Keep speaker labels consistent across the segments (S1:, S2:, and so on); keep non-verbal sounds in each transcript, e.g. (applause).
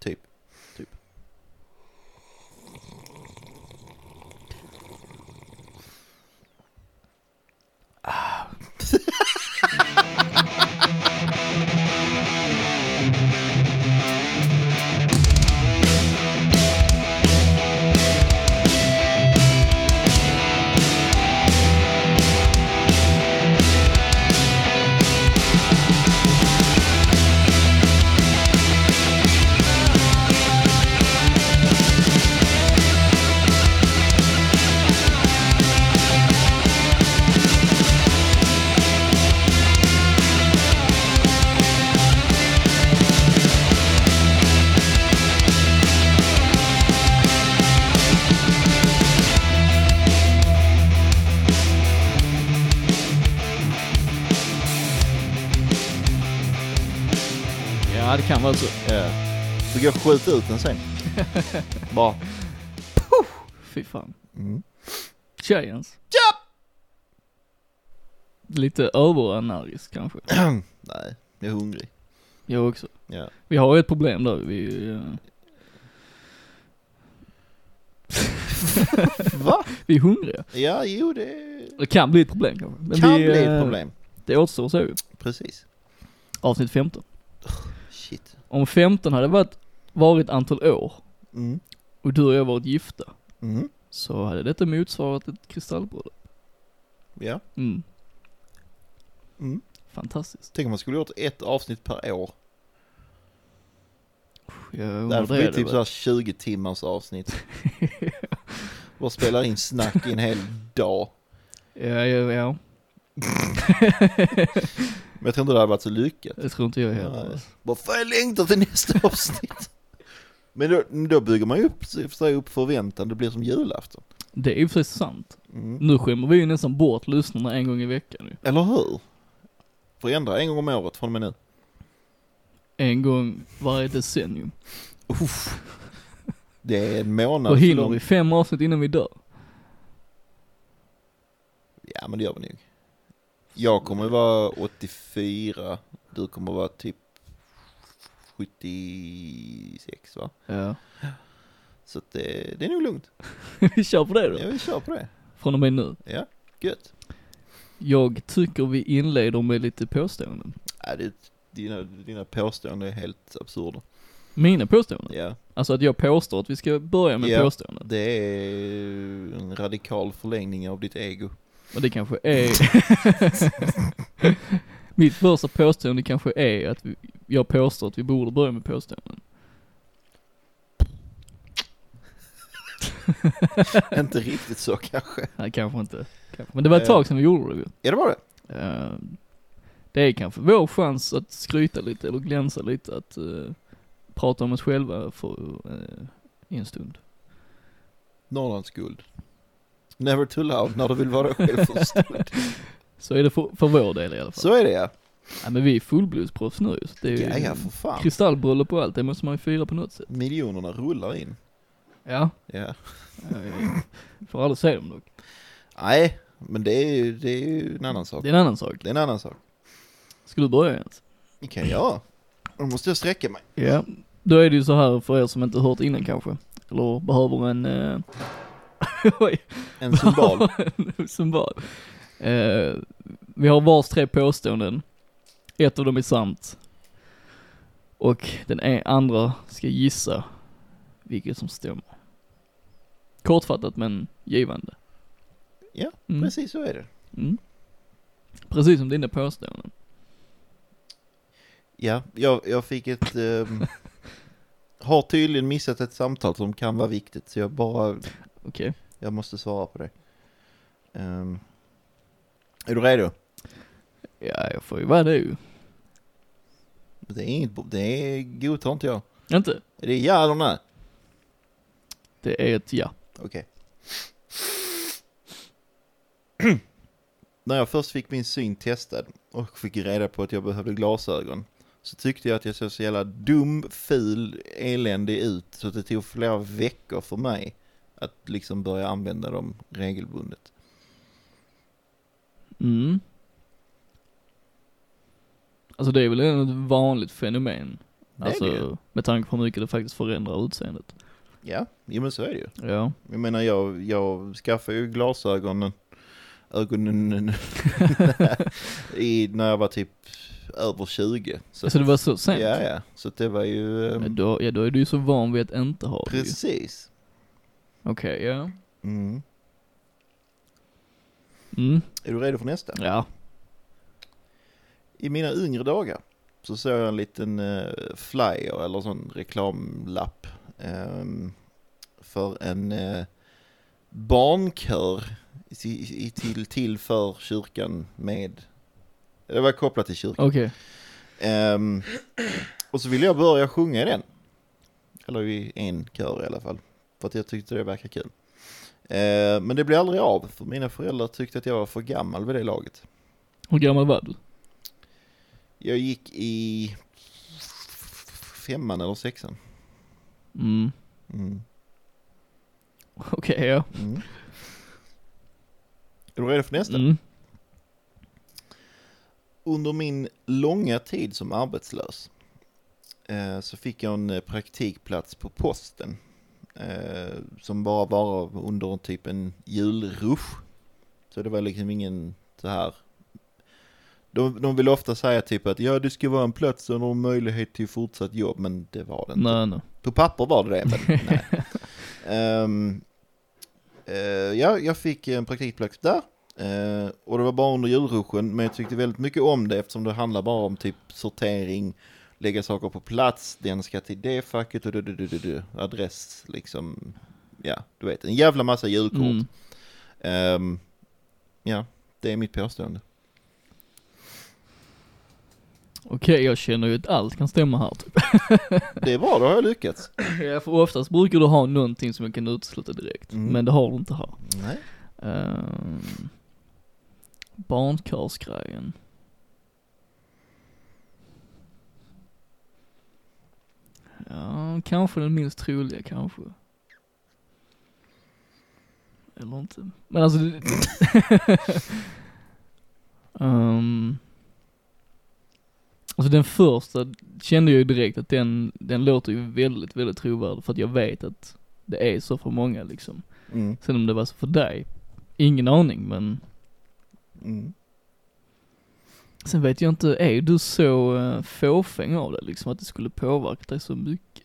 S1: Typ. typ.
S2: Ja, det kan vara så.
S1: Ja. Du går och skjuter ut den (laughs) sen. Bara.
S2: Fy fan.
S1: Mm.
S2: Giants. Lite överenergisk kanske.
S1: Nej, jag är hungrig.
S2: Jag också.
S1: Ja.
S2: Vi har ju ett problem där. Vi, eh,
S1: Va?
S2: vi är hungriga.
S1: Ja, jo det
S2: Det kan bli ett problem kanske. Men
S1: kan
S2: vi,
S1: bli
S2: eh,
S1: ett problem.
S2: Det återstår att se ju.
S1: Precis.
S2: Avsnitt 15.
S1: Shit.
S2: Om 15 hade varit, varit antal år
S1: Mm.
S2: och du och jag varit gifta
S1: Mm.
S2: så hade detta motsvarat ett kristallbröllop.
S1: Ja.
S2: Mm.
S1: Mm.
S2: Fantastiskt.
S1: Tänk om man skulle gjort ett avsnitt per år.
S2: Jag
S1: Det hade
S2: undrar
S1: blivit typ
S2: det.
S1: såhär 20 timmars avsnitt. (laughs) Bara spela in snack i en hel dag.
S2: Ja, ja, ja.
S1: Men jag tror inte det hade varit så lyckat.
S2: Det tror inte jag heller.
S1: Nej. Bara fan jag längtar till (laughs) nästa avsnitt. Men då, då bygger man ju upp, så upp förväntan, det blir som julafton.
S2: Det är ju precis sant.
S1: Mm.
S2: Nu skämmer vi ju nästan bort lyssnarna en gång i veckan ju.
S1: Eller hur? Får ändra en gång om året från och med nu.
S2: En gång varje decennium.
S1: Uff. Det är en månad.
S2: Då
S1: för
S2: hinner
S1: lång-
S2: vi fem avsnitt innan vi dör.
S1: Ja men det gör vi nog. Jag kommer vara 84, du kommer vara typ 76 va?
S2: Ja.
S1: Så att det, det är nog lugnt.
S2: (laughs) vi kör på det
S1: Ja,
S2: då.
S1: vi kör på det.
S2: Från och med nu.
S1: Ja, gött.
S2: Jag tycker vi inleder med lite påståenden.
S1: Ja, det, dina, dina påståenden är helt absurda.
S2: Mina påståenden?
S1: Ja,
S2: Alltså att jag påstår att vi ska börja med
S1: Ja.
S2: påståenden.
S1: det är en radikal förlängning av ditt ego. (laughs)
S2: Och det kanske är... (laughs) Mitt första påstående kanske är att vi, jag påstår att vi borde börja med påståenden.
S1: Inte riktigt så kanske.
S2: Nej, kanske inte. Kanske. Men det var ett
S1: Eh.
S2: tag sedan vi gjorde det ju.
S1: Ja, det var det.
S2: Eh, Det är kanske vår chans att skryta lite eller glänsa lite, att eh, prata om oss själva för eh, i en stund.
S1: Norrlands guld. Never too loud när du vill vara
S2: (laughs)
S1: självförstådd.
S2: Så är det för, för vår del i alla fall.
S1: Så är det ja.
S2: Nej men vi är fullblodsproffs nu just. Det är ju
S1: Ja, ja, för fan.
S2: kristallbröllop och allt, det måste man ju fira på något sätt.
S1: Miljonerna rullar in. (laughs)
S2: Ja.
S1: Ja.
S2: Får aldrig se dem dock.
S1: Nej, men det är ju, det är ju en annan sak.
S2: Det är en annan sak.
S1: Det är en annan sak.
S2: Ska du börja ens?
S1: Det kan jag göra. Då måste jag sträcka mig.
S2: Ja. Då är det ju så här för er som inte hört innan kanske. Eller behöver en... Eh... (laughs) Oj, (laughs)
S1: En symbol.
S2: symbol. Eh, vi har vars tre påståenden. Ett av dem är sant. Och den e- andra ska gissa vilket som stämmer. Kortfattat men givande.
S1: Ja,
S2: Mm.
S1: Precis så är det.
S2: Mm. Precis som dina påståenden.
S1: Ja, jag, jag fick ett...
S2: (laughs)
S1: ehm, har tydligen missat ett samtal som kan vara viktigt, så jag bara...
S2: Okej.
S1: Jag måste svara på det. Ehm, är du redo?
S2: Ja, jag får ju vara det ju.
S1: Det är inget... bo- Det är godtar inte jag.
S2: Inte?
S1: Är det ja eller nej?
S2: Det är ett ja.
S1: Okej. När jag först fick min syn testad och fick reda på att jag behövde glasögon så tyckte jag att jag såg så jävla dum, ful, eländig ut så att det tog flera veckor för mig att liksom börja använda dem regelbundet.
S2: Mm. Alltså det är väl ändå ett vanligt fenomen
S1: är det ju.
S2: Alltså med tanke på hur mycket det faktiskt förändrar utseendet.
S1: Ja, jo, men så är det ju.
S2: Ja.
S1: Jag menar, jag, jag skaffade ju glasögonen ögonen (laughs) i, när jag var typ över 20. Så,
S2: Så Alltså, det var så sent?
S1: ja, ja. Så det var ju... ehm,
S2: Ja, Då, ja, då är du ju så van vid att inte ha det ju.
S1: precis.
S2: Okej, ja.
S1: Mm.
S2: Mm,
S1: Är du redo för nästa?
S2: ja.
S1: I mina yngre dagar så såg jag en liten eh, flyer eller sån reklamlapp ehm, för en eh, barnkör i, i, till, till för kyrkan med, det var kopplat till kyrkan.
S2: Okej.
S1: Ehm, och så ville jag börja sjunga i den. Eller i en kör i alla fall. För att jag tyckte det verkade kul. Ehm, men det blev aldrig av, för mina föräldrar tyckte att jag var för gammal vid det laget.
S2: Hur gammal var du?
S1: Jag gick i femman eller sexan.
S2: Mm, (laughs)
S1: Mm.
S2: okej, ja.
S1: Mm. Är du redo för nästa?
S2: Mm.
S1: Under min långa tid som arbetslös eh, så fick jag en eh, praktikplats på posten eh, som bara var under typ en julrush. Så det var liksom ingen så här. De, de vill ofta säga typ att ja, det ska vara en plats och någon möjlighet till fortsatt jobb, men det var det inte.
S2: Nej, nej.
S1: På papper var det det,
S2: (laughs)
S1: men nej. Ehm, eh, ja, jag fick en praktikplats där. Eh, och det var bara under julruschen, men jag tyckte väldigt mycket om det eftersom det handlar bara om typ sortering, lägga saker på plats, den ska till det facket och du, du, du, du, du, adress liksom. Ja, du vet, en jävla massa julkort.
S2: Mm.
S1: Ehm, ja, det är mitt påstående.
S2: Okej, jag känner ju att allt kan stämma här typ.
S1: Det är bra, då har jag lyckats.
S2: Ja, för oftast brukar du ha någonting som jag kan utesluta direkt,
S1: Mm.
S2: men det har du inte här.
S1: Nej.
S2: Um, barnkörsgrejen. Ja, kanske den minst troliga kanske. Eller inte. Men alltså... det- (laughs) Ehm, alltså den första kände jag ju direkt att den, den låter ju väldigt, väldigt trovärdig för att jag vet att det är så för många liksom.
S1: Mm.
S2: Sen om det var så för dig, ingen aning men
S1: Mm.
S2: sen vet jag inte, är du så eh, fåfäng av det liksom att det skulle påverka dig så mycket?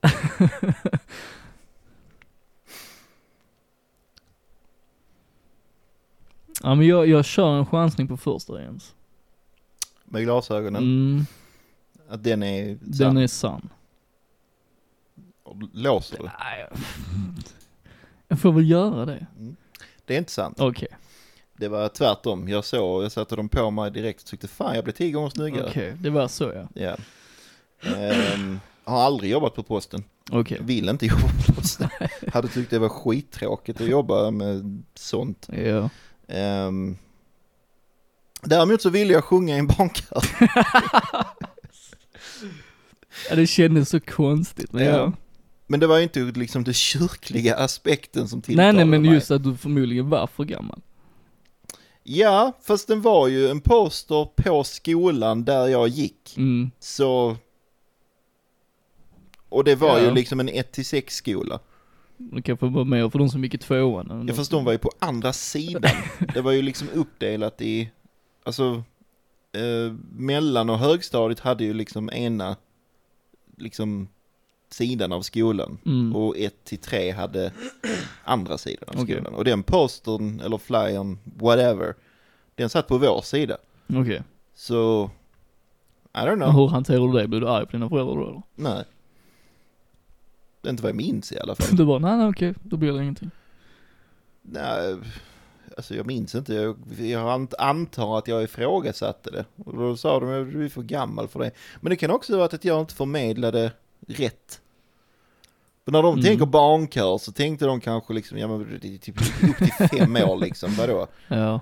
S2: (laughs) ja men jag, jag kör en chansning på första Jens.
S1: Med glasögonen,
S2: Mm,
S1: att den är sann.
S2: den är sann.
S1: Låser det?
S2: Nej, jag- Jag får väl göra det.
S1: Det är inte sant.
S2: Okej,
S1: Det var tvärtom. Jag såg, jag satte dem på mig direkt och tyckte fan jag blev tio gånger
S2: okej,
S1: snyggare.
S2: det var så ja.
S1: Ja. Ehm, har aldrig jobbat på posten.
S2: Okej.
S1: Vill inte jobba på
S2: (laughs)
S1: posten. Hade tyckt det var skittråkigt att jobba med sånt.
S2: Ja.
S1: Ehm, däremot så ville jag sjunga i en barnkör.
S2: Ja, det kändes så konstigt. Men
S1: Ja,
S2: ja.
S1: Men det var ju inte liksom den kyrkliga aspekten som tilltalade
S2: Nej, nej, men
S1: mig.
S2: just att du förmodligen var för gammal.
S1: Ja, fast den var ju en poster på skolan där jag gick.
S2: Mm.
S1: Så... Och det var
S2: Ja.
S1: ju liksom en 1-6 skola.
S2: Det kanske var mer för de som gick i tvåan. eller
S1: Jag
S2: något.
S1: förstår, de var ju på andra sidan. Det var ju liksom uppdelat i, alltså, eh, mellan och högstadiet hade ju liksom ena, liksom, sidan av skolan.
S2: Mm.
S1: Och 1-3 hade andra sidan av
S2: Okej.
S1: skolan. Och den postern, eller flyern, whatever, den satt på vår sida.
S2: Okej.
S1: Så, I don't know.
S2: Men Hur hanterade du det? Blev du arg på dina föräldrar då eller?
S1: Nej. Det är inte vad jag minns i alla fall.
S2: Du bara, nej, nej, okej, då blir det ingenting.
S1: Nej, alltså jag minns inte. Jag, jag ant- antar att jag ifrågasatte det. Och då sa de att du är för gammal för det. Men det kan också ha varit att jag inte förmedlade rätt. För när de
S2: Mm.
S1: tänker barnkör så tänkte de kanske liksom, ja men det är typ upp till fem
S2: (laughs)
S1: år liksom, vadå?
S2: Ja.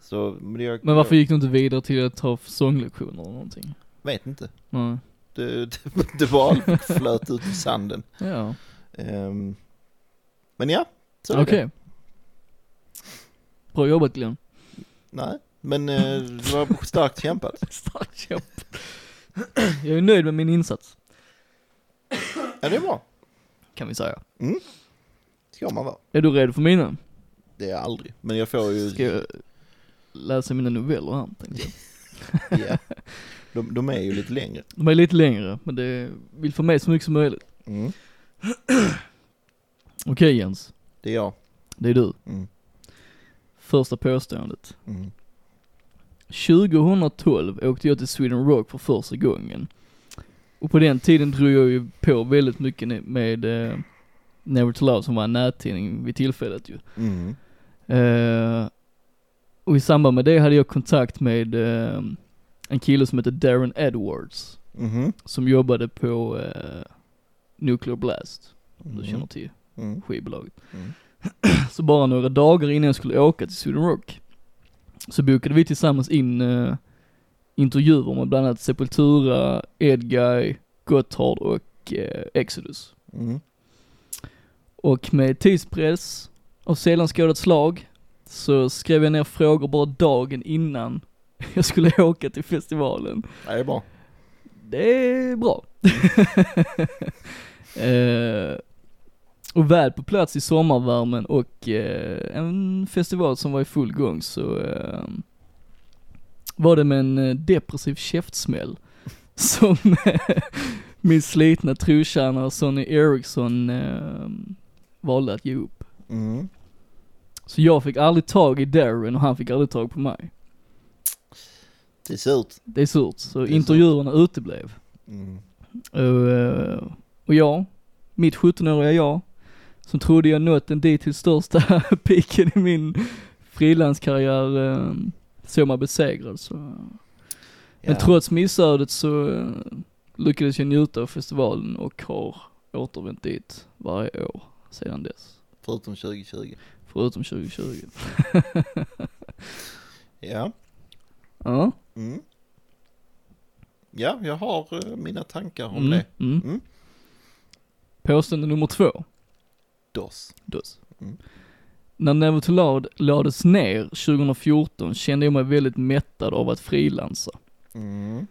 S1: Så, men, jag,
S2: Men varför gick du inte vidare till att ta sånglektioner eller någonting?
S1: Jag vet inte.
S2: Nej.
S1: Det, det, det bara flöt ut i sanden.
S2: Ja.
S1: Ehm, men ja, så är
S2: Okej.
S1: det.
S2: Bra jobbat Glenn. (laughs)
S1: Nej, Men eh, det var starkt kämpat.
S2: Starkt kämp. Jag är nöjd med min insats,
S1: Ja, det är bra. Mm.
S2: kan vi säga.
S1: Ska man vara.
S2: Är du redo för mina?
S1: Det är jag aldrig. Men jag får ju...
S2: Ska jag läsa mina noveller här, tänkte jag.
S1: Ja. De, de är ju lite längre.
S2: De är lite längre, men det vill få med så mycket som möjligt.
S1: Mm.
S2: Okej Jens,
S1: Det är jag.
S2: det är du.
S1: Mm.
S2: Första påståendet.
S1: Mm.
S2: 2012 åkte jag till Sweden Rock för första gången. Och på den tiden drog jag ju på väldigt mycket ne- med eh, Never to Love som var en nättidning vid tillfället ju.
S1: Mm.
S2: Eh, och i samband med det hade jag kontakt med eh, en kille som heter Darren Edwards.
S1: Mhm.
S2: Som jobbade på eh, Nuclear Blast, om
S1: Mhm.
S2: du känner till
S1: Mm.
S2: skivbolaget.
S1: Mm.
S2: Så bara några dagar innan jag skulle åka till Sweden Rock så bokade vi tillsammans in eh, intervjuer med bland annat Sepultura, Edguy, Gotthard och eh, Exodus.
S1: Mm.
S2: Och med tidspress och sällan skådat slag så skrev jag ner frågor bara dagen innan (laughs) jag skulle åka till festivalen.
S1: Ja, det är bra.
S2: Det
S1: (laughs)
S2: är bra. eh, och väl på plats i sommarvärmen och eh, en festival som var i full gång så eh, var det med en eh, depressiv käftsmäll (laughs) som eh, min slitna trotjänare Sonny Eriksson eh, valde att ge upp.
S1: Mm.
S2: Så jag fick aldrig tag i Darren och han fick aldrig tag på mig.
S1: Det är surt.
S2: Det är surt, så
S1: är surt.
S2: intervjuerna uteblev.
S1: Mm.
S2: Eh, och jag, mitt 17-åriga jag, som trodde jag nått den dittills största (laughs) piken i min frilanskarriär, eh, såg mig besegrad. Så. Men
S1: Ja.
S2: trots missödet så eh, lyckades jag njuta av festivalen och har återvänt dit varje år sedan dess.
S1: Förutom 2020.
S2: Förutom 2020.
S1: Ja.
S2: Ja.
S1: Mm. Ja, jag har eh, mina tankar om
S2: Mm,
S1: det.
S2: mm.
S1: Mm.
S2: Påstående nummer två.
S1: DOS.
S2: Dus.
S1: Mm.
S2: När Never to Loud lades ner 2014 kände jag mig väldigt mättad av att frilansa.
S1: Mm.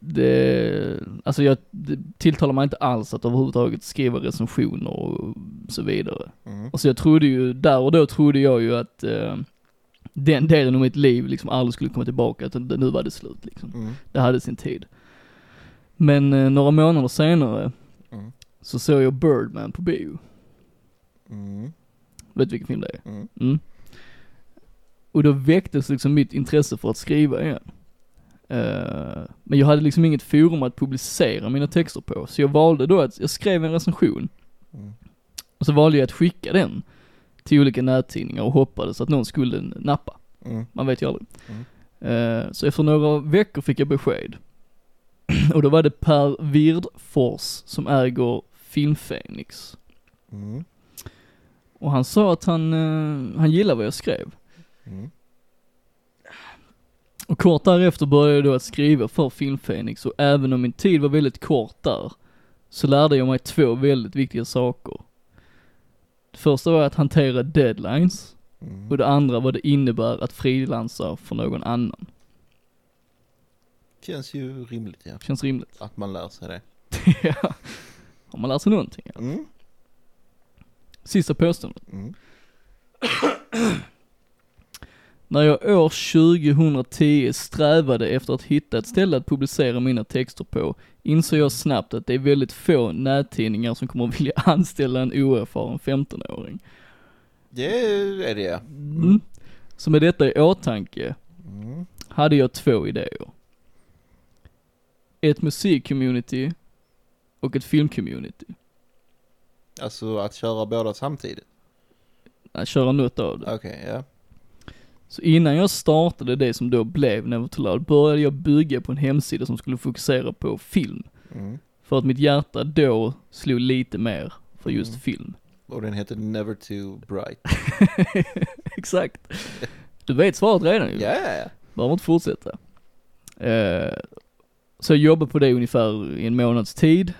S2: Det, alltså jag, det tilltalar mig inte alls att överhuvudtaget skriva recensioner och så vidare.
S1: Mm.
S2: Alltså jag trodde ju, där och då trodde jag ju att eh, den delen av mitt liv liksom aldrig skulle komma tillbaka, utan det- nu var det slut liksom.
S1: Mm.
S2: Det hade sin tid. Men eh, några månader senare
S1: Mm.
S2: så såg jag Birdman på bio.
S1: Mm.
S2: Vet du vilken film det är?
S1: Mm.
S2: Mm. Och då väcktes liksom mitt intresse för att skriva igen. Eh, men jag hade liksom inget forum att publicera mina texter på, så jag valde då att, jag skrev en recension
S1: Mm.
S2: och så valde jag att skicka den till olika nättidningar och hoppades att någon skulle nappa.
S1: Mm.
S2: Man vet ju aldrig. Eh, så efter några veckor fick jag besked. (clears throat) och då var det Per Wirdfors som äger Filmfenix.
S1: Mm.
S2: Och han sa att han, eh, han gillade vad jag skrev.
S1: Mm.
S2: Och kort därefter började jag då att skriva för Filmfenix och även om min tid var väldigt kort där så lärde jag mig två väldigt viktiga saker. Det första var att hantera deadlines
S1: Mm.
S2: och det andra vad det innebär att frilansa för någon annan.
S1: Känns ju rimligt ja, (laughs)
S2: Känns rimligt.
S1: att man lär sig det.
S2: ja. Har man lärt sig någonting? ja.
S1: Mm.
S2: Sista påståendet.
S1: Mm.
S2: När jag år 2010 strävade efter att hitta ett ställe att publicera mina texter på insåg jag snabbt att det är väldigt få nättidningar som kommer vilja (laughs) anställa en oerfaren 15-åring.
S1: Det är det ja.
S2: Mm. Så med detta i åtanke
S1: Mm.
S2: hade jag två idéer. Ett musikcommunity och ett filmcommunity.
S1: Alltså att köra båda samtidigt.
S2: Att köra något av det.
S1: Okej, ja.
S2: Så innan jag startade det som då blev Never to Loud började jag bygga på en hemsida som skulle fokusera på film.
S1: Mm.
S2: För att mitt hjärta då slog lite mer för just
S1: Mm.
S2: film. (laughs)
S1: Och den heter Never Too Bright.
S2: Exakt. Du vet svaret redan ju.
S1: Ja, ja, ja.
S2: Behöver inte fortsätta. Eh, så jag jobbade på det ungefär i en månads tid.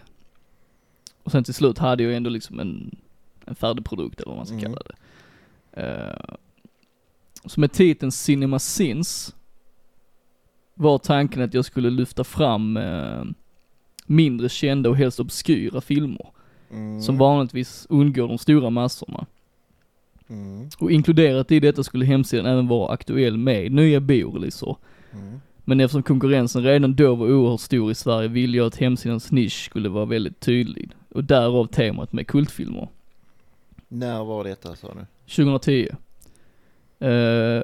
S2: Och sen till slut hade jag ändå liksom en, en färdig produkt eller vad man ska
S1: Mm.
S2: kalla det. Eh, Så med titeln Cinema Sins var tanken att jag skulle lyfta fram eh, mindre kända och helst obskyra filmer
S1: Mm.
S2: som vanligtvis undgår de stora massorna.
S1: Mm.
S2: Och inkluderat i detta skulle hemsidan även vara aktuell med nya bioreleaser.
S1: Mm.
S2: Men eftersom konkurrensen redan då var oerhört stor i Sverige ville jag att hemsidans nisch skulle vara väldigt tydlig. Och därav temat med kultfilmer.
S1: När var detta sa du?
S2: 2010. Eh,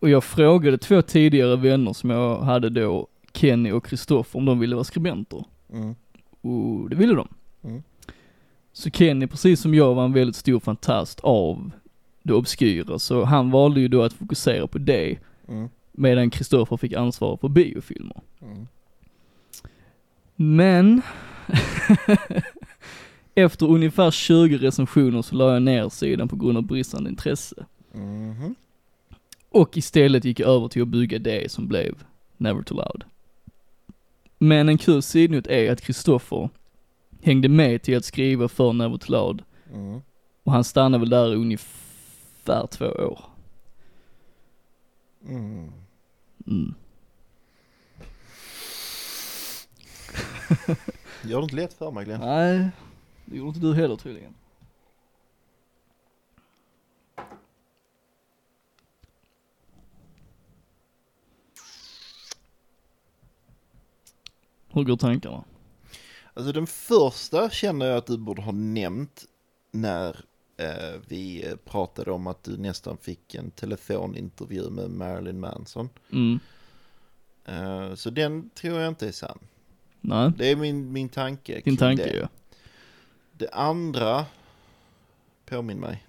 S2: och jag frågade två tidigare vänner som jag hade då, Kenny och Kristoffer, om de ville vara skribenter.
S1: Mm.
S2: Och det ville de.
S1: Mm.
S2: Så Kenny, precis som jag, var en väldigt stor fantast av det obskyra, så han valde ju då att fokusera på det,
S1: Mm.
S2: medan Kristoffer fick ansvar för biofilmer.
S1: Mm.
S2: Men, (laughs) efter ungefär 20 recensioner så la jag ner sidan på grund av bristande intresse.
S1: Mhm.
S2: Och istället gick jag över till att bygga det som blev Never Too Loud. Men en kul sidnot är att Kristoffer hängde med till att skriva för Never Too Loud
S1: Mm.
S2: och han stannade väl där i ungefär två år.
S1: Mm.
S2: Mm.
S1: Gör det inte lätt för mig Glenn.
S2: Nej, det gjorde inte du heller tydligen. Hur går tankarna?
S1: Alltså den första känner jag att du borde ha nämnt när eh, vi eh, pratade om att du nästan fick en telefonintervju med Marilyn Manson.
S2: Mm,
S1: Eh, så den tror jag inte är sann.
S2: nej,
S1: Det är min, min tanke.
S2: din
S1: kring
S2: tanke
S1: det.
S2: ju. (laughs)
S1: det andra, påminn mig.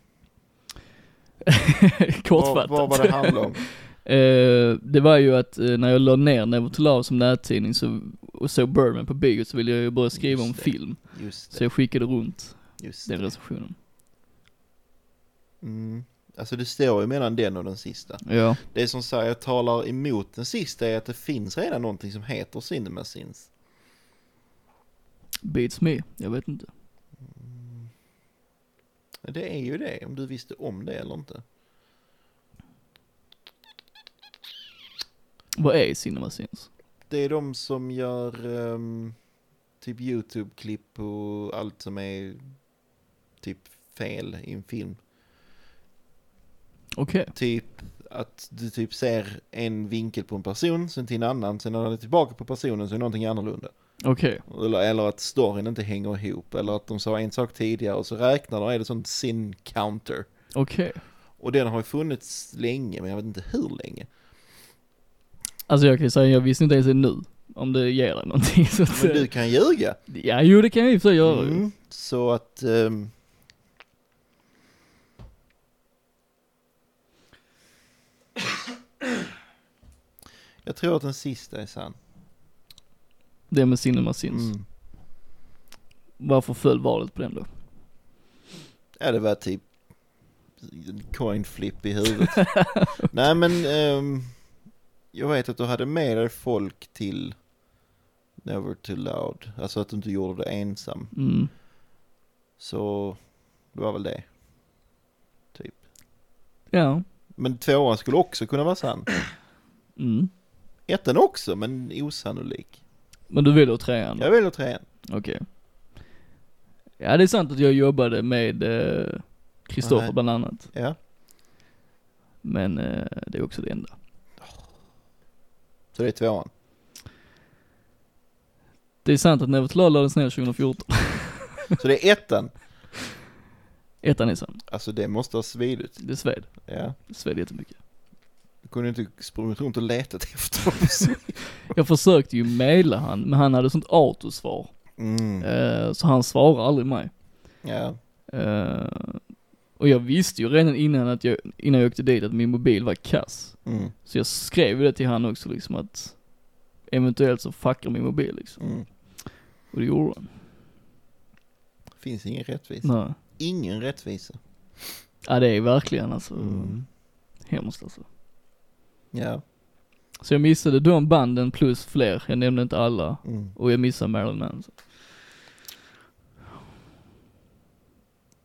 S1: Vad,
S2: Kortfattat.
S1: vad var det handlade om?
S2: (laughs) Eh, det var ju att eh, när jag la ner Never to Love som nättidning så, och såg Birdman på bio så ville jag ju börja skriva om
S1: Just det.
S2: film.
S1: Just
S2: Så
S1: det.
S2: jag skickade runt
S1: Just
S2: den
S1: det.
S2: recensionen.
S1: Mm. Alltså det står ju mellan den och den sista.
S2: Ja,
S1: Det som säger jag talar emot den sista är att det finns redan någonting som heter Cinema Sins.
S2: beats me. Jag vet inte.
S1: Det är ju det, om du visste om det eller inte.
S2: Vad är Cinema Sins?
S1: Det är de som gör ehm, typ YouTube-klipp och allt som är typ fel i en film.
S2: Okej.
S1: Typ att du typ ser en vinkel på en person, sen till en annan, sen när du är tillbaka på personen så är någonting annorlunda.
S2: Okej.
S1: Eller, eller att storyn inte hänger ihop, eller att de sa en sak tidigare och så räknar de, är det sånt sin counter.
S2: Okej.
S1: Och den har ju funnits länge, men jag vet inte hur länge.
S2: Alltså jag kan ju säga, jag visste inte ens nu om det ger dig någonting. (laughs) Så att,
S1: Men du kan ljuga.
S2: Ja, jo det kan jag i och för sig göra ju.
S1: Mm, så att... ehm, Jag tror att den sista är sann.
S2: Det med Cinema Sins.
S1: Mm.
S2: Varför föll valet på den då?
S1: Ja, det var typ en coin flip i huvudet. (laughs) Nej, men ehm, jag vet att du hade med dig folk till Never Too Loud. Alltså att du inte gjorde det ensam.
S2: Mm.
S1: Så det var väl det. Typ.
S2: Ja.
S1: Men tvåan skulle också kunna vara sann.
S2: Mm.
S1: Ettan också, men osannolik.
S2: Men du väljer trean?
S1: Jag väljer trean.
S2: Okej. Ja det är sant att jag jobbade med eh, Kristoffer
S1: Nej.
S2: bland annat.
S1: Ja.
S2: Men eh, det är också det enda.
S1: Så det är tvåan.
S2: Det är sant att Never to Love lades ner 2014.
S1: Så (laughs) det är ettan.
S2: Ettan är sann.
S1: Alltså det måste ha svidit.
S2: Det sved.
S1: Ja.
S2: Det sved jättemycket.
S1: Du kunde inte sprungit runt och letat efter dem.
S2: Jag försökte ju maila han, men han hade sånt autosvar.
S1: Mm.
S2: Eh, så han svarar aldrig mig.
S1: Ja.
S2: Eh, och jag visste ju redan innan att jag, innan jag åkte dit att min mobil var kass.
S1: Mm.
S2: Så jag skrev ju det till han också liksom att eventuellt så fuckar min mobil liksom.
S1: Mm.
S2: Och det gjorde han.
S1: Finns ingen rättvisa.
S2: Nej.
S1: Ingen rättvisa.
S2: Ja det är verkligen alltså
S1: Mm.
S2: hemskt alltså.
S1: Ja.
S2: Så jag missade de banden plus fler, jag nämnde inte alla.
S1: Mm.
S2: Och jag missade Marilyn Manson.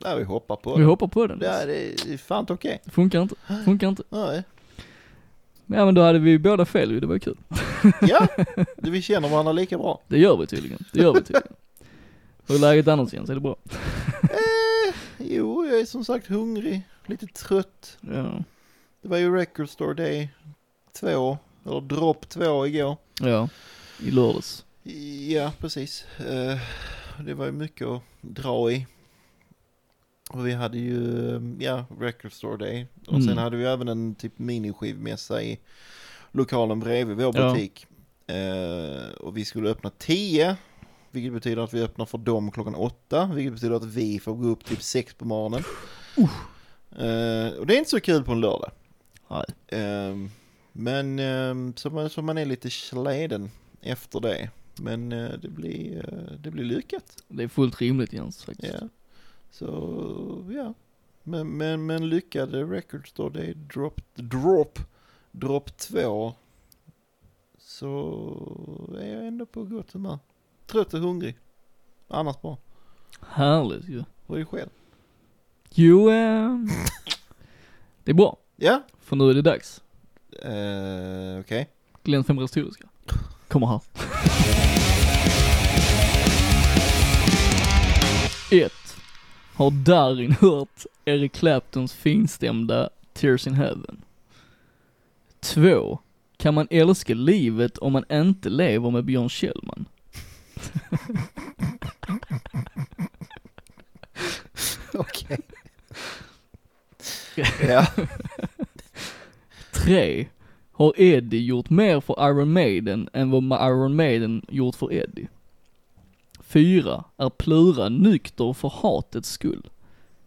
S1: Ja, vi hoppar på
S2: Vi
S1: det.
S2: hoppar på den.
S1: Ja, det är fan inte okej.
S2: Funkar inte, funkar inte.
S1: Nej.
S2: Ja men då hade vi båda fel ju, det var ju kul.
S1: (laughs) Ja, vi känner varandra lika bra.
S2: Det gör vi tydligen, det gör
S1: (laughs)
S2: vi tydligen. Hur är läget annars Jens, är det bra?
S1: Eh, jo, jag är som sagt hungrig, lite trött.
S2: Ja.
S1: Det var ju Record Store Day 2, eller Drop 2 igår.
S2: Ja, i lördags.
S1: Ja, precis. Eh, Det var ju mycket att dra i. Och vi hade ju, eh, ja, Record Store Day. Och sen
S2: Mm.
S1: hade vi även en typ miniskivmässa i lokalen bredvid vår
S2: Ja.
S1: butik. Eh, och vi skulle öppna 10, vilket betyder att vi öppnar för dem klockan 8, vilket betyder att vi får gå upp typ 6 på morgonen. Eh, och det är inte så kul på en lördag.
S2: Nej.
S1: Ehm, men ehm, så, man, så man är lite släden efter det. Men eh, det blir, eh, det blir lyckat.
S2: Det är fullt rimligt Jens faktiskt.
S1: Ja. Så ja. Men, men, men lyckade records då, det är drop, drop, drop 2. Så är jag ändå på gott humör. Trött och hungrig. Annars bra.
S2: Härligt ju.
S1: Vad är det själv?
S2: Jo, eh, det är bra.
S1: Ja,
S2: För nu är det dags.
S1: eh, okej.
S2: Glenns fem retoriska. Kommer här. Ett. Har Darin hört Eric Claptons finstämda Tears in Heaven? Två. Kan man älska livet om man inte lever med Björn Kjellman?
S1: Okej. ja.
S2: Tre. Har Eddie gjort mer för Iron Maiden än vad Ma- Iron Maiden gjort för Eddie? Fyra. Är Plura nykter för hatets skull?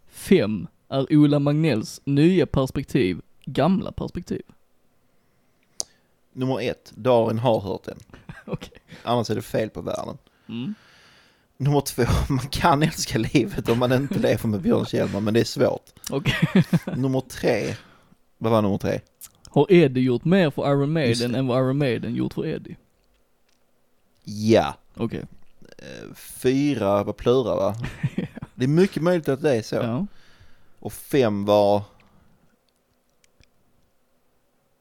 S2: Fem. Är Ola Magnells nya perspektiv gamla perspektiv?
S1: Nummer ett, Darin har hört den.
S2: Okej.
S1: Annars är det fel på världen.
S2: Mm.
S1: Nummer två, (laughs) man kan älska livet om man inte lever med Björn Kjellman, men det är svårt.
S2: Okej. (laughs)
S1: Nummer tre, vad var nummer tre?
S2: Har Eddie gjort mer för Iron
S1: Just
S2: Maiden
S1: det.
S2: än vad Iron Maiden gjort för Eddie?
S1: Ja,
S2: Okej.
S1: eh, fyra var Plura
S2: (laughs)
S1: va? Det är mycket möjligt att det är så.
S2: Ja.
S1: Och fem var...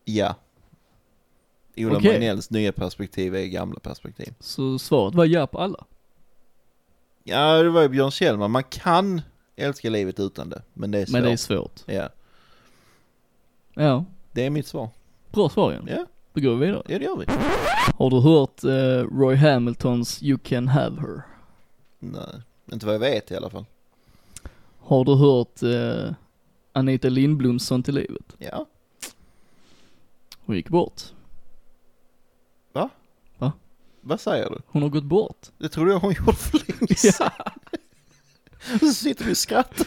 S1: Ja. Ola
S2: Okej.
S1: Magnells nya perspektiv är gamla perspektiv.
S2: Så svaret var ja på alla.
S1: Ja, det var ju Björn Kjellman, man kan älska livet utan det, men det är svårt.
S2: Men det är svårt.
S1: Ja,
S2: Ja.
S1: det är mitt svar.
S2: Bra svar igen.
S1: Ja,
S2: Då går vi vidare.
S1: ja det gör vi.
S2: Har du hört eh, Roy Hamiltons You Can Have Her?
S1: Nej, inte vad jag vet i alla fall.
S2: Har du hört eh, Anita Lindbloms Sånt i livet?
S1: Ja,
S2: Hon gick bort.
S1: vad säger du?
S2: Hon har gått bort.
S1: Det trodde jag hon gjorde för
S2: (laughs)
S1: länge sedan. Så sitter vi och skrattar.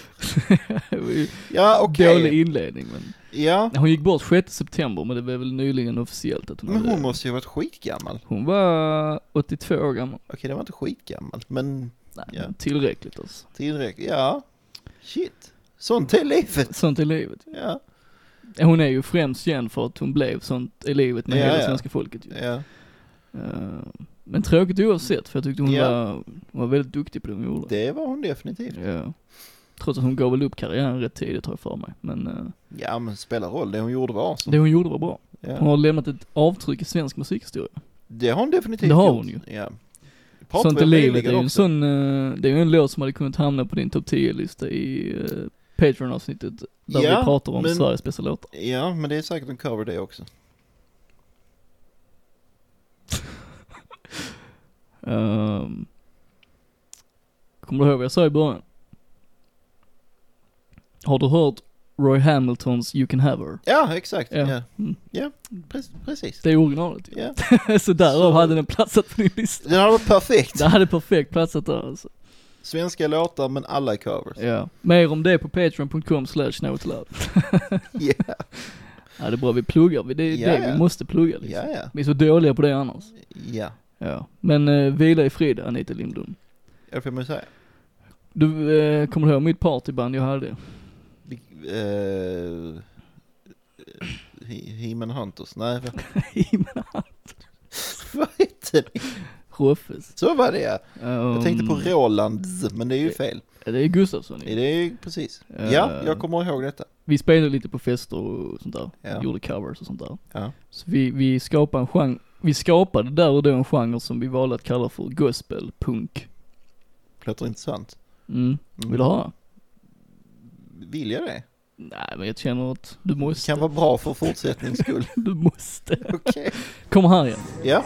S2: Det var ju
S1: Ja, okej.
S2: Dålig inledning men.
S1: Ja,
S2: Hon gick bort 6 september men det var väl nyligen officiellt att hon
S1: men hon
S2: hade...
S1: måste ju ha varit skitgammal.
S2: Hon var 82 år gammal.
S1: Okej, det var inte skitgammal, men
S2: Nej,
S1: Ja.
S2: men tillräckligt alltså.
S1: tillräckligt. Ja, shit. Sånt är livet.
S2: Sånt är livet.
S1: Ja,
S2: Hon är ju främst känd för att hon blev Sånt är livet med
S1: Ja,
S2: hela
S1: ja.
S2: svenska folket ju.
S1: ja.
S2: Eh, men tråkigt oavsett för jag tyckte hon,
S1: Ja.
S2: var, hon var väldigt duktig på det hon gjorde.
S1: Det var hon definitivt.
S2: Ja. Trots att hon gav väl upp karriären rätt tidigt har jag för mig. Men eh,
S1: Ja, men spelar roll. Det hon gjorde var awesome.
S2: det hon gjorde var bra. Hon
S1: Ja.
S2: har lämnat ett avtryck i svensk musikhistoria.
S1: Det har hon definitivt
S2: Det har
S1: gjort.
S2: hon ju.
S1: Ja. Pratar
S2: Sånt
S1: vi
S2: i
S1: om
S2: livet är
S1: nyligen
S2: ju en
S1: också?
S2: sån, eh, det är ju en låt som hade kunnat hamna på din topp 10-lista i eh, Patreon-avsnittet. Där
S1: Ja,
S2: vi pratar om
S1: men-
S2: Sveriges bästa låtar.
S1: Ja, men det är säkert en cover det också.
S2: Ehm, kommer du ihåg vad jag sa i början? Har du hört Roy Hamiltons You Can Have Her?
S1: Ja, exakt.
S2: Ja.
S1: Ja,
S2: Mm.
S1: ja. pre- precis.
S2: Det är originalet ju.
S1: Ja.
S2: (laughs) Så därav
S1: Så-
S2: hade den platsat på din lista.
S1: Den hade varit perfekt.
S2: Det hade perfekt platsat där alltså.
S1: Svenska låtar men alla är covers.
S2: Ja, mer om det på patreon.com slash notloud.
S1: (laughs) Ja,
S2: Ja det är bra, vi pluggar, det är
S1: Ja,
S2: det
S1: ja.
S2: vi måste plugga liksom.
S1: ja, ja.
S2: Vi är så dåliga på det annars.
S1: Ja,
S2: Ja. Men eh, vila i frid Anita Lindblom.
S1: det får man ju säga.
S2: Du, eh, kommer du ihåg mitt partyband jag hade?
S1: Vi- eh, He- He-Man Hunters, nej
S2: (laughs)
S1: vad-
S2: Himla-
S1: vad heter det?
S2: Roffes.
S1: Så var det ja. Jag
S2: Ehm,
S1: tänkte på Rolands, men det är ju fel.
S2: Det är Gustafsson
S1: Det
S2: ju. Eh.
S1: är ju precis. Ja, jag kommer ihåg detta.
S2: vi spelade lite på fester och sånt där.
S1: Ja.
S2: Gjorde covers och sånt där.
S1: Ja.
S2: Så vi, vi skapade en genre, vi skapade där och då en genre som vi valde att kalla för gospel punk.
S1: Låter intressant.
S2: Mm.
S1: Mm.
S2: Vill du ha?
S1: Vill jag det?
S2: Nej men jag känner att du
S1: Det
S2: måste.
S1: kan vara bra för fortsättnings
S2: (laughs)
S1: skull.
S2: Du måste.
S1: Okej.
S2: Kom här igen.
S1: Ja.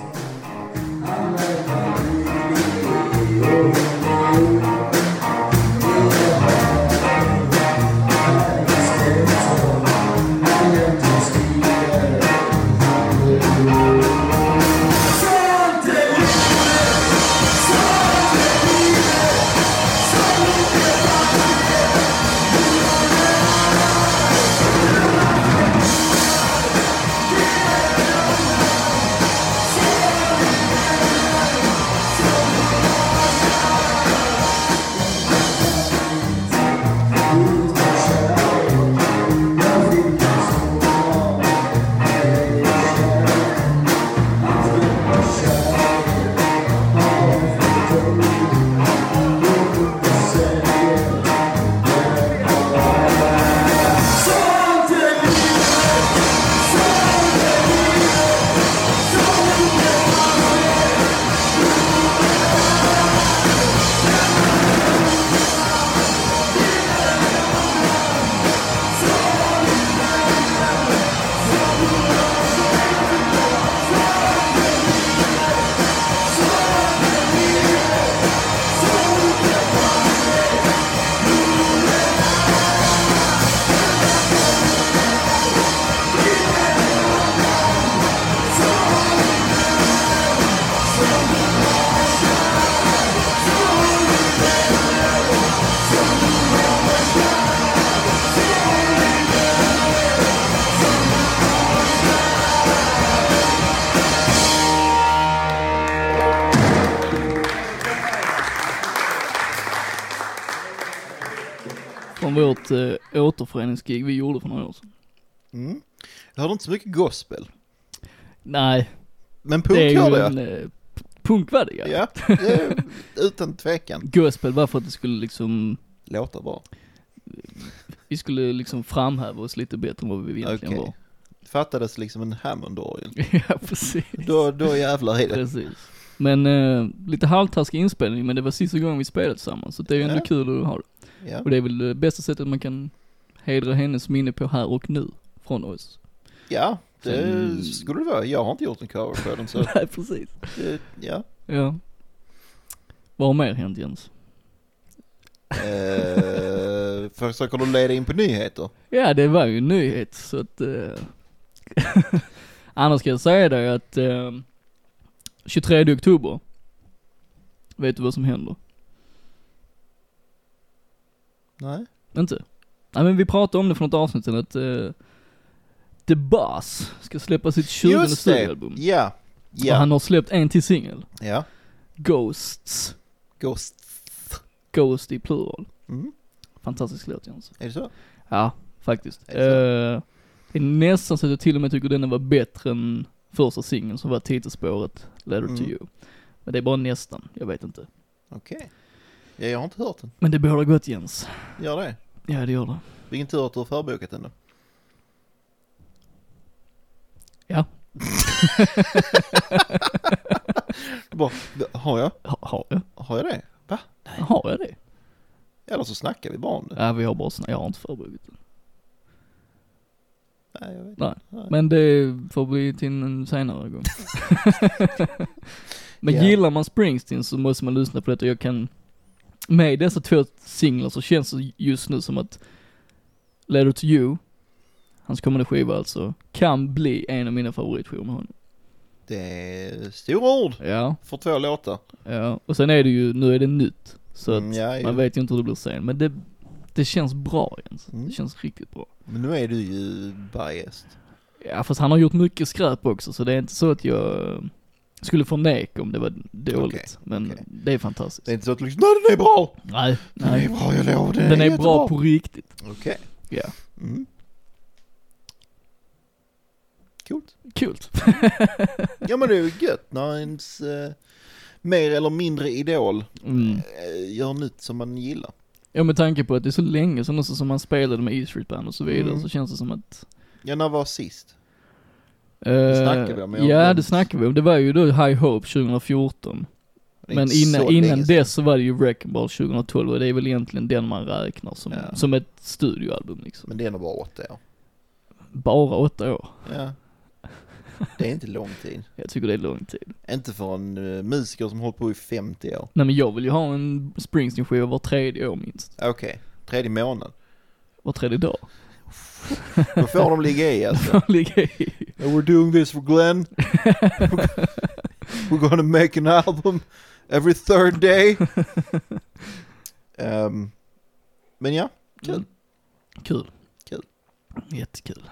S2: Från vårt eh, återföreningsgig vi gjorde för några år sedan.
S1: Mm. Jag hörde inte så mycket gospel.
S2: Nej,
S1: Men
S2: det är
S1: punk
S2: ju
S1: hörde jag.
S2: en eh, p- punk var det ja.
S1: Ja, det är- utan tvekan.
S2: Gospel var för att det skulle liksom,
S1: Låter bra.
S2: vi skulle liksom framhäva oss lite bättre än vad vi egentligen
S1: Okej.
S2: var. (laughs)
S1: Fattades liksom en Hammondorgel.
S2: ja precis.
S1: Då, då jävlar är det.
S2: Precis. Men eh, lite halvtaskig inspelning, men det var sista gången vi spelade tillsammans, så det är ju ändå
S1: Ja.
S2: kul att ha det.
S1: Ja.
S2: Och det är väl det bästa sättet man kan hedra hennes minne på här och nu, från oss.
S1: ja, det
S2: Sen-
S1: skulle det vara. Jag har inte gjort en cover på den så
S2: (laughs) Nej, precis.
S1: det, ja.
S2: Ja. Vad har mer hänt Jens?
S1: Eh, försöker du leda in på nyheter?
S2: Ja, det var ju en nyhet, så att... Eh... (laughs) Annars kan jag säga dig att eh, 23 oktober, vet du vad som händer?
S1: Nej.
S2: Inte? Nej men vi pratade om det för något avsnitt sedan att eh, The Boss ska släppa sitt 20
S1: Just det.
S2: studioalbum.
S1: Ja.
S2: Och
S1: Ja.
S2: han har släppt en till singel.
S1: Ja.
S2: Ghosts.
S1: Ghost.
S2: Ghost i plural.
S1: Mm.
S2: Fantastisk låt Jens.
S1: Är det så?
S2: Ja, faktiskt.
S1: Är
S2: Eh,
S1: det
S2: det är nästan så att jag till och med tycker denna var bättre än första singeln som var titelspåret, Letter to
S1: Mm.
S2: You. Men det är bara nästan, jag vet inte.
S1: Okej. Ja, jag har inte hört den.
S2: Men det bådar gott Jens.
S1: Gör det.
S2: Ja det gör det.
S1: Vilken tur att du har förbokat den då. (laughs)
S2: Ja.
S1: Du bara, har jag?
S2: Ha, har jag?
S1: Har jag det? Va?
S2: Har jag det?
S1: Eller så snackar vi bara om det.
S2: Ja vi har bara sn- jag har inte förberett det.
S1: Nej, jag vet
S2: Nej.
S1: Nej.
S2: Men det får bli till en
S1: (laughs)
S2: senare gång. Men
S1: Ja.
S2: gillar man Springsteen så måste man lyssna på det och jag kan, med dessa två singlar så känns det just nu som att Letter to You, hans kommande skiva alltså, kan bli en av mina favoritskivor med honom.
S1: Det är stora ord
S2: Ja,
S1: för två låtar.
S2: ja. Och sen är det ju, nu är det nytt. Så att
S1: Mm, ja, ju.
S2: man vet ju inte hur det blir sen. Men det, det känns bra Jens.
S1: Mm.
S2: Det känns riktigt bra.
S1: Men nu är du ju biased.
S2: Ja fast han har gjort mycket skräp också så det är inte så att jag eh, skulle förneka om det var dåligt.
S1: Okej,
S2: men
S1: okej.
S2: det är fantastiskt.
S1: Det är inte så att du liksom, nej den är bra!
S2: Nej,
S1: Den är (laughs)
S2: nej.
S1: bra, jag lovar. Den,
S2: Den är
S1: jättebra.
S2: bra på riktigt.
S1: Okej.
S2: Ja.
S1: Mm. Coolt.
S2: Kul.
S1: Ja men det är ju gött när ens eh, mer eller mindre idol
S2: Mm.
S1: eh, gör nytt som man gillar.
S2: Ja med tanke på att det är så länge sedan också som man spelade med E Street Band och så vidare
S1: Mm.
S2: så känns det som att...
S1: Ja, när var sist?
S2: Uh,
S1: snackar vi om, jag har
S2: Ja
S1: glömt.
S2: det snackar vi om. Det var ju då High Hope 2014.
S1: Det är
S2: Men
S1: inte
S2: innan,
S1: så länge
S2: innan
S1: sedan.
S2: dess så var det ju Wrecking Ball 2012 och det är väl egentligen den man räknar som,
S1: Ja.
S2: som ett studioalbum liksom.
S1: Men det är nog bara åtta år.
S2: Bara åtta år.
S1: Ja. Det är inte lång tid.
S2: Jag tycker det är lång tid.
S1: Inte för en eh, musiker som hållit på i 50 år.
S2: Nej men jag vill ju ha en Springsteen-skiva var tredje år minst.
S1: Okej, tredje månaden.
S2: Var tredje dag.
S1: Då får de ligga i (laughs) alltså.
S2: (laughs) Ligger i.
S1: And we're doing this for (laughs) Glenn. we're gonna make an album every third (laughs) day. Ehm, men ja, Kul.
S2: Mm. Kul.
S1: Kul.
S2: Jättekul.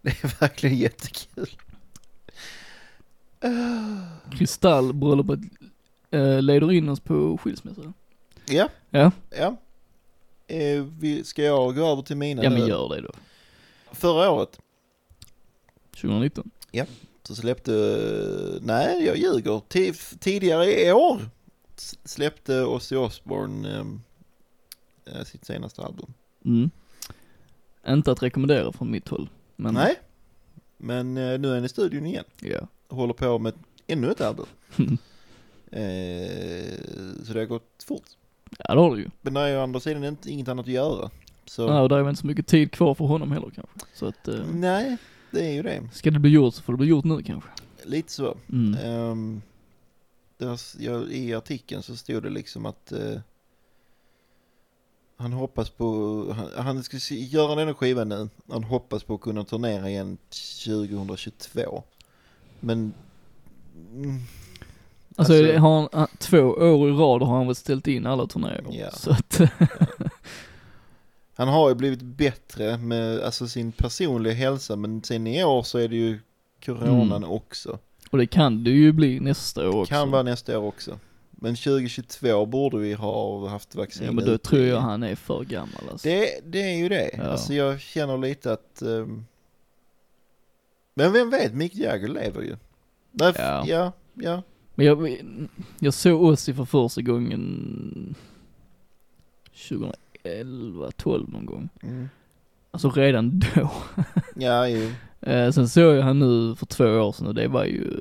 S1: det är verkligen jättekul.
S2: Kristallbröllopet eh, leder in oss på skilsmässa.
S1: Ja,
S2: Ja,
S1: ja. Eh, vi, ska jag gå över till mina
S2: ja
S1: nu?
S2: men gör det då.
S1: Förra året
S2: 2019.
S1: så släppte, nej jag ljuger, Ti- tidigare i år s- släppte Ozzy Osbourne ehm, eh, sitt senaste album.
S2: Mm. Inte att rekommendera från mitt håll. Men,
S1: Nej, men eh, nu är han i studion igen.
S2: Ja.
S1: håller på med ännu ett
S2: (laughs)
S1: album. eh, så det har gått fort.
S2: ja, det har du ju.
S1: Men det är å andra sidan inte, inget annat att göra. Så Mm.
S2: Ja, och där är väl inte så mycket tid kvar för honom heller kanske. Så att, eh,
S1: nej, det är ju det.
S2: ska det bli gjort så får det bli gjort nu kanske.
S1: Lite så.
S2: Mm.
S1: Ehm, det var- jag, I artikeln så stod det liksom att eh, han hoppas på, han, han ska se- göra den här skivan nu. Han hoppas på att kunna turnera igen 2022. Men mm,
S2: Alltså,
S1: Alltså-
S2: har han, han- två år i rad har han väl ställt in alla turneringar.
S1: Ja.
S2: Så att,
S1: Han har ju blivit bättre med alltså, sin personliga hälsa men sen i år så är det ju coronan också.
S2: och det kan det ju bli nästa år Mm. också.
S1: Kan vara nästa år också. Men 2022 borde vi ha haft vaccin.
S2: Ja men då
S1: ute
S2: tror
S1: i.
S2: jag han är för gammal alltså.
S1: Det, det är ju det.
S2: Ja.
S1: Alltså jag känner lite att... ehm, Men vem vet, Mick Jagger lever ju. Nej, f-
S2: Ja.
S1: ja, ja.
S2: Men jag, jag såg Ozzy för första gången 2011, 12 någon gång.
S1: Mm.
S2: Alltså redan (laughs) då.
S1: Ja, ju.
S2: Eh, sen såg jag han nu för två år sedan och det var ju...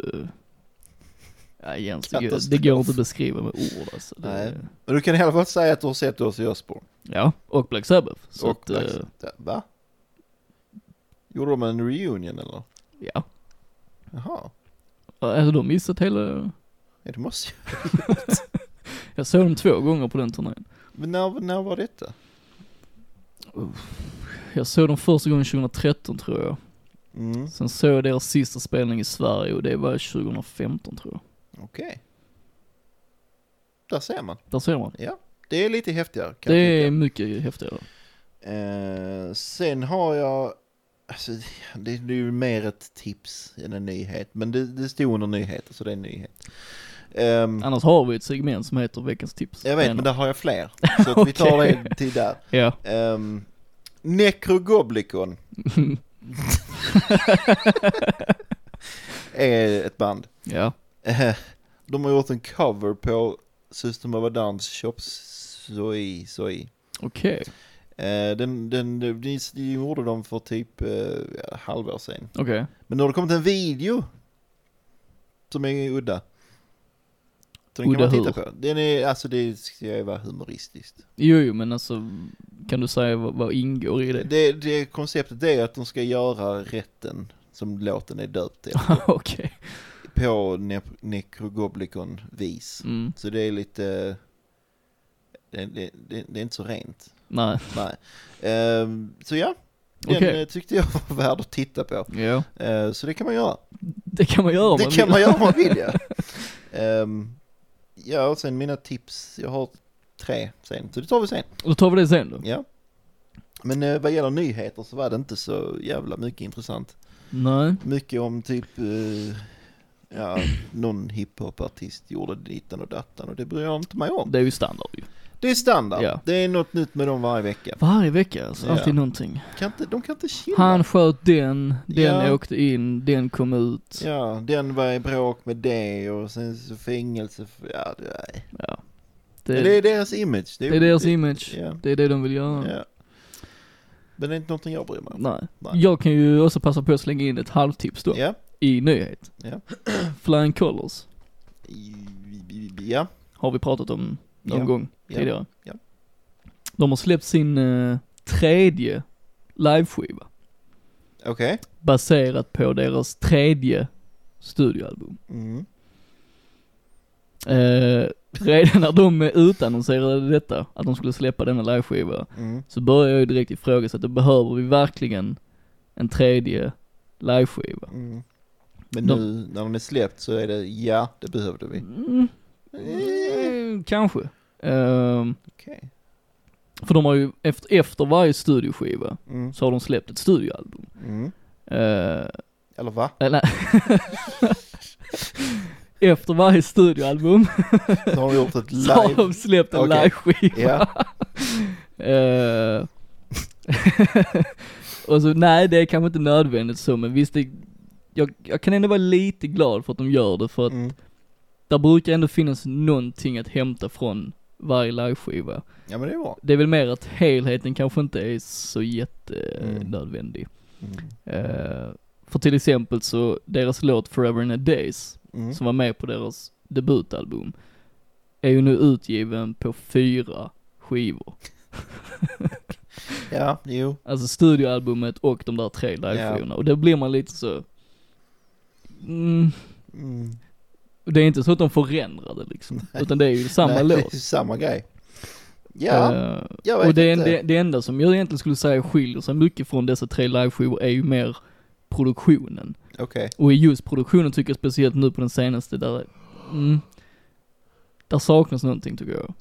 S2: Ja, egentligen, det går- det går inte att beskriva med ord alltså. Det,
S1: Nej. Men du kan i alla fall säga att du har sett oss i Osbourne.
S2: Ja, och Black Sabbath. Så
S1: Och
S2: att, eh,
S1: Va? Gjorde de en reunion eller?
S2: ja.
S1: Jaha.
S2: Alltså de missat hela...
S1: Ja, det måste ju.
S2: Jag såg dem två gånger på den turnén.
S1: Men när, när var detta?
S2: Jag såg dem första gången 2013 tror jag.
S1: Mm,
S2: Sen såg jag deras sista spelning i Sverige och det var 2015 tror jag.
S1: okej. Där ser man.
S2: Där ser man.
S1: Det är lite häftigare kan
S2: Det
S1: jag
S2: är
S1: tycka.
S2: mycket häftigare.
S1: Eh, sen har jag, alltså det, det är ju mer ett tips än en nyhet. Men det, det stod under nyheter så det är en nyhet. Ehm,
S2: Annars har vi ett segment som heter veckans tips.
S1: jag vet men där har jag
S2: (laughs)
S1: fler. Så att vi tar
S2: Okej.
S1: det till där.
S2: Ja.
S1: Um,
S2: (laughs)
S1: Necrogoblicon är ett band.
S2: ja.
S1: Eh, De har gjort en cover på System of a Downs Chop Soi Soi.
S2: Okej.
S1: Eh, Den, den, den, de gjorde de för typ eh, halvår sedan.
S2: Okej.
S1: Men nu har det kommit en video som är udda. Så den
S2: Udda
S1: kan man titta på. Den är, alltså det ska ju vara humoristiskt.
S2: Jo, jo, men alltså kan du säga vad, vad ingår i det?
S1: Det, det konceptet är att de ska göra rätten som låten är döpt till
S2: Ah. (laughs) Okej.
S1: på ne- Necrogoblicon-vis.
S2: Mm.
S1: Så det är lite... Det, det, det, det är inte så rent.
S2: Nej.
S1: Nej. Ehm, så ja, den
S2: Okej.
S1: eh, tyckte jag (laughs) var värd att titta på.
S2: Ja.
S1: Eh, så det kan man göra.
S2: Det kan man göra om
S1: det
S2: man
S1: kan
S2: vill.
S1: man göra om man vill
S2: (laughs)
S1: ja. Ehm, ja, och sen mina tips. Jag har tre sen, så det tar vi sen.
S2: Då tar vi det sen då.
S1: Ja. Men eh, vad gäller nyheter så var det inte så jävla mycket intressant.
S2: Nej.
S1: Mycket om typ, eh, ja, någon hiphopartist gjorde dittan och dattan och det bryr jag inte mig om.
S2: Det är ju standard ju.
S1: Det är standard.
S2: Ja.
S1: Det är något nytt med dem varje vecka.
S2: Varje vecka alltså,
S1: Ja.
S2: alltid någonting.
S1: Kan inte, de kan inte chilla.
S2: Han sköt den, den
S1: Ja.
S2: åkte in, den kom ut.
S1: Ja, den var i bråk med det och sen så fängelse. för- Ja, det, nej.
S2: Ja.
S1: Men
S2: Det,
S1: det
S2: eh, det,
S1: är deras image. Det
S2: är deras image.
S1: Ja.
S2: Det är det de vill göra.
S1: Ja. Men det är inte någonting jag bryr mig om.
S2: Nej.
S1: Nej.
S2: Jag kan ju också passa på att slänga in ett halvtips då,
S1: Ja.
S2: i nyhet.
S1: Ja.
S2: (clears throat) Flying Colors
S1: Ja.
S2: har vi pratat om någon
S1: Ja.
S2: gång
S1: Ja.
S2: tidigare.
S1: Ja.
S2: De har släppt sin eh, tredje liveskiva
S1: Okej.
S2: baserat på deras tredje studioalbum.
S1: Mm.
S2: Eh, redan när de utannonserade detta, att de skulle släppa denna liveskiva,
S1: Mm.
S2: så började jag ju direkt ifrågasätta, behöver vi verkligen en tredje liveskiva?
S1: Mm. Men
S2: De-
S1: nu när den är släppt så är det ja, det behövde vi.
S2: Mm, eh, kanske. Eh,
S1: Okej.
S2: för de har ju, efter, efter varje studioskiva,
S1: Mm.
S2: så har de släppt ett studioalbum.
S1: Mm.
S2: Eh,
S1: Eller va?
S2: eh, nej. (laughs) efter varje studioalbum
S1: Så har de gjort ett
S2: (laughs) så har
S1: live.
S2: de släppt en
S1: Okej.
S2: liveskiva.
S1: Ja.
S2: (laughs) Eh, (laughs) och så, nej det är kanske inte nödvändigt så, men visst det, jag, jag kan ändå vara lite glad för att de gör det, för att
S1: Mm.
S2: där brukar ändå finnas någonting att hämta från varje liveskiva.
S1: Ja men det är bra.
S2: Det är väl mer att helheten kanske inte är så
S1: Mm.
S2: jättenödvändig.
S1: Mm.
S2: Eh, för till exempel så, deras låt Forever and a Days,
S1: Mm.
S2: som var med på deras debutalbum, är ju nu utgiven på fyra skivor.
S1: Ja, jo.
S2: Alltså studioalbumet och de där tre liveskivorna. Och då blir man lite så... Mm,
S1: Mm.
S2: det är inte så att de förändrar det liksom. Utan det är ju
S1: (laughs)
S2: samma
S1: Nej, det är
S2: låt.
S1: Samma grej. Ja,
S2: Eh,
S1: jag vet
S2: och det, är-
S1: inte.
S2: det, det enda som jag egentligen skulle säga skiljer sig mycket från dessa tre liveskivor är ju mer produktionen.
S1: Okej.
S2: Och i just produktionen tycker jag speciellt nu på den senaste där, mm, där saknas någonting tycker jag.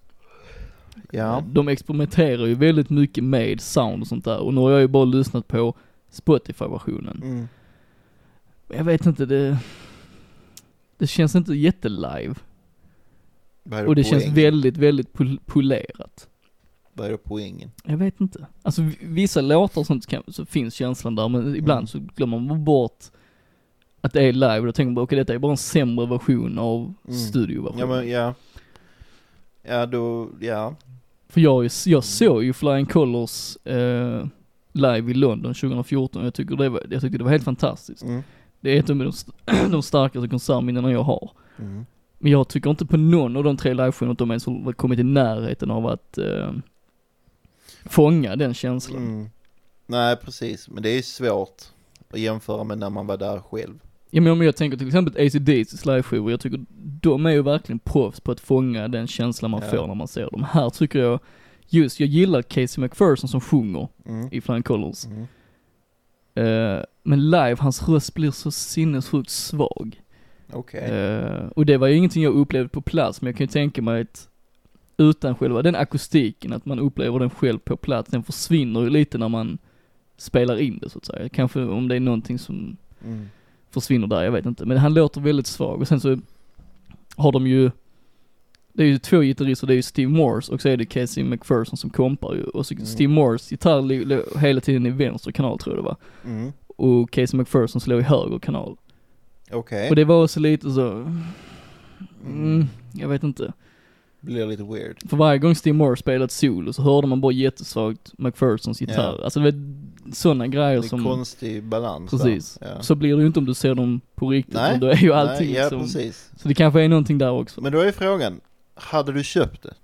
S1: Ja.
S2: De experimenterar ju väldigt mycket med sound och sånt där. Och nu har jag ju bara lyssnat på Spotify-versionen.
S1: Mm.
S2: Men Jag vet inte, det... Det känns inte jättelive.
S1: Vad är
S2: Och det känns
S1: poängen?
S2: väldigt, väldigt pol- polerat.
S1: Vad är då poängen?
S2: Jag vet inte. Alltså v- vissa låtar och sånt kan, så finns känslan där, men ibland
S1: Mm.
S2: så glömmer man bort att det är live. Då tänker man bara, okej detta är bara en sämre version av
S1: Mm.
S2: studioversionen.
S1: Ja men ja. Ja då, ja.
S2: För jag, har ju- jag såg ju Flying Colors eh, live i London 2014 och jag, tycker det var, jag tyckte det var helt fantastiskt.
S1: Mm.
S2: Det är ett av de, st- (clears throat) de starkaste konsertminnena jag har.
S1: Mm.
S2: Men jag tycker inte på någon av de tre liveshowerna att de ens har kommit i närheten av att eh, fånga den känslan.
S1: Mm. Nej precis, men det är svårt att jämföra med när man var där själv.
S2: Ja, men om jag tänker till exempel ACDCs liveshower, jag tycker de är ju verkligen proffs på att fånga den känslan man
S1: Ja.
S2: får när man ser dem. Här tycker jag, just jag gillar Casey McPherson som sjunger
S1: Mm.
S2: i Flying Colors.
S1: Mm.
S2: Eh, men live, hans röst blir så sinnessjukt svag.
S1: Okej.
S2: Eh, och det var ju ingenting jag upplevde på plats, men jag kan ju tänka mig att utan själva den akustiken, att man upplever den själv på plats, den försvinner ju lite när man spelar in det så att säga. Kanske om det är någonting som
S1: Mm.
S2: försvinner där, jag vet inte. Men han låter väldigt svag och sen så har de ju, det är ju två gitarrister, det är ju Steve Morse och så är det Casey McPherson som kompar ju. Och så
S1: Mm.
S2: Steve Morse gitarr li- li- hela tiden i vänster kanal tror jag det var.
S1: Mm.
S2: Och Casey McPherson slår i höger kanal.
S1: Okej.
S2: Och det var också lite så,
S1: Eh. Mm.
S2: mm, jag vet inte.
S1: Blir lite weird.
S2: För varje gång Steve Moore spelade solo så hörde man bara jättesvagt McPhersons gitarr. Alltså det var sådana grejer
S1: Det är
S2: som,
S1: konstig balans
S2: precis.
S1: där. Ja.
S2: Så blir det ju inte om du ser dem på riktigt,
S1: Nej,
S2: men då är ju allting
S1: Nej, ja,
S2: liksom,
S1: precis.
S2: så det kanske är någonting där också.
S1: Men då är frågan, hade du köpt det?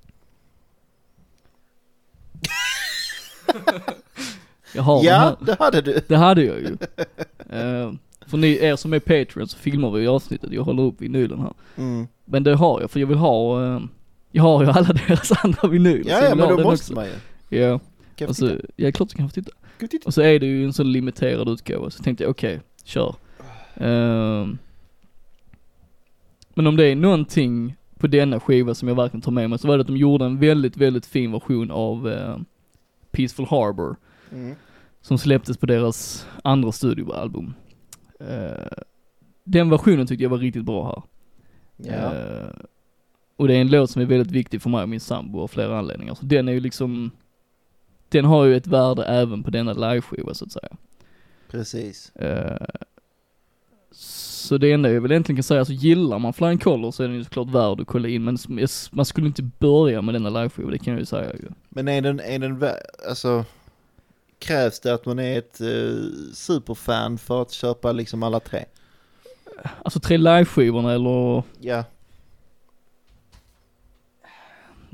S2: Jag har den
S1: ja,
S2: här.
S1: det hade
S2: (laughs)
S1: du.
S2: Det hade jag ju. Eh, för ni, er som är Patreon så filmar vi ju avsnittet, jag håller upp vinylen här.
S1: Mm.
S2: Men det har jag, för jag vill ha, eh, jag har ju alla (laughs) deras andra vinyler. så
S1: Ja,
S2: jag
S1: ja,
S2: vill
S1: men
S2: ha
S1: då
S2: den
S1: måste
S2: också. Alltså-
S1: man ju.
S2: Ja,
S1: Kan
S2: och
S1: jag
S2: så,
S1: titta?
S2: ja klart du kan få titta.
S1: Kan jag titta?
S2: Och så är det ju en sån limiterad utgåva, så tänkte jag okej, kör. Ehm, men om det är någonting på denna skiva som jag verkligen tar med mig så var det att de gjorde en väldigt, väldigt fin version av eh, Peaceful Harbor
S1: Mm.
S2: som släpptes på deras andra studioalbum. Eh, den versionen tyckte jag var riktigt bra här.
S1: Ja.
S2: Eh, Och det är en låt som är väldigt viktig för mig och min sambo av flera anledningar. Så den är ju liksom, den har ju ett värde även på denna liveskiva så att säga.
S1: Precis.
S2: Eh, Så det enda jag väl egentligen kan säga, så gillar man Flying Colour så är den ju såklart värd att kolla in, men som- man skulle inte börja med denna liveskiva, det kan jag ju säga ju.
S1: Men är den, är den, vä- alltså krävs det att man är ett eh, superfan för att köpa liksom alla tre?
S2: Alltså tre liveskivorna eller,
S1: Ja,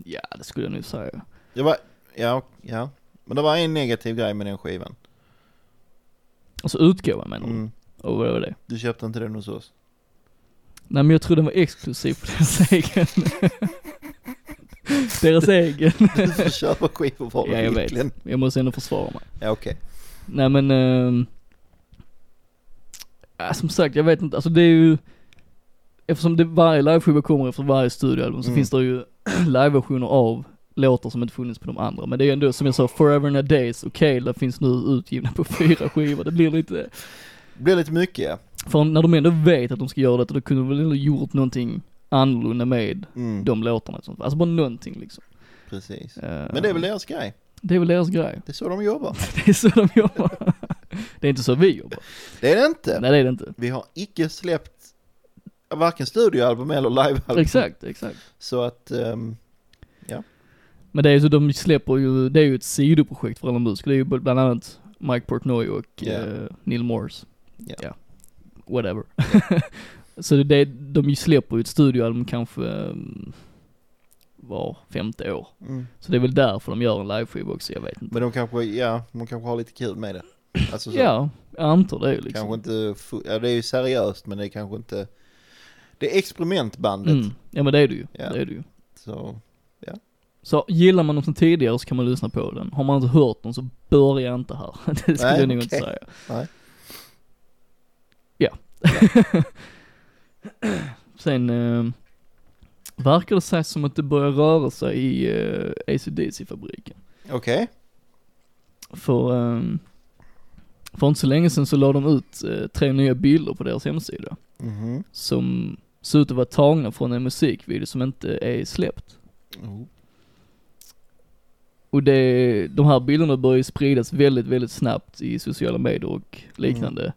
S2: ja det skulle jag nu säga.
S1: det var, ja, ja. Men det var en negativ grej med den skivan.
S2: Alltså utgåvan menar du?
S1: Mm.
S2: Och vad var det?
S1: Du köpte inte den hos oss?
S2: Nej men jag tror den var exklusiv på deras (laughs) egen. deras egen.
S1: Du får köpa skivor var
S2: Ja, jag vet.
S1: egentligen.
S2: Jag måste ändå försvara mig.
S1: Ja, okej.
S2: Nej men, ehm, ja, som sagt jag vet inte, alltså det är ju, eftersom det, varje liveskiva kommer efter varje studioalbum så
S1: Mm.
S2: finns det ju (clears throat) liveversioner av låtar som inte funnits på de andra. Men det är ju ändå som jag sa, Forever and a Days och Kayla finns nu utgivna på (laughs) fyra skivor. Det blir lite,
S1: Det blir lite mycket ja.
S2: för när de ändå vet att de ska göra detta då kunde de väl ändå gjort någonting annorlunda med
S1: Mm,
S2: de låtarna. och sånt. Alltså bara någonting liksom.
S1: Precis.
S2: Eh,
S1: Men det är väl deras grej.
S2: det är väl deras grej. (laughs)
S1: Det är så de jobbar.
S2: Det är så de jobbar. det är inte så vi jobbar.
S1: Det är det inte.
S2: Nej det är det inte.
S1: Vi har icke släppt varken studioalbum eller livealbum.
S2: Exakt, exakt.
S1: Så att, ehm,
S2: Men det är ju så de släpper ju, det är ju ett sidoprojekt för alla musiker. Det är ju bland annat Mike Portnoy och
S1: Ja.
S2: eh, Neil Morse.
S1: Ja.
S2: Whatever. (laughs) så det, de ju släpper ju ett studioalbum kanske um, var femte år.
S1: mm.
S2: Så det är väl därför de gör en liveskiva också, jag vet inte.
S1: men de kanske, ja, de kanske har lite kul med det. Alltså så,
S2: Ja, jag antar det ju liksom.
S1: kanske inte, fu- ja det är ju seriöst men det är kanske inte, det är experimentbandet.
S2: Mm. Ja men det är det ju,
S1: Ja.
S2: det är det ju.
S1: Så,
S2: Så gillar man dem som tidigare så kan man lyssna på den. Har man inte hört dem så börja inte här. (laughs) Det skulle
S1: Nej,
S2: jag nog inte
S1: okej.
S2: säga.
S1: Nej.
S2: Ja. (laughs) Sen eh, verkar det sig som att det börjar röra sig i eh, ACDC-fabriken.
S1: okej.
S2: För, eh, för inte så länge sedan så la de ut eh, tre nya bilder på deras hemsida.
S1: Mhm.
S2: Som ser ut att vara tagna från en musikvideo som inte är släppt.
S1: Oh.
S2: Och det, de här bilderna börjar ju spridas väldigt, väldigt snabbt i sociala medier och liknande.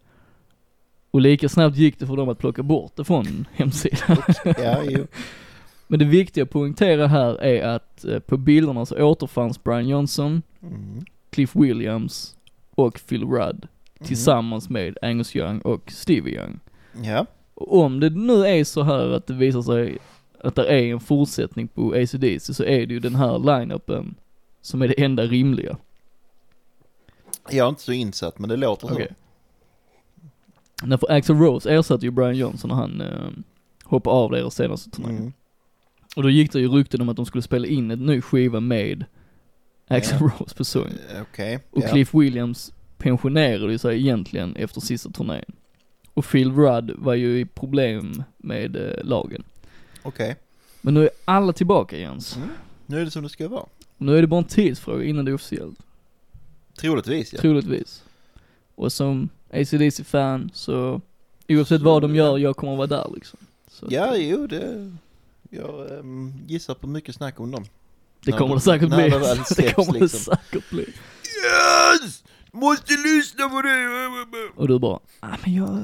S2: Och lika snabbt gick det för dem att plocka bort det från (laughs) hemsidan.
S1: Ja, jo.
S2: Men det viktiga att poängtera här är att eh, på bilderna så återfanns Brian Johnson,
S1: Mm.
S2: Cliff Williams och Phil Rudd
S1: Mm.
S2: tillsammans med Angus Young och Stevie Young.
S1: Mhm. Ja,
S2: Och om det nu är så här att det visar sig att det är en fortsättning på ACDC så är det ju den här line-upen som är det enda rimliga.
S1: jag är inte så insatt men det låter så.
S2: Okej. Nej för Axel Rose ersatte ju Brian Johnson när han eh, hoppade av deras senaste turné.
S1: Mm.
S2: Och då gick det ju rykten om att de skulle spela in en ny skiva med Axel Rose på sång.
S1: Eh, Okej,
S2: Och
S1: ja.
S2: Cliff Williams pensionerade ju sig egentligen efter sista turnén. Och Phil Rudd var ju i problem med eh, lagen.
S1: Okej.
S2: Men nu är alla tillbaka Jens.
S1: Mm. Nu är det som det ska vara.
S2: Och nu är det bara en tidsfråga innan det är officiellt.
S1: Troligtvis ja.
S2: Troligtvis. Och som ACDC-fan så oavsett vad de gör, jag kommer vara där liksom. Så att-
S1: Ja, jo det, jag ehm, gissar på mycket snack om dem.
S2: Det
S1: När
S2: kommer
S1: det-
S2: det säkert
S1: när
S2: bli.
S1: det väl
S2: (laughs) Det
S1: släpps,
S2: kommer det
S1: liksom.
S2: säkert bli.
S1: Yes! Måste lyssna på dig!
S2: Och du bara, ah, men jag...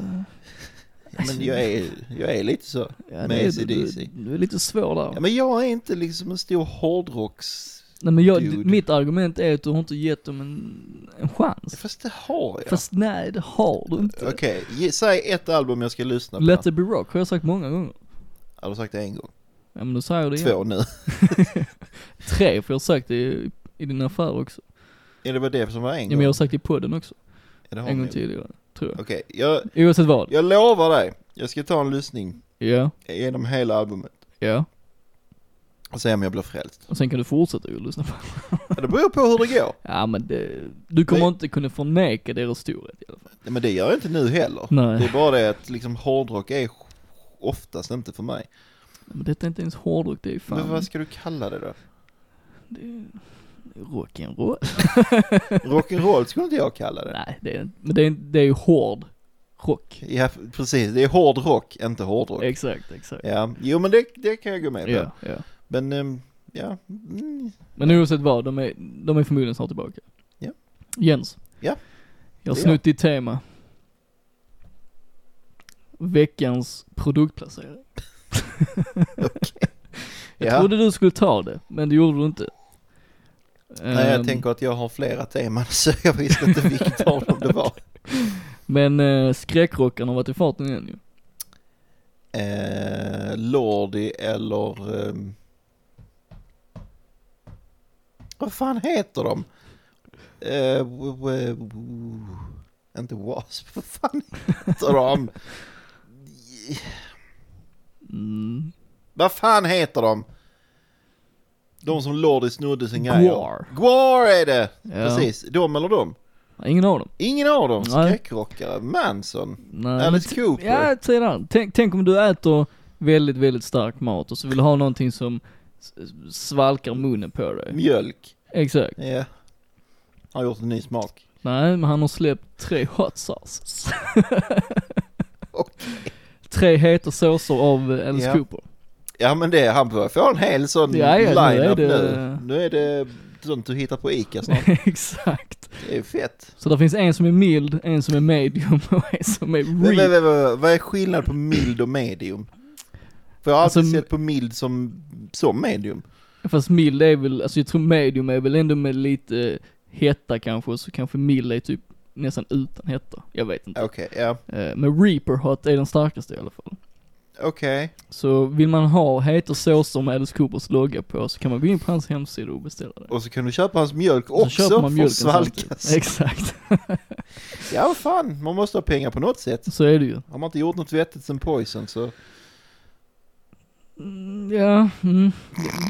S2: Alltså,
S1: Men jag är, jag är lite så.
S2: ja,
S1: med
S2: det är-
S1: AC/DC.
S2: Du, du är lite svår där.
S1: Ja, men jag är inte liksom en stor hårdrocks...
S2: Nej men jag,
S1: dude.
S2: mitt argument är att du har inte gett dem en, en chans.
S1: Fast det har jag.
S2: Fast nej, det har du inte.
S1: Okej, ge- säg ett album jag ska lyssna på.
S2: Let it be rock har jag sagt många gånger.
S1: Har du sagt det en gång?
S2: Ja men du säger det igen.
S1: Två nu. (laughs)
S2: Tre, för jag har sagt det i, i din affär också.
S1: Är det bara det som var en
S2: Ja
S1: gång?
S2: men jag har sagt det i podden också.
S1: ja, det har
S2: En
S1: ni.
S2: gång tidigare, tror jag.
S1: Okej, jag,
S2: Oavsett vad.
S1: jag lovar dig. Jag ska ta en lyssning
S2: Ja,
S1: genom hela albumet
S2: ja.
S1: och se om jag blir frälst.
S2: Och sen kan du fortsätta ju lyssna på
S1: Ja, Det beror på hur det går.
S2: Ja men det, du kommer
S1: Nej.
S2: inte kunna förneka deras storhet i alla fall.
S1: Ja, Men det gör jag inte nu heller.
S2: Nej.
S1: Det är bara det att liksom hårdrock är oftast inte för mig.
S2: Men detta är inte ens hårdrock, det är fan,
S1: Men vad ska du kalla det då?
S2: det är det
S1: (laughs)
S2: är rock'n'roll.
S1: Rock'n'roll skulle inte jag kalla det.
S2: Nej, det är, men det är, det är hård rock.
S1: Ja, precis. Det är hård rock, inte hårdrock.
S2: Exakt, exakt.
S1: Ja, jo men det, det kan jag gå med på.
S2: Eh, Ja, ja.
S1: Men, ehm, ja. Mm.
S2: Men oavsett vad, de är, de är förmodligen snart tillbaka.
S1: Ja.
S2: Jens.
S1: Ja.
S2: Jag har
S1: Det är
S2: snott ditt tema. Veckans produktplacering.
S1: (laughs)
S2: (laughs) Jag
S1: Ja.
S2: trodde du skulle ta det, men det gjorde du inte.
S1: Nej, jag
S2: Ehm,
S1: tänker att jag har flera teman (laughs) så jag visste inte vilket av dem det var.
S2: (laughs) Men eh, skräckrockaren har varit i farten igen ju.
S1: Eh, Lordi eller... ehm, vad fan heter de? Eh, w- w- w- inte Wasp, vad fan heter de?
S2: Mm.
S1: Vad fan heter de? De som Lordi snodde sin grej av.
S2: Gwar.
S1: Gwar är det!
S2: Ja.
S1: Precis, de eller de?
S2: Ingen av dem.
S1: Ingen av dem,
S2: Nej.
S1: skräckrockare, Manson,
S2: Nej, men
S1: Alice
S2: t-
S1: Cooper.
S2: Ja, sedan. Tänk, tänk om du äter väldigt, väldigt stark mat och så vill du ha någonting som s- svalkar munnen på dig.
S1: Mjölk.
S2: Exakt.
S1: Ja. Har gjort en ny smak.
S2: Nej, men han har släppt tre hot sauces. Tre heta såser av Alice
S1: Ja.
S2: Cooper.
S1: Ja men det, han börjar få en hel sån
S2: Ja, ja, nu
S1: line-up nu,
S2: är det-
S1: nu. är det sånt du hittar på Ica
S2: (laughs)
S1: snart.
S2: Exakt.
S1: Det är fett.
S2: Så det finns en som är mild, en som är medium (laughs) och en som är
S1: Men, men,
S2: real.
S1: men, men, vad är skillnaden på mild och medium? För jag har
S2: Alltså,
S1: alltid sett på mild som, som medium.
S2: Fast mild är väl, alltså jag tror medium är väl ändå med lite eh, hetta kanske, och så kanske mild är typ nästan utan hetta. Jag vet inte.
S1: Okej, ja.
S2: Eh, Men Reaper Hot är den starkaste i alla fall.
S1: Okej.
S2: Så vill man ha heta såser med Alice Coopers logga på så kan man gå in på hans hemsida och beställa det.
S1: Och så kan du köpa hans mjölk
S2: Och så
S1: också
S2: köper man
S1: för
S2: mjölken
S1: att svalkas.
S2: samtidigt. (laughs) Exakt,
S1: Ja, vad fan, man måste ha pengar på något sätt.
S2: så är det ju.
S1: Har man inte gjort något vettigt sen Poison så...
S2: Mm, Ja, mm.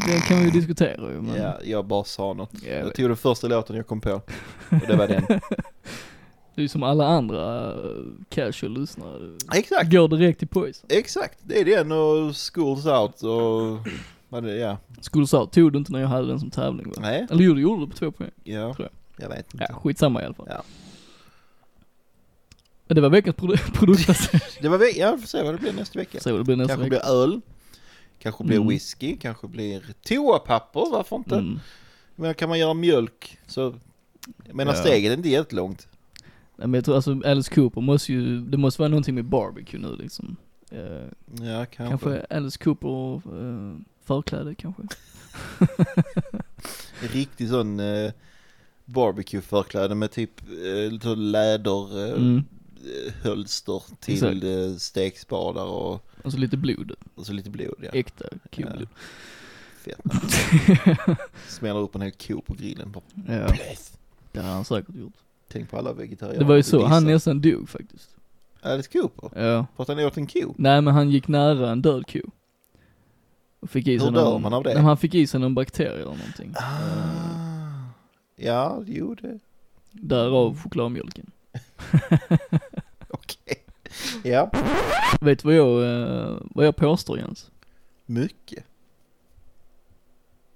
S2: det kan vi ju diskutera ju men...
S1: Ja, jag bara sa något.
S2: Ja, jag
S1: Jag
S2: vet.
S1: tog den första låten jag kom
S2: (laughs)
S1: på. Och det var den.
S2: det är ju som alla andra eh, casual lyssnare.
S1: Exakt,
S2: Går direkt till Poison.
S1: exakt. Det är den och Schools Out och... Vad det, ja.
S2: Skulle säga, tog du inte när jag hade den som tävling va?
S1: Nej,
S2: Eller gjorde, gjorde du på två poäng?
S1: ja.
S2: Tror
S1: Jag vet inte.
S2: Ja, skitsamma i alla fall.
S1: Ja.
S2: Men Det var veckans produ- (laughs) produktplacering.
S1: (laughs) Det var vi. Ja, får se vad det blir nästa vecka.
S2: Så det blir nästa
S1: Kanske
S2: vecka.
S1: blir öl. Kanske blir
S2: Mm.
S1: whisky. Kanske blir toapapper. Varför inte?
S2: Mm.
S1: Men kan man göra mjölk så... Jag menar
S2: Ja.
S1: steget är inte jättelångt.
S2: Nej, men jag tror alltså Alice Cooper måste ju, det måste vara någonting med barbecue nu liksom. Eh,
S1: Ja, kanske.
S2: kanske Alice Cooper och eh, förkläde kanske.
S1: En riktig sån eh, barbecue-förkläde med typ eh, lite sån läder... Eh,
S2: Mm.
S1: eh, hölster till
S2: Exakt.
S1: eh, stekspadar och,
S2: Och så Alltså lite blod,
S1: och så lite blod. Ja.
S2: äkta koblod.
S1: Fett. Smäller upp en hel ko på grillen. Bara,
S2: Ja. Det har han säkert gjort.
S1: tänk på alla vegetarianer.
S2: Det var ju så, han
S1: är...
S2: nästan dog faktiskt.
S1: Alice Cooper?
S2: Ja.
S1: För att han åt en ko?
S2: Nej men han gick nära en död ko. Och fick i sig
S1: Hur dör
S2: någon,
S1: man av det?
S2: Nej, men han fick i sig någon bakterie eller någonting. Eh,
S1: Ah. Ja, jo det... Mm.
S2: Därav chokladmjölken.
S1: (laughs) Okej.
S2: (laughs)
S1: Ja,
S2: Vet du vad jag, eh, vad jag påstår Jens?
S1: mycket.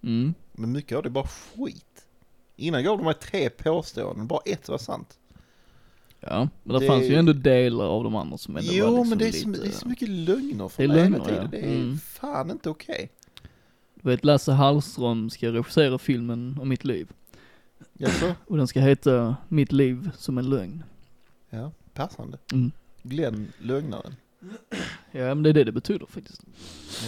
S2: Mm.
S1: Men mycket av det är bara skit. Innan gav de mig tre påståenden, bara ett var sant.
S2: Ja, men det,
S1: Det-
S2: fanns ju ändå delar av de andra som ändå var
S1: jo,
S2: liksom
S1: men det är,
S2: lite...
S1: så, det är så mycket lögner
S2: Det är
S1: från mig hela
S2: lögner,
S1: tiden.
S2: ja.
S1: Det är
S2: Mm.
S1: fan inte okej.
S2: Du vet Lasse Hallström ska regissera filmen om mitt liv.
S1: Jaså?
S2: Och den ska heta Mitt liv som en lögn.
S1: Ja, passande.
S2: Mm.
S1: Glenn Lögnaren.
S2: Ja men det är det det betyder faktiskt.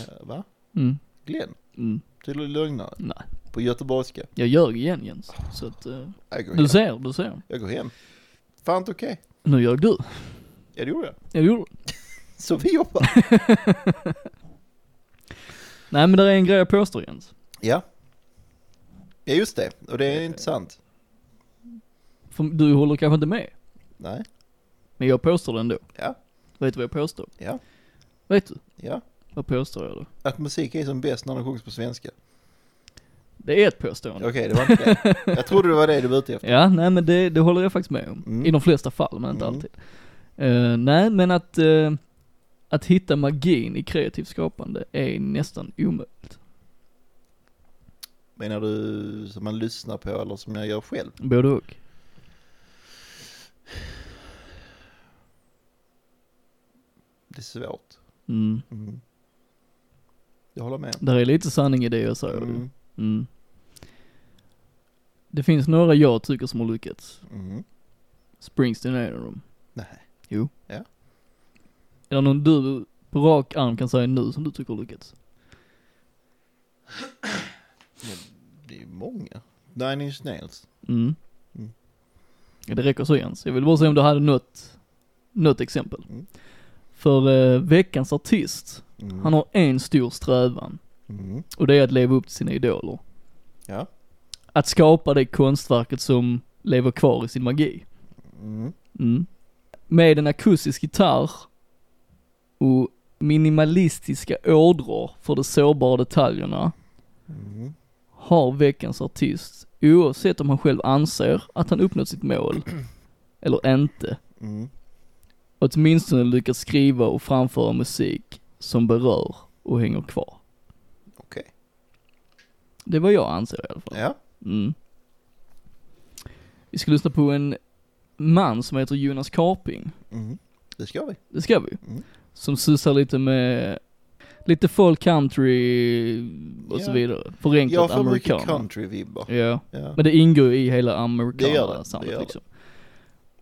S1: Ja, va?
S2: Mm.
S1: Glenn?
S2: Mm.
S1: Till lögnare?
S2: Nej.
S1: På göteborgska?
S2: Jag ljög igen Jens. Så att, eh,
S1: Jag går
S2: du
S1: hem.
S2: ser, du ser.
S1: Jag går hem. Fan inte okej.
S2: Nu ljög du.
S1: Ja, det gjorde jag.
S2: Jag gjorde det.
S1: Så vi jobbar.
S2: Nej men det är en grej jag påstår Jens.
S1: ja. Ja, just det. Och det är intressant.
S2: För du håller kanske inte med.
S1: Nej.
S2: Men jag påstår det ändå.
S1: Ja.
S2: Vet du vad jag påstår?
S1: Ja.
S2: Vet du?
S1: Ja.
S2: Vad påstår jag då?
S1: Att musik är som bäst när den sjungs på svenska.
S2: Det är ett påstående.
S1: Okej, det var inte det. Jag trodde det var det du var ute efter.
S2: Ja, nej men det, det håller jag faktiskt med om.
S1: Mm.
S2: I de flesta fall, men inte
S1: Mm.
S2: alltid. Eh, nej, men att, eh, att hitta magin i kreativt skapande är nästan omöjligt.
S1: Menar du som man lyssnar på eller som jag gör själv?
S2: Både och.
S1: är svårt.
S2: Mm.
S1: Mm. Jag håller med.
S2: Där är lite sanning i det jag säger.
S1: Mm.
S2: Mm. Det finns några jag tycker som har lyckats.
S1: Mm.
S2: Springsteen är en av dem.
S1: Nej.
S2: Jo.
S1: Ja.
S2: Är det någon du på rak arm kan säga nu som du tycker har lyckats?
S1: Men det är ju många. Nine Inch Nails.
S2: Mm.
S1: Mm.
S2: Ja, det räcker så Jens. Jag vill bara se om du hade något, något exempel.
S1: Mm.
S2: För eh, veckans artist,
S1: Mm.
S2: han har en stor strävan
S1: Mm.
S2: och det är att leva upp till sina idoler.
S1: Ja.
S2: Att skapa det konstverket som lever kvar i sin magi.
S1: Mm.
S2: Mm. Med en akustisk gitarr och minimalistiska ådror för de sårbara detaljerna
S1: Mm.
S2: har veckans artist, oavsett om han själv anser att han uppnått
S1: (clears throat)
S2: sitt mål eller inte,
S1: Mm.
S2: åtminstone lyckats skriva och framföra musik som berör och hänger kvar.
S1: Okej.
S2: Det är vad jag anser i alla fall.
S1: Ja.
S2: Mm. Vi ska lyssna på en man som heter Jonas Karping.
S1: Mm. Det ska vi.
S2: Det ska vi.
S1: Mm.
S2: Som sysslar lite med lite folk country och så
S1: Ja.
S2: vidare. Förenklat
S1: Jag får mycket
S2: amerikaner.
S1: country-vibbar.
S2: Ja,
S1: Ja.
S2: men det ingår ju i hela
S1: Det gör det, det
S2: amerikanersamhället
S1: gör det.
S2: liksom.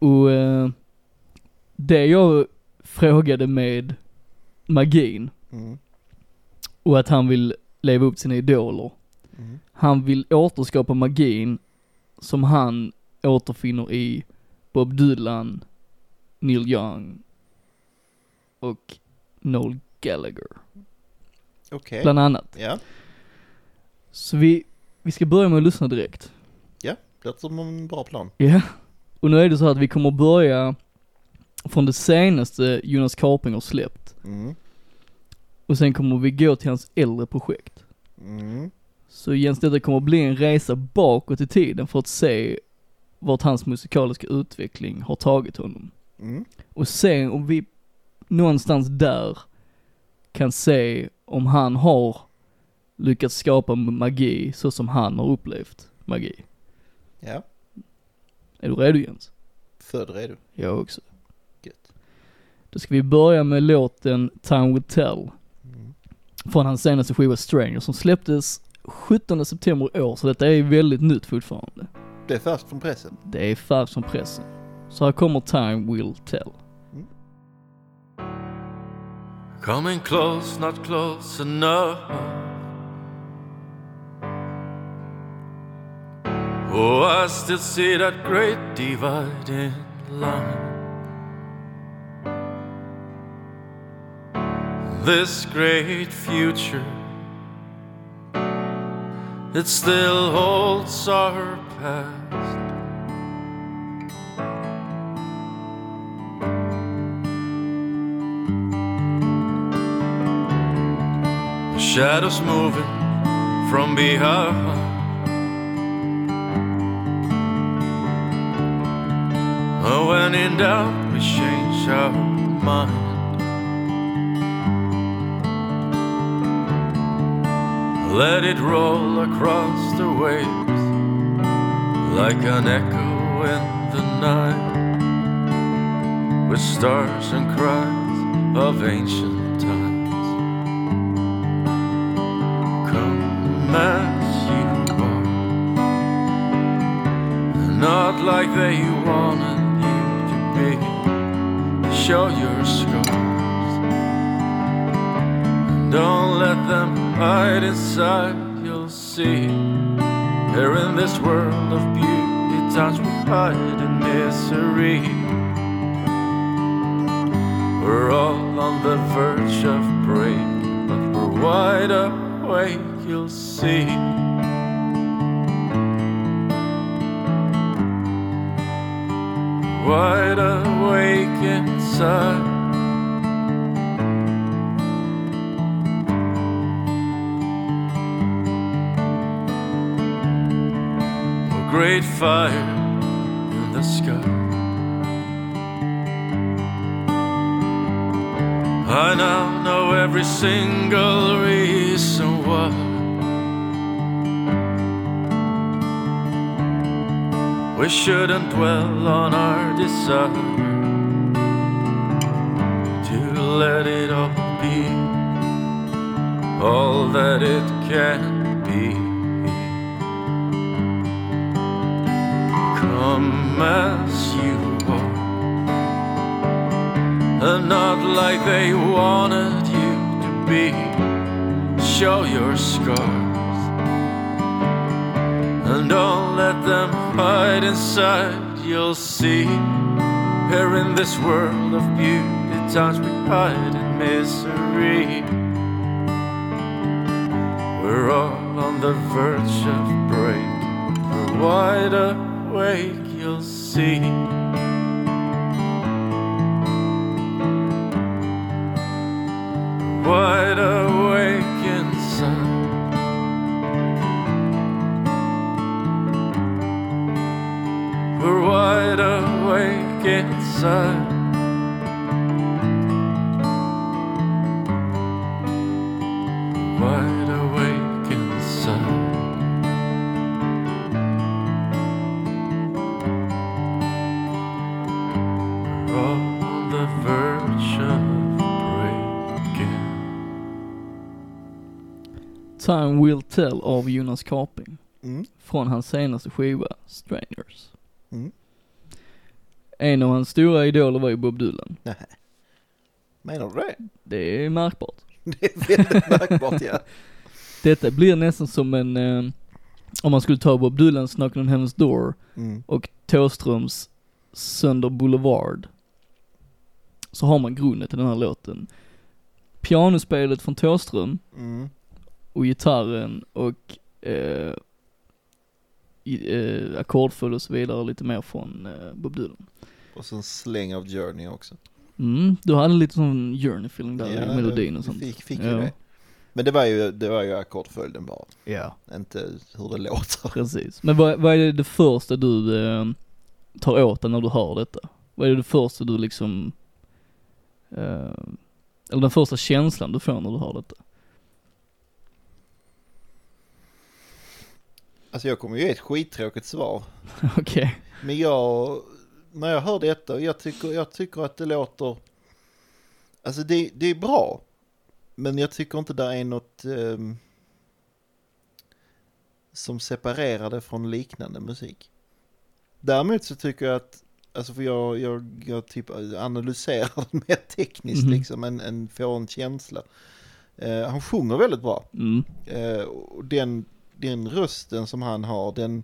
S2: Och eh, det jag frågade med magin
S1: Mm.
S2: och att han vill leva upp till sina idoler.
S1: Mm.
S2: Han vill återskapa magin som han återfinner i Bob Dylan, Neil Young och Noel Gallagher,
S1: Okej.
S2: bland annat.
S1: Ja.
S2: Så vi, vi ska börja med att lyssna direkt.
S1: Låter som en bra plan.
S2: Ja. Och nu är det så att vi kommer börja från det senaste Jonas Karping har släppt.
S1: Mm.
S2: Och sen kommer vi gå till hans äldre projekt.
S1: Mm.
S2: Så Jens, detta kommer bli en resa bakåt i tiden för att se vart hans musikaliska utveckling har tagit honom.
S1: Mm.
S2: och se om vi någonstans där kan se om han har lyckats skapa magi så som han har upplevt magi.
S1: Ja.
S2: Är du redo Jens?
S1: Född redo.
S2: Jag också.
S1: Gött.
S2: Då ska vi börja med låten Time Will Tell
S1: Mm.
S2: från hans senaste skiva Stranger som släpptes 17 september i år så detta är väldigt nytt fortfarande.
S1: Det är fast från pressen.
S2: Det är färskt som pressen. Så här kommer Time Will Tell.
S3: Coming close, not close enough. Oh, I still see that great dividing line. This great future, it still holds our past. Shadows moving from behind. Oh, when in doubt, we change our mind. Let it roll across the waves like an echo in the night with stars and cries of ancient times come as you are. Not like they wanted you to be. Show your scars. And don't let them hide inside. You'll see. Here in this world of beauty, times we hide in misery. We're all on the verge of breaking, but we're wide awake, you'll see. Wide awake inside. A great fire in the sky. I now know every single reason why. We shouldn't dwell on our desire to let it all be all that it can be. Come as you are, and not like they wanted you to be. Show your scars, and don't let them hide inside. You'll see. Here in this world of beauty, times we hide in misery. We're all on the verge of break. We're wide awake, you'll see. Wide awake inside. We're wide awake inside. Wide awake inside. We're all on the verge of breaking.
S2: Time Will Tell av Jonas Karping.
S1: Mm.
S2: Från hans senaste skiva, Strangers.
S1: Mm.
S2: En av hans stora idoler var ju Bob Dylan.
S1: Menar du det? (laughs)
S2: Det är märkbart.
S1: Det är väldigt märkbart
S2: (laughs)
S1: ja.
S2: Detta blir nästan som en, eh, om man skulle ta Bob Dylans Knock on Heaven's Door
S1: Mm.
S2: och Thåströms Sönder Boulevard. Så har man grunden till den här låten. Pianospelet från Thåström
S1: Mm.
S2: och gitarren och eh, i- eh, ackordföljd och så vidare lite mer från eh, Bob Dylan.
S1: Och så en släng av Journey också.
S2: Mm, du hade lite sån journey-feeling där i melodin och
S1: vi
S2: sånt.
S1: Fick, fick
S2: Ja.
S1: ju det. Men det var ju, det var ju ackordföljden bara,
S2: Ja.
S1: inte hur det låter.
S2: Precis. Men vad, vad är det första du eh, tar åt dig när du hör detta? Vad är det första du liksom, eh, eller den första känslan du får när du hör detta?
S1: Alltså jag kommer ju ge ett skittråkigt svar.
S2: Okej.
S1: Men jag, när jag hör detta, jag tycker, jag tycker att det låter, alltså det, det är bra. Men jag tycker inte det är något ehm, som separerar det från liknande musik. Däremot så tycker jag att, alltså för jag, jag, jag typ analyserar (laughs) det mer tekniskt
S2: Mhm.
S1: liksom, än, än får en känsla. Eh, han sjunger väldigt bra.
S2: Mm.
S1: Eh, och den, den rösten som han har, den,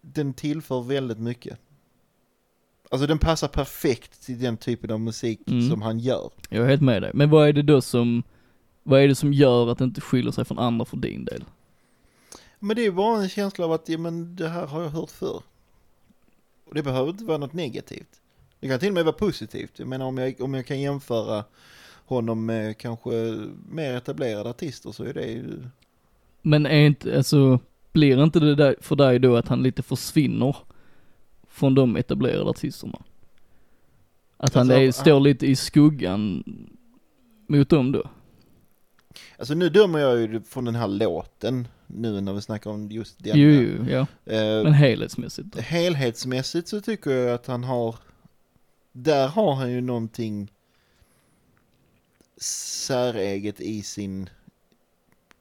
S1: den tillför väldigt mycket. Alltså den passar perfekt till den typen av musik
S2: Mm.
S1: som han gör.
S2: Jag är helt med dig. Men vad är det då som, vad är det som gör att det inte skiljer sig från andra för din del?
S1: Men det är ju bara en känsla av att, ja men det här har jag hört förr. Och det behöver inte vara något negativt. Det kan till och med vara positivt. Jag menar om jag, om jag kan jämföra honom med kanske mer etablerade artister så är det ju...
S2: Men är inte, alltså, blir inte det där för dig då att han lite försvinner från de etablerade artisterna? Att han
S1: Alltså,
S2: är,
S1: han-
S2: står lite i skuggan mot dem då?
S1: Alltså nu dömer jag ju från den här låten nu när vi snackar om just den.
S2: Jo, jo, ja.
S1: Eh,
S2: Men helhetsmässigt då?
S1: helhetsmässigt så tycker jag att han har, där har han ju någonting säreget i sin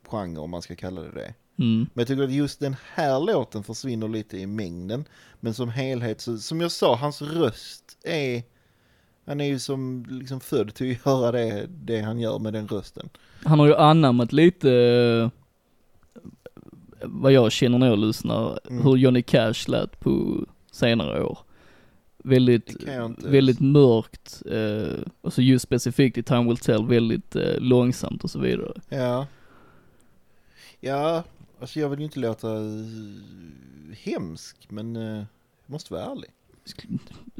S1: genre om man ska kalla det det.
S2: Mm.
S1: Men jag tycker att just den här låten försvinner lite i mängden. Men som helhet, så, som jag sa, hans röst är... Han är ju som liksom född till att göra det, det han gör med den rösten.
S2: Han har ju anammat lite eh, vad jag känner när jag lyssnar,
S1: Mm.
S2: hur Johnny Cash lät på senare år. Väldigt,
S1: Det kan jag inte-
S2: väldigt mörkt eh, och så just specifikt i Time Will Tell väldigt eh, långsamt och så vidare.
S1: Ja. Ja, alltså jag vill ju inte låta eh, hemsk, men eh, jag måste vara ärlig.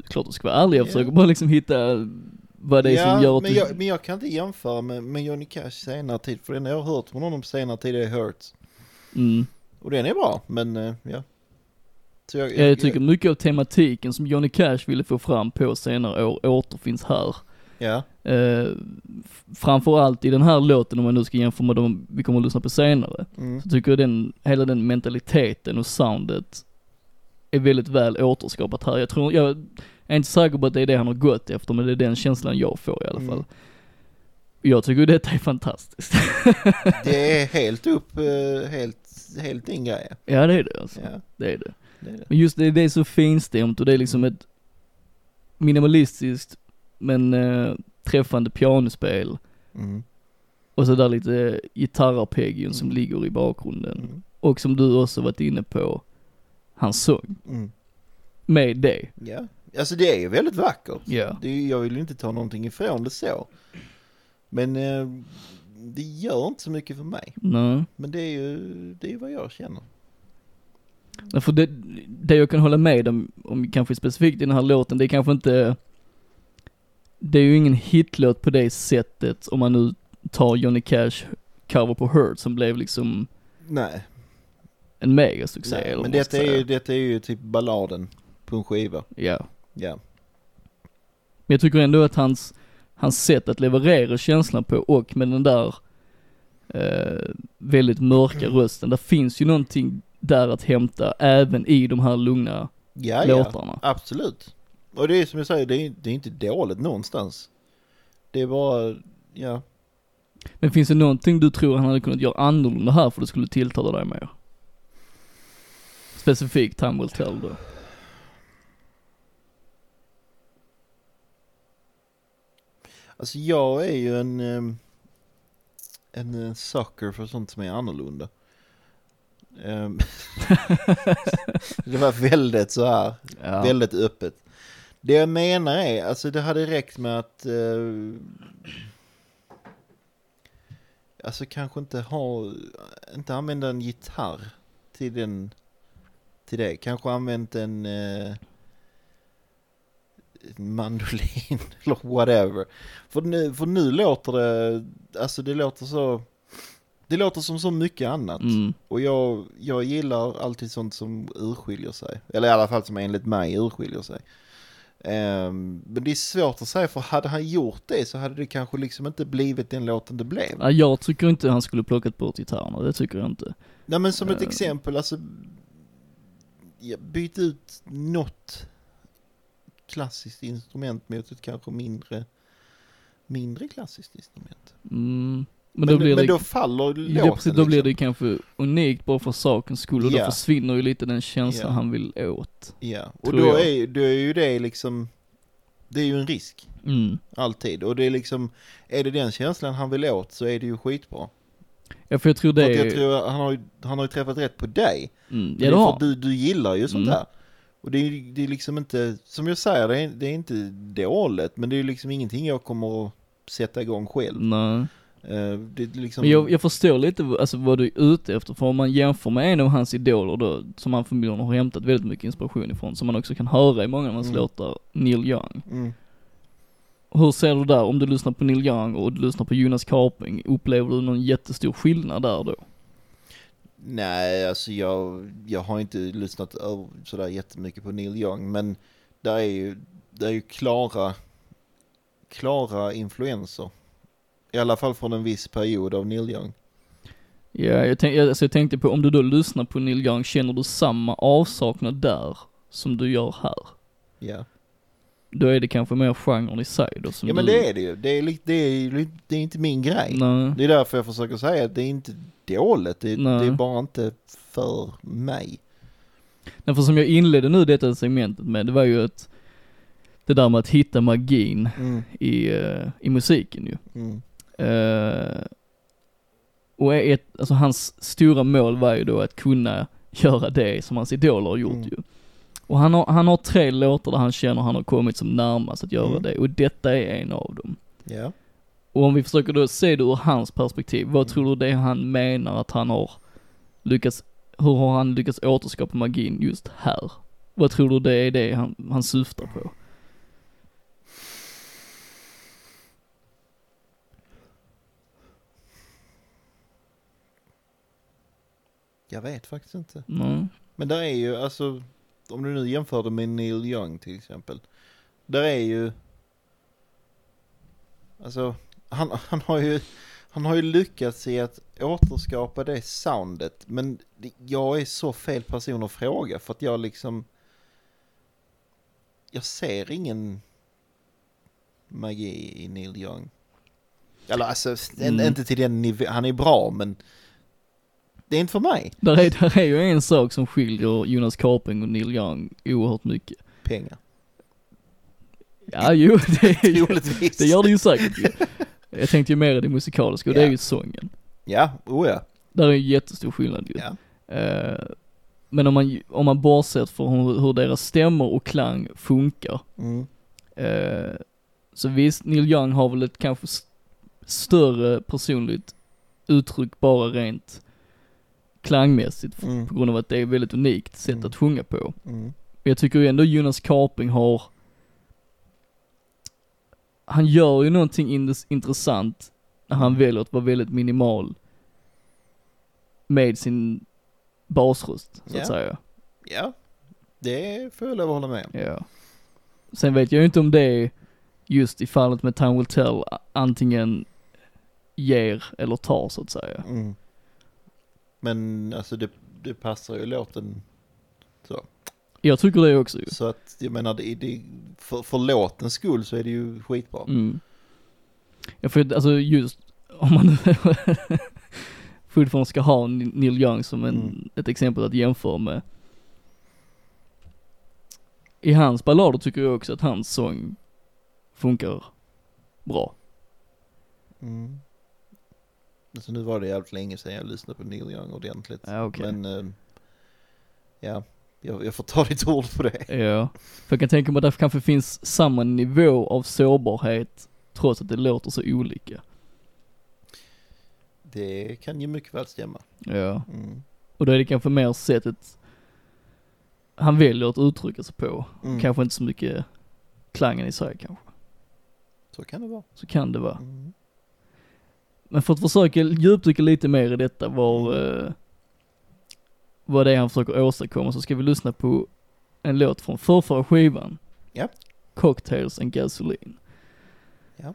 S2: Klart du ska vara ärlig, jag
S1: Ja.
S2: försöker bara liksom hitta vad det är som gör att
S1: men,
S2: du...
S1: jag, men jag kan inte jämföra med, med Johnny Cash senare tid, för den jag har hört från honom på senare tid är Hurts.
S2: Mm.
S1: Och den är bra, men eh, ja. Så jag,
S2: Jag tycker mycket av tematiken som Johnny Cash ville få fram på senare år återfinns här.
S1: Ja,
S2: Eh, f- framförallt i den här låten om man nu ska jämföra med de vi kommer att lyssna på senare.
S1: mm,
S2: Så tycker jag den, hela den mentaliteten och soundet är väldigt väl återskapat här. Jag tror, jag, Jag är inte säker på att det är det han har gått efter, men det är den känslan jag får i alla
S1: Mm.
S2: fall. Jag tycker detta är fantastiskt. (laughs)
S1: Det är helt upp, eh, helt, helt din grej.
S2: ja det är det alltså.
S1: Ja,
S2: Det är det.
S1: det är det.
S2: Men just det, det är så finstämt och det är liksom ett minimalistiskt men eh, träffande pianospel.
S1: Mm.
S2: Och så där lite gitarrarpeggion som
S1: Mm.
S2: ligger i bakgrunden.
S1: Mm.
S2: Och som du också varit inne på, hans sång.
S1: Mm.
S2: Med det.
S1: Ja, alltså det är ju väldigt vackert.
S2: Ja.
S1: Det är, ju- jag vill ju inte ta någonting ifrån det så. Men eh, det gör inte så mycket för mig.
S2: Nej.
S1: Men det är ju, det är ju vad jag känner.
S2: Nej, För det, det jag kan hålla med om, om kanske specifikt i den här låten, det är kanske inte, det är ju ingen hitlåt på det sättet om man nu tar Johnny Cash cover på Hurt som blev liksom
S1: Nej,
S2: en megasuccé.
S1: nej
S2: eller
S1: men
S2: vad man ska
S1: detta är,
S2: säga.
S1: ju, detta är ju typ balladen på en skiva.
S2: Ja.
S1: Ja,
S2: Men jag tycker ändå att hans, hans sätt att leverera känslan på och med den där eh, väldigt mörka
S1: Mm.
S2: rösten, där finns ju någonting där att hämta även i de här lugna
S1: ja, ja.
S2: låtarna.
S1: absolut. Och det är som jag säger, det är, det är inte dåligt någonstans. Det är bara, ja,
S2: Men finns det någonting du tror han hade kunnat göra annorlunda här för det skulle tilltala dig mer? Specifikt Time Will Tell då.
S1: Alltså jag är ju en, ehm, en eh, sucker för sånt som är annorlunda. Ehm, (laughs) det var väldigt så här,
S2: Ja.
S1: väldigt öppet. Det jag menar är, alltså det hade räckt med att... Eh, alltså kanske inte ha, inte använda en gitarr till den, till det. Kanske använt en... Eh, en mandolin (laughs) eller whatever. För nu, för nu låter det, alltså det låter så, det låter som så mycket annat.
S2: Mm.
S1: Och jag, jag gillar alltid sånt som urskiljer sig. Eller i alla fall som enligt mig urskiljer sig. Ehm, men det är svårt att säga för hade han gjort det så hade det kanske liksom inte blivit den låten det blev.
S2: Ja, jag tycker inte han skulle plockat bort gitarrerna, det tycker jag inte.
S1: Nej men som ett
S2: Eh.
S1: exempel, alltså ja, byt ut något klassiskt instrument mot ett kanske mindre, mindre klassiskt instrument.
S2: Mm. Men,
S1: Men,
S2: då blir
S1: men
S2: det
S1: då faller låten.
S2: Ja, precis, då blir
S1: liksom.
S2: det kanske unikt bara för sakens skull och
S1: Ja.
S2: då försvinner ju lite den känslan
S1: Ja.
S2: han vill åt.
S1: Ja, och
S2: tror
S1: då
S2: jag.
S1: är, ju- då är ju det liksom, det är ju en risk.
S2: Mm.
S1: Alltid. Och det är liksom, är det den känslan han vill åt så är det ju skitbra.
S2: Ja, för jag tror
S1: För
S2: det
S1: att jag
S2: är...
S1: tror att han har, ju- han har ju träffat rätt på dig.
S2: Mm,
S1: Det
S2: ja,
S1: är
S2: det
S1: för
S2: har
S1: att du, du gillar ju sånt
S2: Mm.
S1: här. Och det är, det är liksom inte, som jag säger, det är, det är inte dåligt, men det är ju liksom ingenting jag kommer att sätta igång själv.
S2: Nej.
S1: Eh, det är liksom,
S2: Mm. Men jag, jag förstår lite alltså, vad du är ute efter, för om man jämför med en av hans idoler då, som han förmodligen har hämtat väldigt mycket inspiration ifrån, som man också kan höra i många av hans
S1: Mm.
S2: låtar, Neil Young.
S1: Mm.
S2: Hur ser du där, om du lyssnar på Neil Young och du lyssnar på Jonas Karping, upplever du någon jättestor skillnad där då?
S1: Nej, alltså jag, jag har inte lyssnat över sådär jättemycket på Neil Young, men där är ju, där är ju klara, klara influenser. I alla fall från en viss period av Neil Young.
S2: Ja, jag, tänk, jag- alltså jag tänkte på om du då lyssnar på Neil Young, känner du samma avsaknad där som du gör här?
S1: Ja,
S2: Då är det kanske mer genren i sig då som
S1: ja men
S2: du...
S1: det är det ju. Det är, li- det är, ju li- det är inte min grej.
S2: Nej.
S1: Det är därför jag försöker säga att det är inte dåligt, det,
S2: Nej.
S1: det är bara inte för mig.
S2: Nej, för som jag inledde nu detta segmentet med, det var ju att det där med att hitta magin
S1: Mm,
S2: i, eh, i musiken ju.
S1: mm,
S2: Eh, och är ett, alltså hans stora mål var ju då att kunna göra det som hans idoler har gjort
S1: Mm.
S2: ju. Och han har, han har tre låtar där han känner han har kommit som närmast att göra
S1: Mm.
S2: det, och detta är en av dem.
S1: ja.
S2: Och om vi försöker då se det ur hans perspektiv, vad
S1: Mm.
S2: tror du det är han menar att han har lyckats, hur har han lyckats återskapa magin just här? Vad tror du det är det han, han syftar på?
S1: Jag vet faktiskt inte.
S2: Mm.
S1: Men där är ju, alltså, om du nu jämför det med Neil Young till exempel. Där är ju, alltså, han, han har ju, han har ju lyckats i att återskapa det soundet. Men det- jag är så fel person att fråga för att jag liksom, jag ser ingen magi i Neil Young. Eller alltså, en-
S2: Mm.
S1: inte till den nivån. Han är bra, men det är inte för mig.
S2: Där är, där är ju en sak som skiljer Jonas Karping och Neil Young oerhört mycket.
S1: Pengar.
S2: Ja, jo, (laughs) det, är
S1: (laughs)
S2: ju,
S1: Troligtvis.
S2: det gör det ju säkert ju. Jag tänkte ju mer i det musikaliska och det är ju
S1: Ja.
S2: sången.
S1: Ja, oh ja.
S2: Där är ju jättestor skillnad ju.
S1: ja.
S2: Eh, Men om man, om man bortser från hur, hur deras stämmor och klang funkar,
S1: Mm.
S2: eh, så visst, Neil Young har väl ett kanske s- större personligt uttryck bara rent klangmässigt, f-
S1: Mm.
S2: på grund av att det är ett väldigt unikt sätt
S1: Mm.
S2: att sjunga på.
S1: Mm.
S2: Men jag tycker ju ändå Jonas Karping har, han gör ju någonting indes- intressant när han väljer att vara väldigt minimal med sin basröst, så
S1: Ja.
S2: att säga.
S1: Ja, det får jag lov att hålla med om.
S2: Ja. Sen vet jag ju inte om det är just i fallet med Time Will Tell a- antingen ger eller tar så att säga.
S1: Mm. Men alltså det, det passar ju låten så.
S2: Jag tycker det också ju.
S1: Så att jag menar, det, det, för, för låtens skull så är det ju skitbra.
S2: Mm. Ja, för alltså just om man (laughs) fortfarande ska ha Ni- Neil Young som en,
S1: Mm.
S2: ett exempel att jämföra med. I hans ballader tycker jag också att hans sång funkar bra.
S1: Mm. Alltså nu var det jävligt länge sedan jag lyssnade på Neil Young ordentligt.
S2: Ja, okej.
S1: Men eh, ja, jag, jag får ta (laughs) ditt ord på det.
S2: Ja, för jag kan tänka mig att det kanske finns samma nivå av sårbarhet trots att det låter så olika.
S1: Det kan ju mycket väl stämma.
S2: Ja.
S1: Mm.
S2: Och då är det kanske mer sättet han väljer att uttrycka sig på.
S1: Mm.
S2: Kanske inte så mycket klangen i sig kanske.
S1: Så kan det vara.
S2: Så kan det vara.
S1: Mm.
S2: Men för att försöka djupdyka lite mer i detta var
S1: Mm.
S2: eh, vad det är han försöker åstadkomma så ska vi lyssna på en låt från förrförra skivan.
S1: Ja.
S2: Cocktails and Gasoline.
S1: Ja.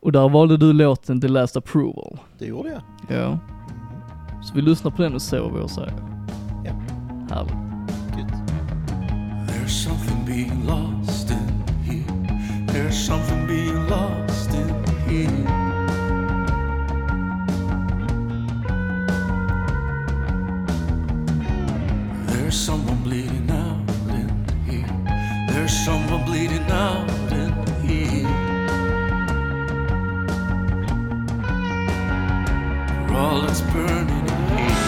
S2: Och där valde du låten The Last Approval.
S1: Det gjorde jag.
S2: Ja.
S1: Mm.
S2: Så vi lyssnar på den och ser vad vi har att säga.
S1: Ja.
S2: Härligt.
S1: Gud.
S3: There's something being lost in here. There's something being lost in here. There's someone bleeding out in here. There's someone bleeding out in here. For all that's burning in here.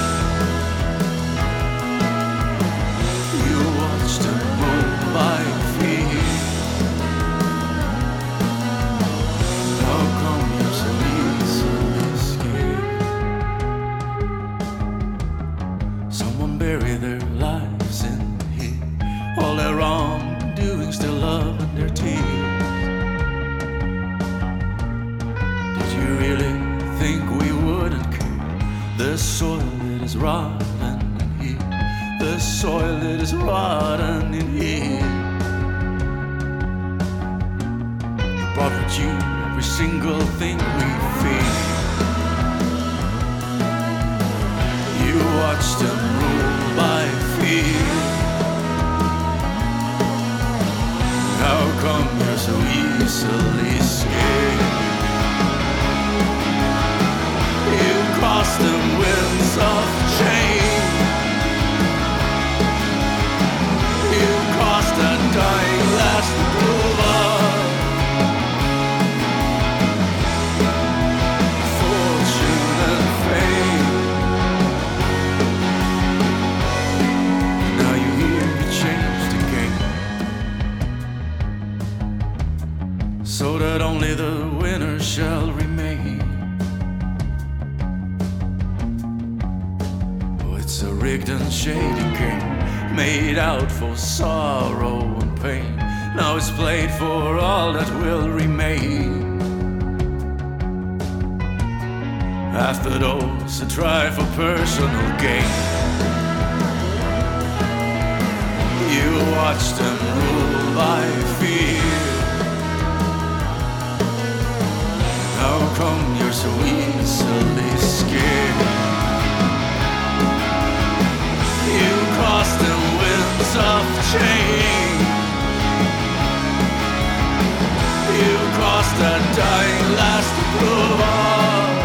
S3: You watched her move by feet. How come you're so easily scared? Someone bury their lives in here. All their wrongdoings, their love and their tears. Did you really think we wouldn't care? The soil that is rotten in here. The soil that is rotten in here. You brought with you every single thing we fear. You watched them rule by fear. How come you're so easily scared? You crossed the winds of change. You crossed the dying last boulevard. Fortune and fame. Now you hear you changed the game. So that only the winner shall remain. Oh, it's a rigged and shady game, made out for sorrow and pain. Now it's played for all that will remain. After those who try for personal gain, you watch them rule by fear. How come you're so easily scared? You crossed the winds of change. just a dying last proverb.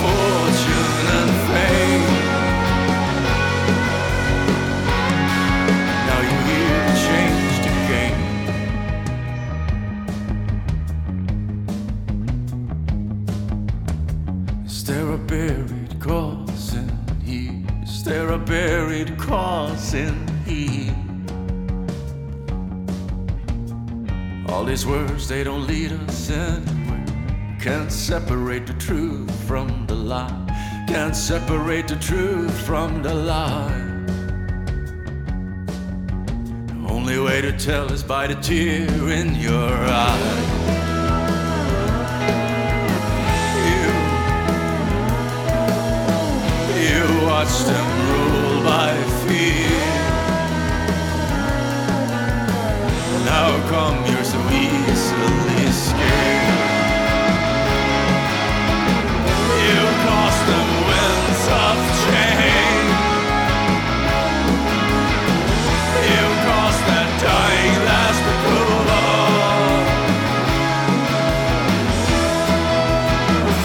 S3: Fortune and fame. Now you hear the change the game. Is there a buried cause in here? Is there a buried cause in here? All these words, they don't lead us anywhere. Can't separate the truth from the lie. Can't separate the truth from the lie. The only way to tell is by the tear in your eye. You you watch them rule by fear. And how come you're so easily scared? You cost them winds of change. You cost that dying last approval.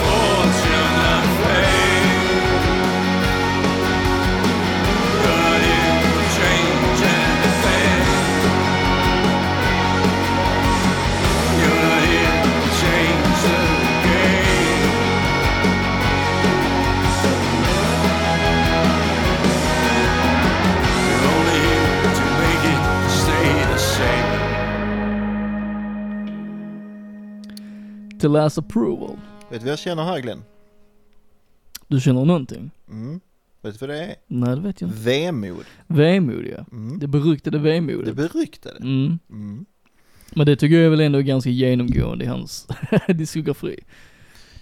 S3: Fortune and fame. Could it change anything? Could it change the game? You're only here to make it stay the same.
S2: The Last Approval.
S1: Vet du vad jag känner här Glenn?
S2: Du känner någonting?
S1: Mm. Vet du vad det är?
S2: Nej, det vet jag inte.
S1: Vemod.
S2: Vemod ja.
S1: Mm.
S2: Det beryktade
S1: Det
S2: vemodet.
S1: beryktade.
S2: Mm.
S1: Mm.
S2: Men det tycker jag är väl ändå ganska genomgående i hans (laughs) diskografi.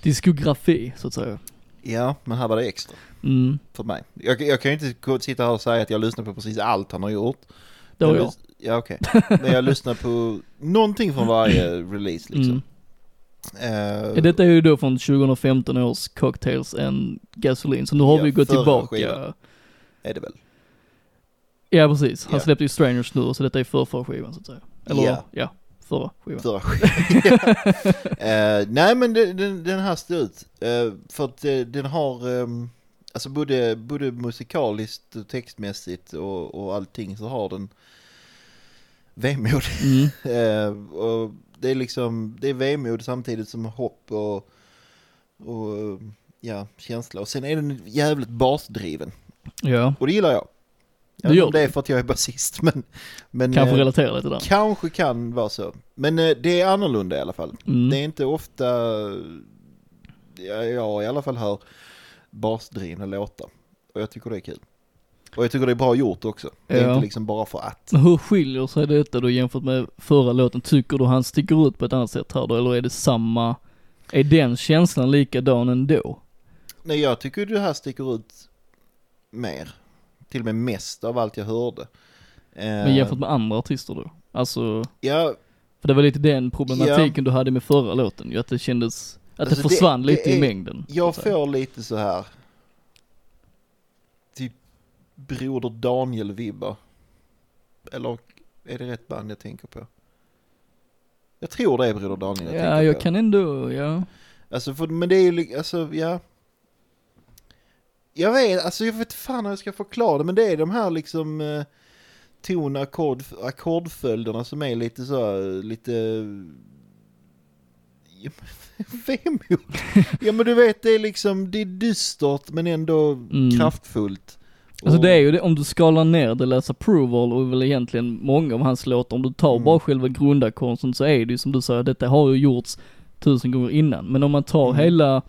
S2: Diskografi, så att säga.
S1: Ja, men här var det extra
S2: Mm.
S1: för mig. Jag, jag kan ju inte gå- sitta här och säga att jag lyssnar på precis allt han har gjort.
S2: Det har
S1: Men
S2: jag.
S1: lys- Ja, okej. Men jag lyssnar på någonting från varje release liksom.
S2: Mm.
S1: Eh,
S2: Ja, Detta Mm. är ju då från 2015 års Cocktails and Gasoline, så nu har
S1: Ja,
S2: vi gått
S1: förra
S2: tillbaka.
S1: skivan. Eh, är det väl?
S2: Ja precis, han
S1: Ja.
S2: släppte ju Strangers nu, så detta är förrförra skivan så att säga. Eller
S1: Ja.
S2: ja, förra skivan.
S1: Förra
S2: (laughs)
S1: skivan. Eh, nej men den, den, den här står ut. Eh, för att eh, den har, ehm, alltså både, både musikaliskt och textmässigt och, och allting så har den vemod.
S2: Mm.
S1: (laughs) Eh, och det är liksom, det är vemod samtidigt som hopp och, och ja, känsla. Och sen är den jävligt basdriven.
S2: Ja,
S1: Och det gillar jag.
S2: Det
S1: Jag vet
S2: gör
S1: inte om det är för att jag är basist men... men
S2: kanske
S1: eh,
S2: relatera lite där.
S1: Kanske kan vara så. Men eh, det är annorlunda i alla fall.
S2: Mm.
S1: Det är inte ofta ja, jag i alla fall hör basdrivna låtar. Och jag tycker det är kul. Och jag tycker det är bra gjort också. Det är
S2: Ja.
S1: inte liksom bara för att.
S2: Men hur skiljer sig detta då jämfört med förra låten? Tycker du han sticker ut på ett annat sätt här då, eller är det samma? Är den känslan likadan ändå?
S1: Nej, jag tycker det här sticker ut mer. Till och med mest av allt jag hörde.
S2: Men
S1: Eh.
S2: jämfört med andra artister då? Alltså,
S1: ja,
S2: för det var lite den problematiken du hade med förra låten ju, att det kändes, att
S1: Alltså, det-
S2: det försvann
S1: det
S2: lite i
S1: är-
S2: mängden. så
S1: Jag
S2: att säga.
S1: får lite så här. Typ Broder Daniel-vibbar. Eller är det rätt band jag tänker på? Jag tror det är Broder Daniel jag
S2: Ja,
S1: tänker
S2: jag
S1: på.
S2: kan ändå, ja.
S1: Alltså, för, men det är ju li- alltså, ja. Jag vet, alltså jag vet fan hur jag ska förklara det, men det är de här liksom eh, ton och ackord, ackordföljderna som är lite så, här, lite... Ja, men- (laughs) Vemod. Ja men du vet, det är liksom, det är dystert men ändå
S2: Mm.
S1: kraftfullt.
S2: Alltså
S1: Och-
S2: det är ju det, om du skalar ner det, läser Approval och väl egentligen många av hans låtar, om du tar
S1: Mm.
S2: bara själva grundackordet så är det ju som du säger, detta har ju gjorts tusen gånger innan. Men om man tar
S1: Mm.
S2: hela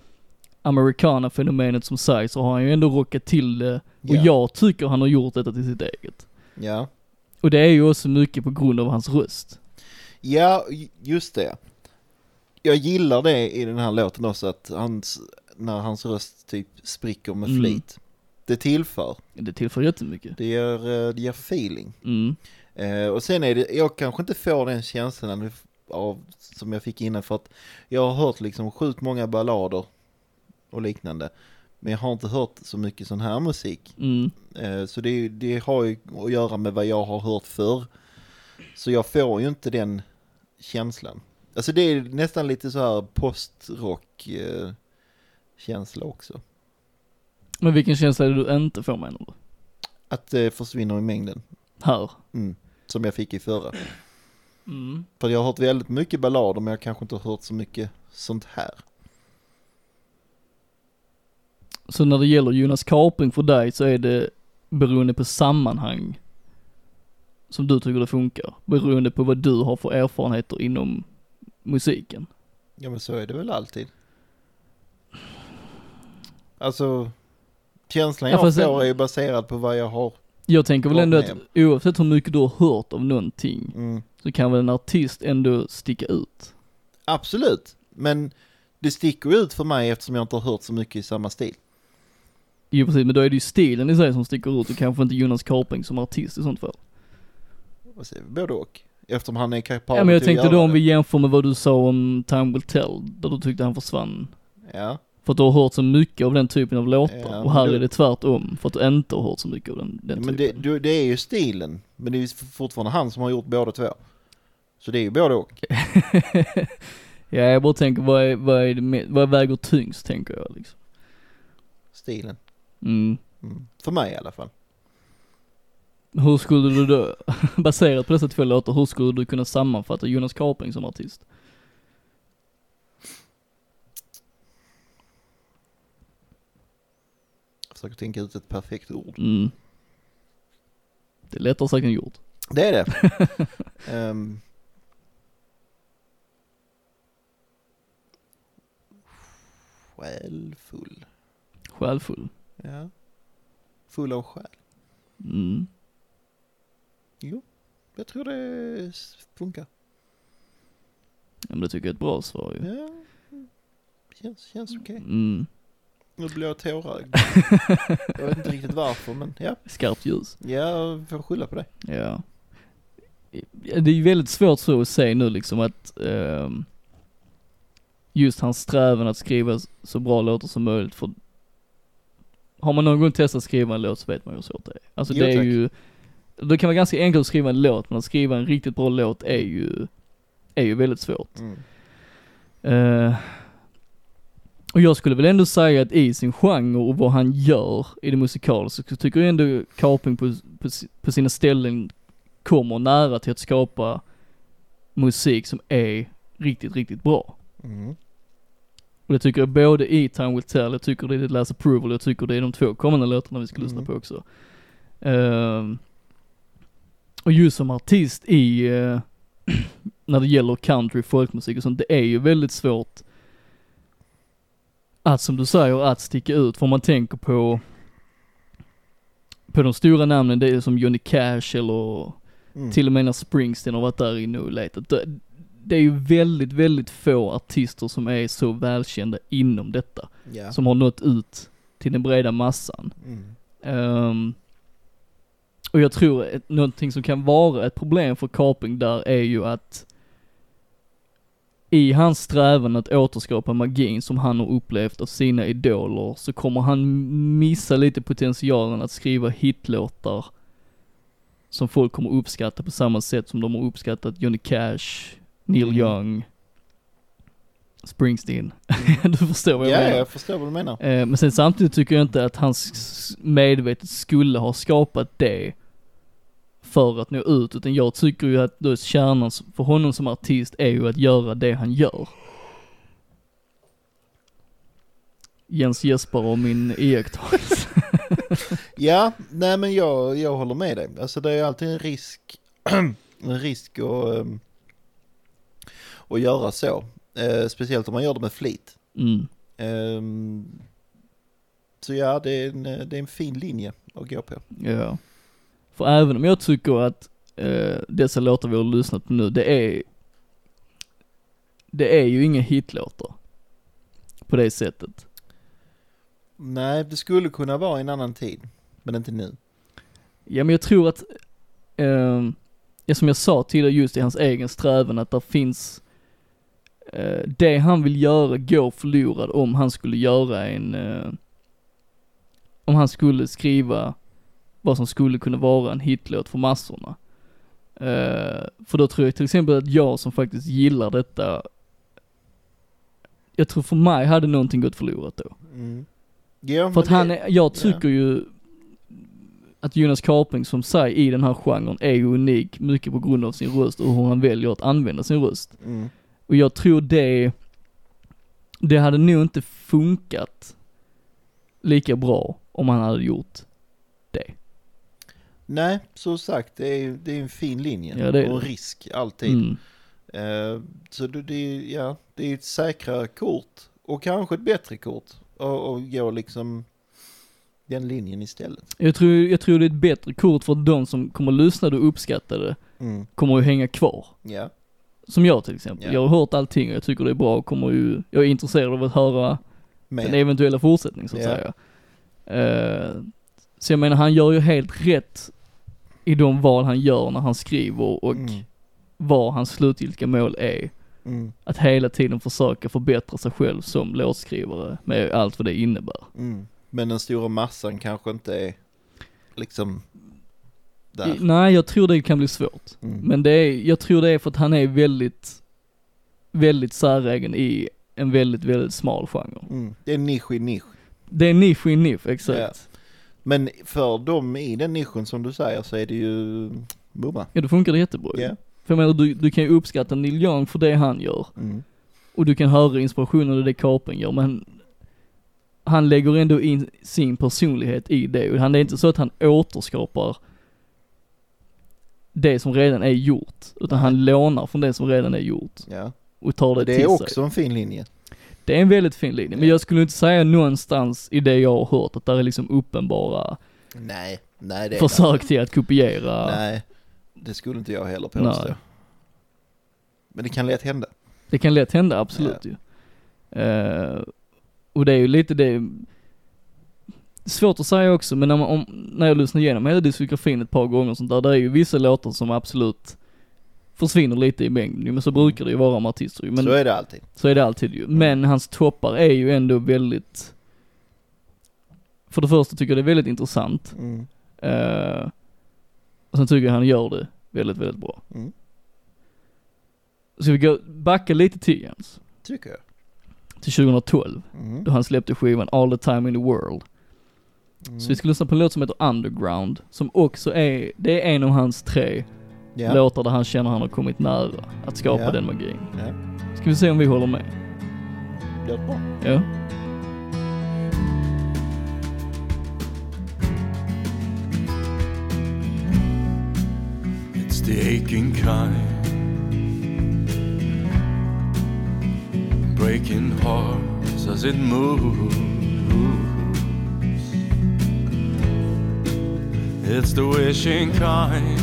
S2: americana-fenomenet som sagt så har han ju ändå rockat till det och
S1: Ja.
S2: jag tycker han har gjort detta till sitt eget.
S1: Ja.
S2: Och det är ju också mycket på grund av hans röst.
S1: Ja, ju- just det. Jag gillar det i den här låten också att hans, när hans röst typ spricker med
S2: Mm.
S1: flit. Det tillför,
S2: Det tillför jättemycket.
S1: det ger, eh, det ger feeling.
S2: Mm.
S1: Eh, Och sen är det, jag kanske inte får den känslan av- av, som jag fick innan för att jag har hört liksom sjukt många ballader och liknande. Men jag har inte hört så mycket sån här musik.
S2: Mm.
S1: Eh, Så det, det har ju att göra med vad jag har hört förr. Så jag får ju inte den känslan. Alltså det är nästan lite så här postrock eh, känsla också.
S2: Men vilken känsla är det du inte får menar du?
S1: Att det försvinner i mängden.
S2: Här?
S1: Mm. Som jag fick i förra.
S2: Mm.
S1: För jag har hört väldigt mycket ballader men jag kanske inte har hört så mycket sånt här.
S2: Så när det gäller Jonas Kapring för dig så är det beroende på sammanhang som du tycker det funkar. Beroende på vad du har för erfarenheter inom musiken.
S1: Ja men så är det väl alltid. Alltså känslan
S2: Ja,
S1: jag
S2: fast det-
S1: får är ju baserad på vad jag har.
S2: Jag tänker väl
S1: Håll
S2: ändå
S1: med.
S2: att oavsett hur mycket du har hört av någonting
S1: Mm.
S2: så kan väl en artist ändå sticka ut.
S1: Absolut, men det sticker ju ut för mig eftersom jag inte har hört så mycket i samma stil.
S2: Jo precis, men då är det ju stilen i sig som sticker ut och kanske inte Jonas Kapring som artist i sånt fall.
S1: Och så är vi både och. Eftersom han är kapabel
S2: Ja men jag
S1: till att
S2: tänkte
S1: göra
S2: då om
S1: det.
S2: vi jämför med vad du sa om Time Will Tell, där du tyckte han försvann.
S1: Ja,
S2: För att du har hört så mycket av den typen av låtar
S1: Ja,
S2: och här
S1: men då-
S2: är det tvärtom för att du inte har hört så mycket av den, den
S1: men det,
S2: typen.
S1: du- det är ju stilen. Men det är ju fortfarande han som har gjort båda två. Så det är ju både och.
S2: Ja jag bara tänker vad, är, vad, är det, me- vad väger tyngst tänker jag liksom.
S1: Stilen.
S2: Mm.
S1: Mm. För mig i alla fall.
S2: Hur skulle du då, (laughs) baserat på dessa två låtar, hur skulle du kunna sammanfatta Jonas Kapring som artist?
S1: Jag försöker tänka ut ett perfekt ord.
S2: Mm. Det är lättare sagt än gjort.
S1: Det är det.
S2: (laughs)
S1: Ehm. Själfull.
S2: Själfull.
S1: Ja. Full av själ.
S2: Mm.
S1: Jag tror det s- funkar.
S2: Ja, men det tycker jag är ett bra svar ju.
S1: Ja. Känns, känns okej.
S2: Mm.
S1: Nu blir jag
S2: (laughs)
S1: tårögd. jag vet inte riktigt varför men ja.
S2: Skarpt ljus.
S1: Jag får skylla på det.
S2: Ja. Det är ju väldigt svårt så att säga nu liksom att ehm, just hans strävan att skriva s- så bra låtar som möjligt för har man någon gång testat att skriva en låt så vet man ju hur svårt det är. Alltså
S1: Jo,
S2: det är
S1: tack.
S2: ju, det kan vara ganska enkelt att skriva en låt men att skriva en riktigt bra låt är ju, är ju väldigt svårt. Eh, och jag skulle väl ändå säga att i sin genre och vad han gör i det musikaliska så tycker jag ändå Kaping på, på, si- på sina ställen kommer nära till att skapa musik som är riktigt, riktigt bra.
S1: Mm.
S2: Och det tycker jag både i Time Will Tell, jag tycker det är The Last Approval, jag tycker det är de två kommande låtarna vi ska lyssna
S1: Mm.
S2: på också. Ehm, och just som artist i, eh, (clears throat) när det gäller country, folkmusik och sånt, det är ju väldigt svårt att som du säger, att sticka ut. För om man tänker på, på de stora namnen, det är som Johnny Cash eller
S1: Mm.
S2: till och med när Springsteen har varit där inne och letat. Det, det är ju väldigt, väldigt få artister som är så välkända inom detta.
S1: Ja.
S2: Som har nått ut till den breda massan.
S1: Mm.
S2: Ehm, och jag tror ett, någonting som kan vara ett problem för Kaping där är ju att i hans strävan att återskapa magin som han har upplevt av sina idoler så kommer han missa lite potentialen att skriva hitlåtar som folk kommer uppskatta på samma sätt som de har uppskattat Johnny Cash, Neil
S1: Mm.
S2: Young, Springsteen. (laughs) du förstår vad jag
S1: Mm. ja,
S2: menar.
S1: jag förstår vad du menar.
S2: Eh, Men sen samtidigt tycker jag inte att han s- s- medvetet skulle ha skapat det för att nå ut, utan jag tycker ju att då kärnan s- för honom som artist är ju att göra det han gör. Jens Jesper och min iakttagelse.
S1: Ja, nej men jag, jag håller med dig. Alltså det är alltid en risk, (clears throat) en risk att, ehm, att göra så. Eh, speciellt om man gör det med flit.
S2: Mm.
S1: Ehm, så ja, det är, en, eh, det är en fin linje att gå på.
S2: Ja. För även om jag tycker att eh, dessa låtar vi har lyssnat på nu, det är det är ju inga hitlåtar. På det sättet.
S1: Nej, det skulle kunna vara i en annan tid, men inte nu.
S2: Ja men jag tror att, eh, ja, som jag sa tidigare just i hans egen strävan att där finns, eh, det han vill göra går förlorad om han skulle göra en, eh, om han skulle skriva vad som skulle kunna vara en hitlåt för massorna. Eh, för då tror jag till exempel att jag som faktiskt gillar detta, jag tror för mig hade någonting gått förlorat då.
S1: Mm. Ja,
S2: För att
S1: men
S2: han,
S1: det-
S2: är, jag tycker ju att Jonas Karping som sig i den här genren är ju unik mycket på grund av sin röst och hur han väljer att använda sin röst.
S1: Mm.
S2: Och jag tror det, det hade nog inte funkat lika bra om han hade gjort det.
S1: Nej, som sagt, det är, det är en fin linje.
S2: Ja, det är
S1: och
S2: det.
S1: risk, alltid.
S2: Mm.
S1: Eh, så det, det, är- ja, det är ett säkrare kort och kanske ett bättre kort. Och, och gå liksom den linjen istället.
S2: Jag tror, jag tror det är ett bättre kort för de som kommer lyssna och uppskatta det
S1: Mm.
S2: kommer ju hänga kvar.
S1: Ja.
S2: Som jag till exempel.
S1: Ja.
S2: Jag har hört allting och jag tycker det är bra och kommer ju, jag är intresserad av att höra den
S1: Men,
S2: eventuella fortsättningen så att
S1: Ja.
S2: säga. Eh, så jag menar han gör ju helt rätt i de val han gör när han skriver och
S1: Mm.
S2: vad hans slutgiltiga mål är.
S1: mm,
S2: Att hela tiden försöka förbättra sig själv som låtskrivare med allt vad det innebär.
S1: mm. Men den stora massan kanske inte är liksom
S2: I,
S1: där.
S2: nej, jag tror det kan bli svårt.
S1: Mm.
S2: Men det är, jag tror det är för att han är väldigt, väldigt säregen i en väldigt, väldigt smal genre.
S1: Mm. Det är en nisch i nisch.
S2: Det är nisch i nisch, exakt.
S1: Ja. Men för dem i den nischen som du säger så är det ju bumma.
S2: Ja, då funkar det jättebra ju.
S1: Ja.
S2: För jag menar, du, du kan ju uppskatta Neil Young för det han gör.
S1: Mm.
S2: Och du kan höra inspirationen i det Kapen gör, men han lägger ändå in sin personlighet i det. Och han det är inte så att han återskapar det som redan är gjort, utan
S1: Nej.
S2: han lånar från det som redan är gjort
S1: Ja.
S2: och tar det,
S1: Det
S2: till
S1: är
S2: sig.
S1: också en fin linje.
S2: Det är en väldigt fin linje, men jag skulle inte säga någonstans i det jag har hört att det är liksom uppenbara
S1: Nej, nej det är
S2: försök till att kopiera.
S1: Nej, det skulle inte jag heller påstå.
S2: Nej.
S1: Men det kan lätt hända.
S2: Det kan lätt hända, absolut ju. Eh, och det är ju lite det, svårt att säga också, men när, man, om, när jag lyssnar igenom hela diskografin ett par gånger och sånt där, det är ju vissa låtar som absolut försvinner lite i mängden ju, men så brukar det ju vara med artister ju. Men
S1: Mm. så är Mm. det alltid.
S2: Så är det alltid ju. Men hans toppar är ju ändå väldigt... För det första tycker jag det är väldigt intressant.
S1: Mm.
S2: eh, och sen tycker jag han gör det väldigt, väldigt bra.
S1: Mm.
S2: Så vi går, backa lite till Jens.
S1: Tycker jag.
S2: Till 2012,
S1: Mm.
S2: då han släppte skivan All the time in the world.
S1: Mm.
S2: Så vi ska lyssna på en låt som heter Underground, som också är, det är en av hans tre
S1: Ja.
S2: låtar där han känner han har kommit nära att skapa
S1: Ja.
S2: den magin.
S1: Ja.
S2: Ska vi se om vi håller med?
S1: Det är bra.
S2: Ja.
S3: It's the aching kind. Breaking hearts as it moves. It's the wishing kind.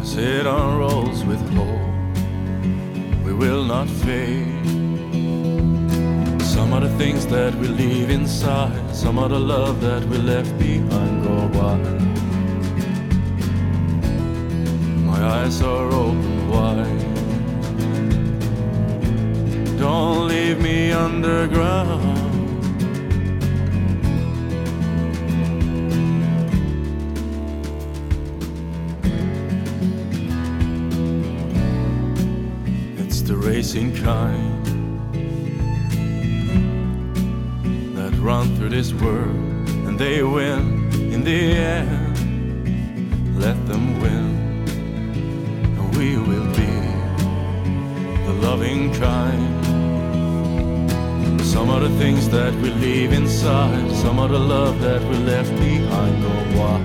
S3: As it unrolls with hope, we will not fade. Some of the things that we leave inside, some of the love that we left behind go wild. My eyes are open wide. Don't leave me underground. It's the racing kind that run through this world and they win in the end. Let them win and we will be the loving kind. Some of the things that we leave inside, some of the love that we left behind, oh why?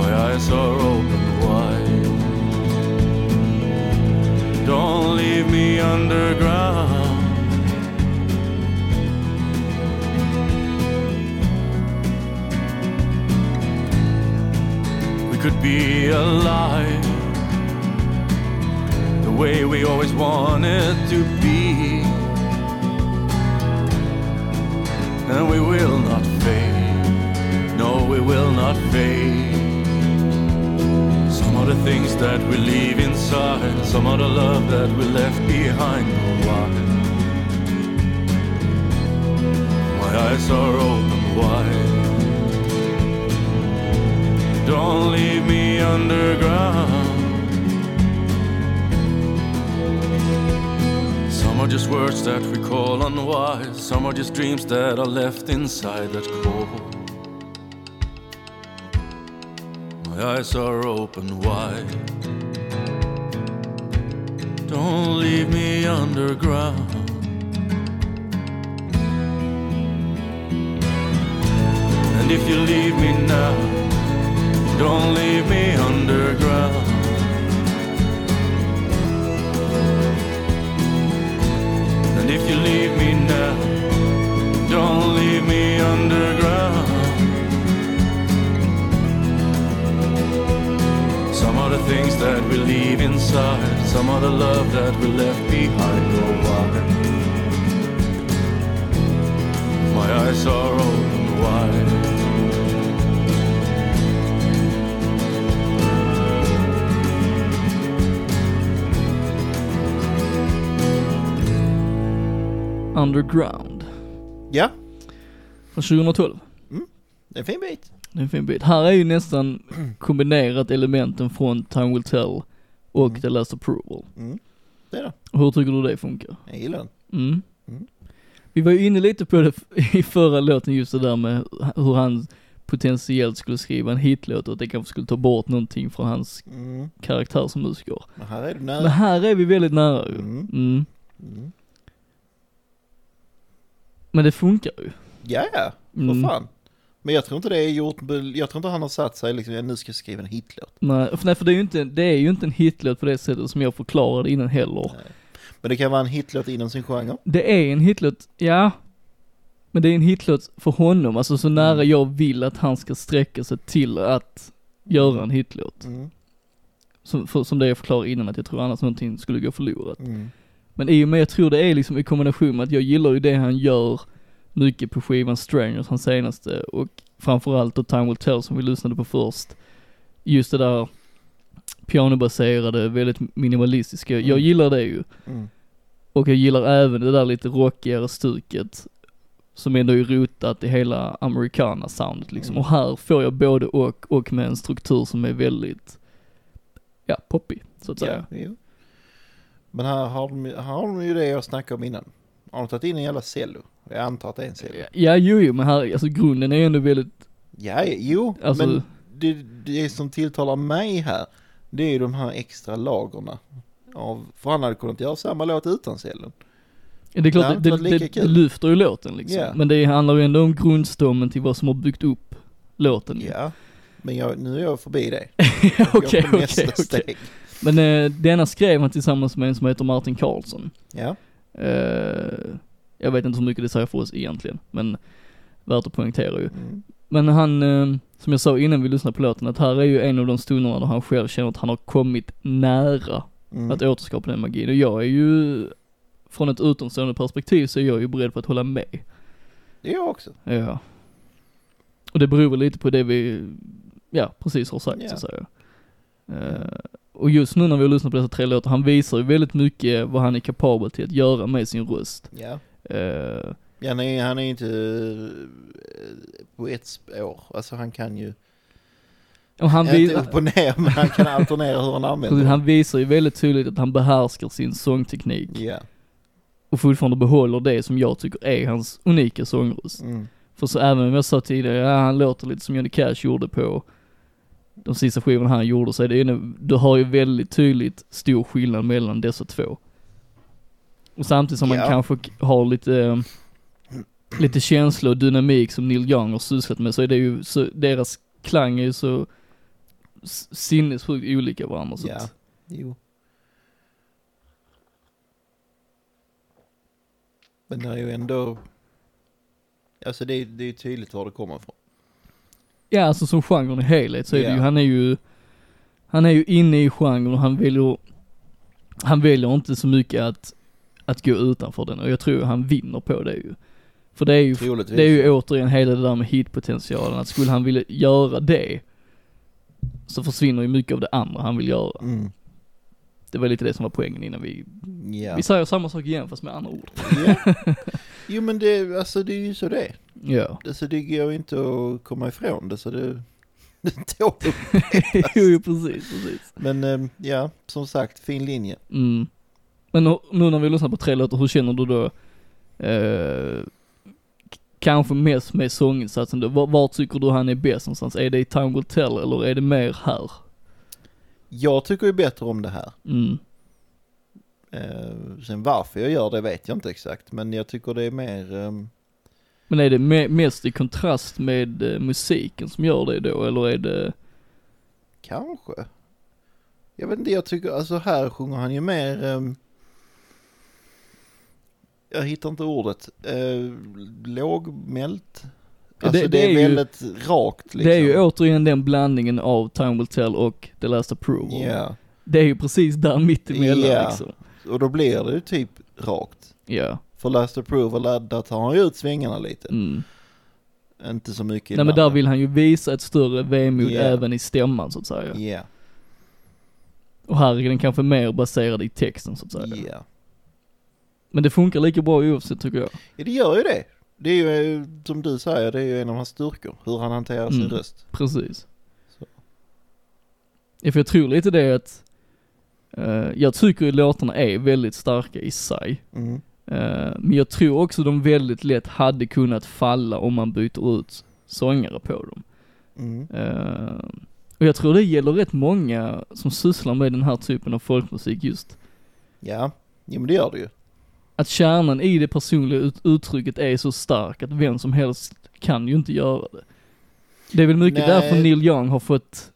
S3: My eyes are open wide. Don't leave me underground. We could be alive the way we always wanted to be. And we will not fade. No, we will not fade. Some of the things that we leave inside, some of the love that we left behind. Oh, why? My eyes are open wide. Don't leave me underground. Some are just words that we call unwise. Some are just dreams that are left inside that core. My eyes are open wide. Don't leave me underground. And if you leave me now, don't leave me underground. And if you leave me now, don't leave me underground. Some are the things that we leave inside, some are the love that we left behind. Oh, why? My eyes are open wide.
S2: Underground.
S1: Ja,
S2: Från 2012.
S1: det är en fin bit.
S2: Det är en fin bit. Här är
S1: (clears throat)
S2: ju nästan kombinerat elementen från Time Will Tell och
S1: Mm.
S2: The Last Approval.
S1: Mm. Det är det.
S2: Hur tycker du det funkar?
S1: Jag gillar den.
S2: Mm.
S1: Mm.
S2: Vi var ju inne lite på det (laughs) f- i förra låten just det där med hur han potentiellt skulle skriva en hitlåt och att det kanske skulle ta bort någonting från hans
S1: Mm.
S2: karaktär som musiker.
S1: Men här är du
S2: Men
S1: nära.
S2: här är vi väldigt nära ju.
S1: Mm.
S2: Mm.
S1: Mm.
S2: Men det funkar ju.
S1: Ja, ja,
S2: Mm.
S1: för fan. Men jag tror inte det är gjort, jag tror inte han har satt sig liksom, jag nu ska jag skriva en hitlåt.
S2: Nej, för, nej, för det är ju inte, det är ju inte en hitlåt på det sättet som jag förklarade innan heller.
S1: Nej. Men det kan vara en hitlåt inom sin genre.
S2: Det är en hitlåt, ja. Men det är en hitlåt för honom, alltså så nära
S1: Mm.
S2: jag vill att han ska sträcka sig till att göra en hitlåt.
S1: Mm.
S2: Som, för, som det jag förklarade innan, att jag tror annars någonting skulle gå förlorat.
S1: Mm.
S2: Men i och med, jag tror det är liksom i kombination med att jag gillar ju det han gör mycket på skivan Strangers, hans senaste, och framförallt då Time Will Tell som vi lyssnade på först. Just det där pianobaserade, väldigt minimalistiska, jag
S1: Mm.
S2: gillar det ju.
S1: Mm.
S2: Och jag gillar även det där lite rockigare stuket som ändå är rotat i hela americana soundet liksom.
S1: Mm.
S2: Och här får jag både och, och med en struktur som är väldigt, ja, poppig, så att säga.
S1: Ja, jo. Men här har, de, här har de ju det jag snackade om innan. Har de tagit in en jävla cello? Jag antar att det är en cello.
S2: Ja, jo, jo, men här, alltså grunden är ju ändå väldigt,
S1: Ja, jo,
S2: Alltså-
S1: men det, det som tilltalar mig här, det är ju de här extra lagorna. Av, för han hade kunnat göra samma låt utan cellon.
S2: det är klart
S1: Ja,
S2: det,
S1: det var
S2: det,
S1: lika
S2: det,
S1: kul.
S2: lyfter ju låten liksom.
S1: Ja.
S2: Men det handlar ju ändå om grundstommen till vad som har byggt upp låten. (laughs) ju.
S1: Ja, men jag, nu är jag förbi det.
S2: Okej,
S1: Jag
S2: Mm. okej,
S1: går på nästa
S2: okej.
S1: steg.
S2: Men eh, denna skrev han tillsammans med en som heter Martin Karlsson.
S1: Ja,
S2: Eh, jag vet inte hur mycket det säger för oss egentligen, men värt att poängtera ju.
S1: mm,
S2: Men han, eh, som jag sa innan vi lyssnade på låten, att här är ju en av de stunderna där han själv känner att han har kommit nära
S1: mm,
S2: att återskapa den magin. Och jag är ju, från ett utomstående perspektiv så är jag ju beredd på att hålla med.
S1: det är jag också.
S2: Ja. Och det beror väl lite på det vi, ja precis har sagt
S1: Ja.
S2: så att säga. Eh, och just nu när vi har lyssnat på dessa tre låtar, han visar ju väldigt mycket vad han är kapabel till att göra med sin röst.
S1: Ja.
S2: Eh,
S1: Ja, nej, han är inte eh, på ett spår. Alltså han kan ju,
S2: och han, vi,
S1: inte upp och ner, men han kan alternera hur (laughs) han använder
S2: precis,
S1: det.
S2: han visar ju väldigt tydligt att han behärskar sin sångteknik
S1: Ja,
S2: och fortfarande behåller det som jag tycker är hans unika sångröst.
S1: mm,
S2: För så även om jag sa tidigare, ja, han låter lite som Johnny Cash gjorde på de sista skivorna han gjorde, så är det ju, en- du har ju väldigt tydligt stor skillnad mellan dessa två. Och samtidigt som
S1: Ja.
S2: man kanske k- har lite, eh, lite känsla och dynamik som Neil Young har sysslat med, så är det ju, så, deras klang är ju så s- sinnessjukt olika varandra. Så
S1: Ja.
S2: att,
S1: jo. Men det är ju ändå, alltså det är, det är ju tydligt var det kommer ifrån.
S2: ja alltså som genren i helhet så är det
S1: Ja.
S2: ju, han är ju, han är ju inne i genren och han väljer, han väljer inte så mycket att, att gå utanför den och jag tror han vinner på det ju. För det är ju
S1: Troligtvis.
S2: Det är ju återigen hela det där med hitpotentialen, att skulle han vilja göra det så försvinner ju mycket av det andra han vill göra.
S1: Mm.
S2: Det var lite det som var poängen innan vi,
S1: Ja.
S2: vi säger samma sak igen fast med andra ord.
S1: ja. Jo men det, alltså det är ju så det är.
S2: Ja.
S1: Alltså det (laughs) går ju inte att komma ifrån det så det, Tåg.
S2: (laughs) jo, precis, precis.
S1: Men ehm, ja, som sagt, fin linje.
S2: Mm. Men nu nu när vi lyssnar på tre låtar, hur känner du då? Eh, k- kanske mest med sånginsatsen då. Var, var tycker du han är bäst någonstans? Är det i Time Will Tell eller är det mer här?
S1: Jag tycker ju bättre om det här.
S2: Mm.
S1: Eh, sen varför jag gör det vet jag inte exakt, men jag tycker det är mer... ehm,
S2: Men är det me- mest i kontrast med eh, musiken som gör det då, eller är det,
S1: Kanske. Jag vet inte, jag tycker, alltså här sjunger han ju mer... ehm, jag hittar inte ordet. Eh, lågmält?
S2: Ja,
S1: Alltså det,
S2: det- det
S1: är,
S2: är ju-
S1: väldigt rakt liksom.
S2: det är ju återigen den blandningen av Time Will Tell och The Last Approval.
S1: Ja,
S2: Det är ju precis där mittemellan
S1: Ja.
S2: liksom.
S1: och då blir det ju typ rakt.
S2: Ja.
S1: För Last Approval, där- där tar han ju ut svängarna lite.
S2: Mm.
S1: Inte så mycket
S2: Nej men där vill han ju visa ett större vemod
S1: Ja.
S2: även i stämman så att säga.
S1: Ja, yeah.
S2: Och här är den kanske mer baserad i texten så att säga. Men det funkar lika bra oavsett tycker jag.
S1: Ja, det gör ju det. Det är ju, eh, som du säger, det är ju en av hans styrkor. Hur han hanterar sin
S2: Mm.
S1: röst.
S2: Precis.
S1: Så.
S2: Ja, för jag tror lite det att, eh, jag tycker ju låtarna är väldigt starka i sig.
S1: Mm.
S2: Eh, men jag tror också de väldigt lätt hade kunnat falla om man byter ut sångare på dem.
S1: Mm.
S2: Eh, och jag tror det gäller rätt många som sysslar med den här typen av folkmusik just.
S1: Ja, jo men det gör det ju.
S2: Att kärnan i det personliga ut- uttrycket är så stark att vem som helst kan ju inte göra det. Det är väl mycket
S1: Nej.
S2: därför Neil Young har fått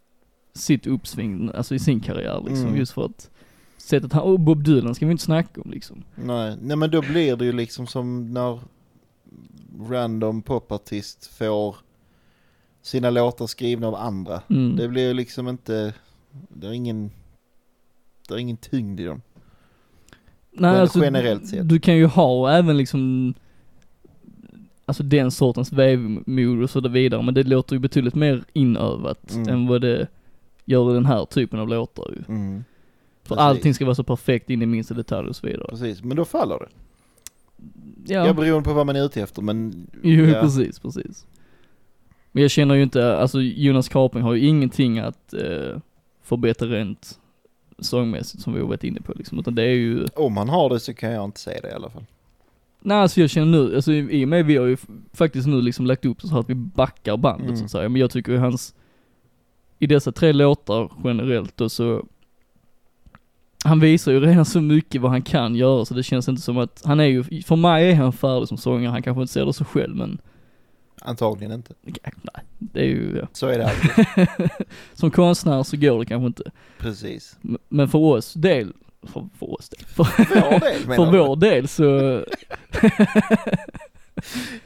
S2: sitt uppsving, alltså i sin karriär liksom,
S1: Mm.
S2: just för att sättet han, och Bob Dylan ska vi inte snacka om liksom.
S1: Nej, nej men då blir det ju liksom som när random popartist får sina låtar skrivna av andra.
S2: Mm.
S1: Det blir ju liksom inte, det är ingen, det är ingen tyngd i dem.
S2: Nej, alltså,
S1: Gen- generellt sett.
S2: Du kan ju ha även liksom, alltså den sortens vevmod och så där vidare, men det låter ju betydligt mer inövat
S1: Mm.
S2: än vad det gör i den här typen av låtar ju.
S1: Mm.
S2: För
S1: Precis.
S2: allting ska vara så perfekt in i minsta detalj och så vidare.
S1: Precis, men då faller det.
S2: Ja,
S1: Ja. Jag beror på vad man är ute efter men...
S2: jo
S1: ja.
S2: precis, precis. Men jag känner ju inte, alltså Jonas Karping har ju ingenting att eh, förbättra rent sångmässigt som vi har varit inne på liksom, utan det är ju
S1: Om han har det så kan jag inte säga det i alla fall.
S2: Nej alltså jag känner nu, alltså i i och med vi har ju f- faktiskt nu liksom lagt upp det så här att vi backar bandet
S1: Mm.
S2: så att säga, men jag tycker ju hans, i dessa tre låtar generellt då så, han visar ju redan så mycket vad han kan göra så det känns inte som att, han är ju, för mig är han färdig som sångare, han kanske inte ser det så själv men,
S1: Antagligen inte.
S2: nej, det är ju, ja.
S1: Så är det (laughs) alltid.
S2: som konstnär så går det kanske inte.
S1: Precis.
S2: M- Men för oss del, för, för oss del, för,
S1: Vår del
S2: för
S1: menar du?
S2: vår del så,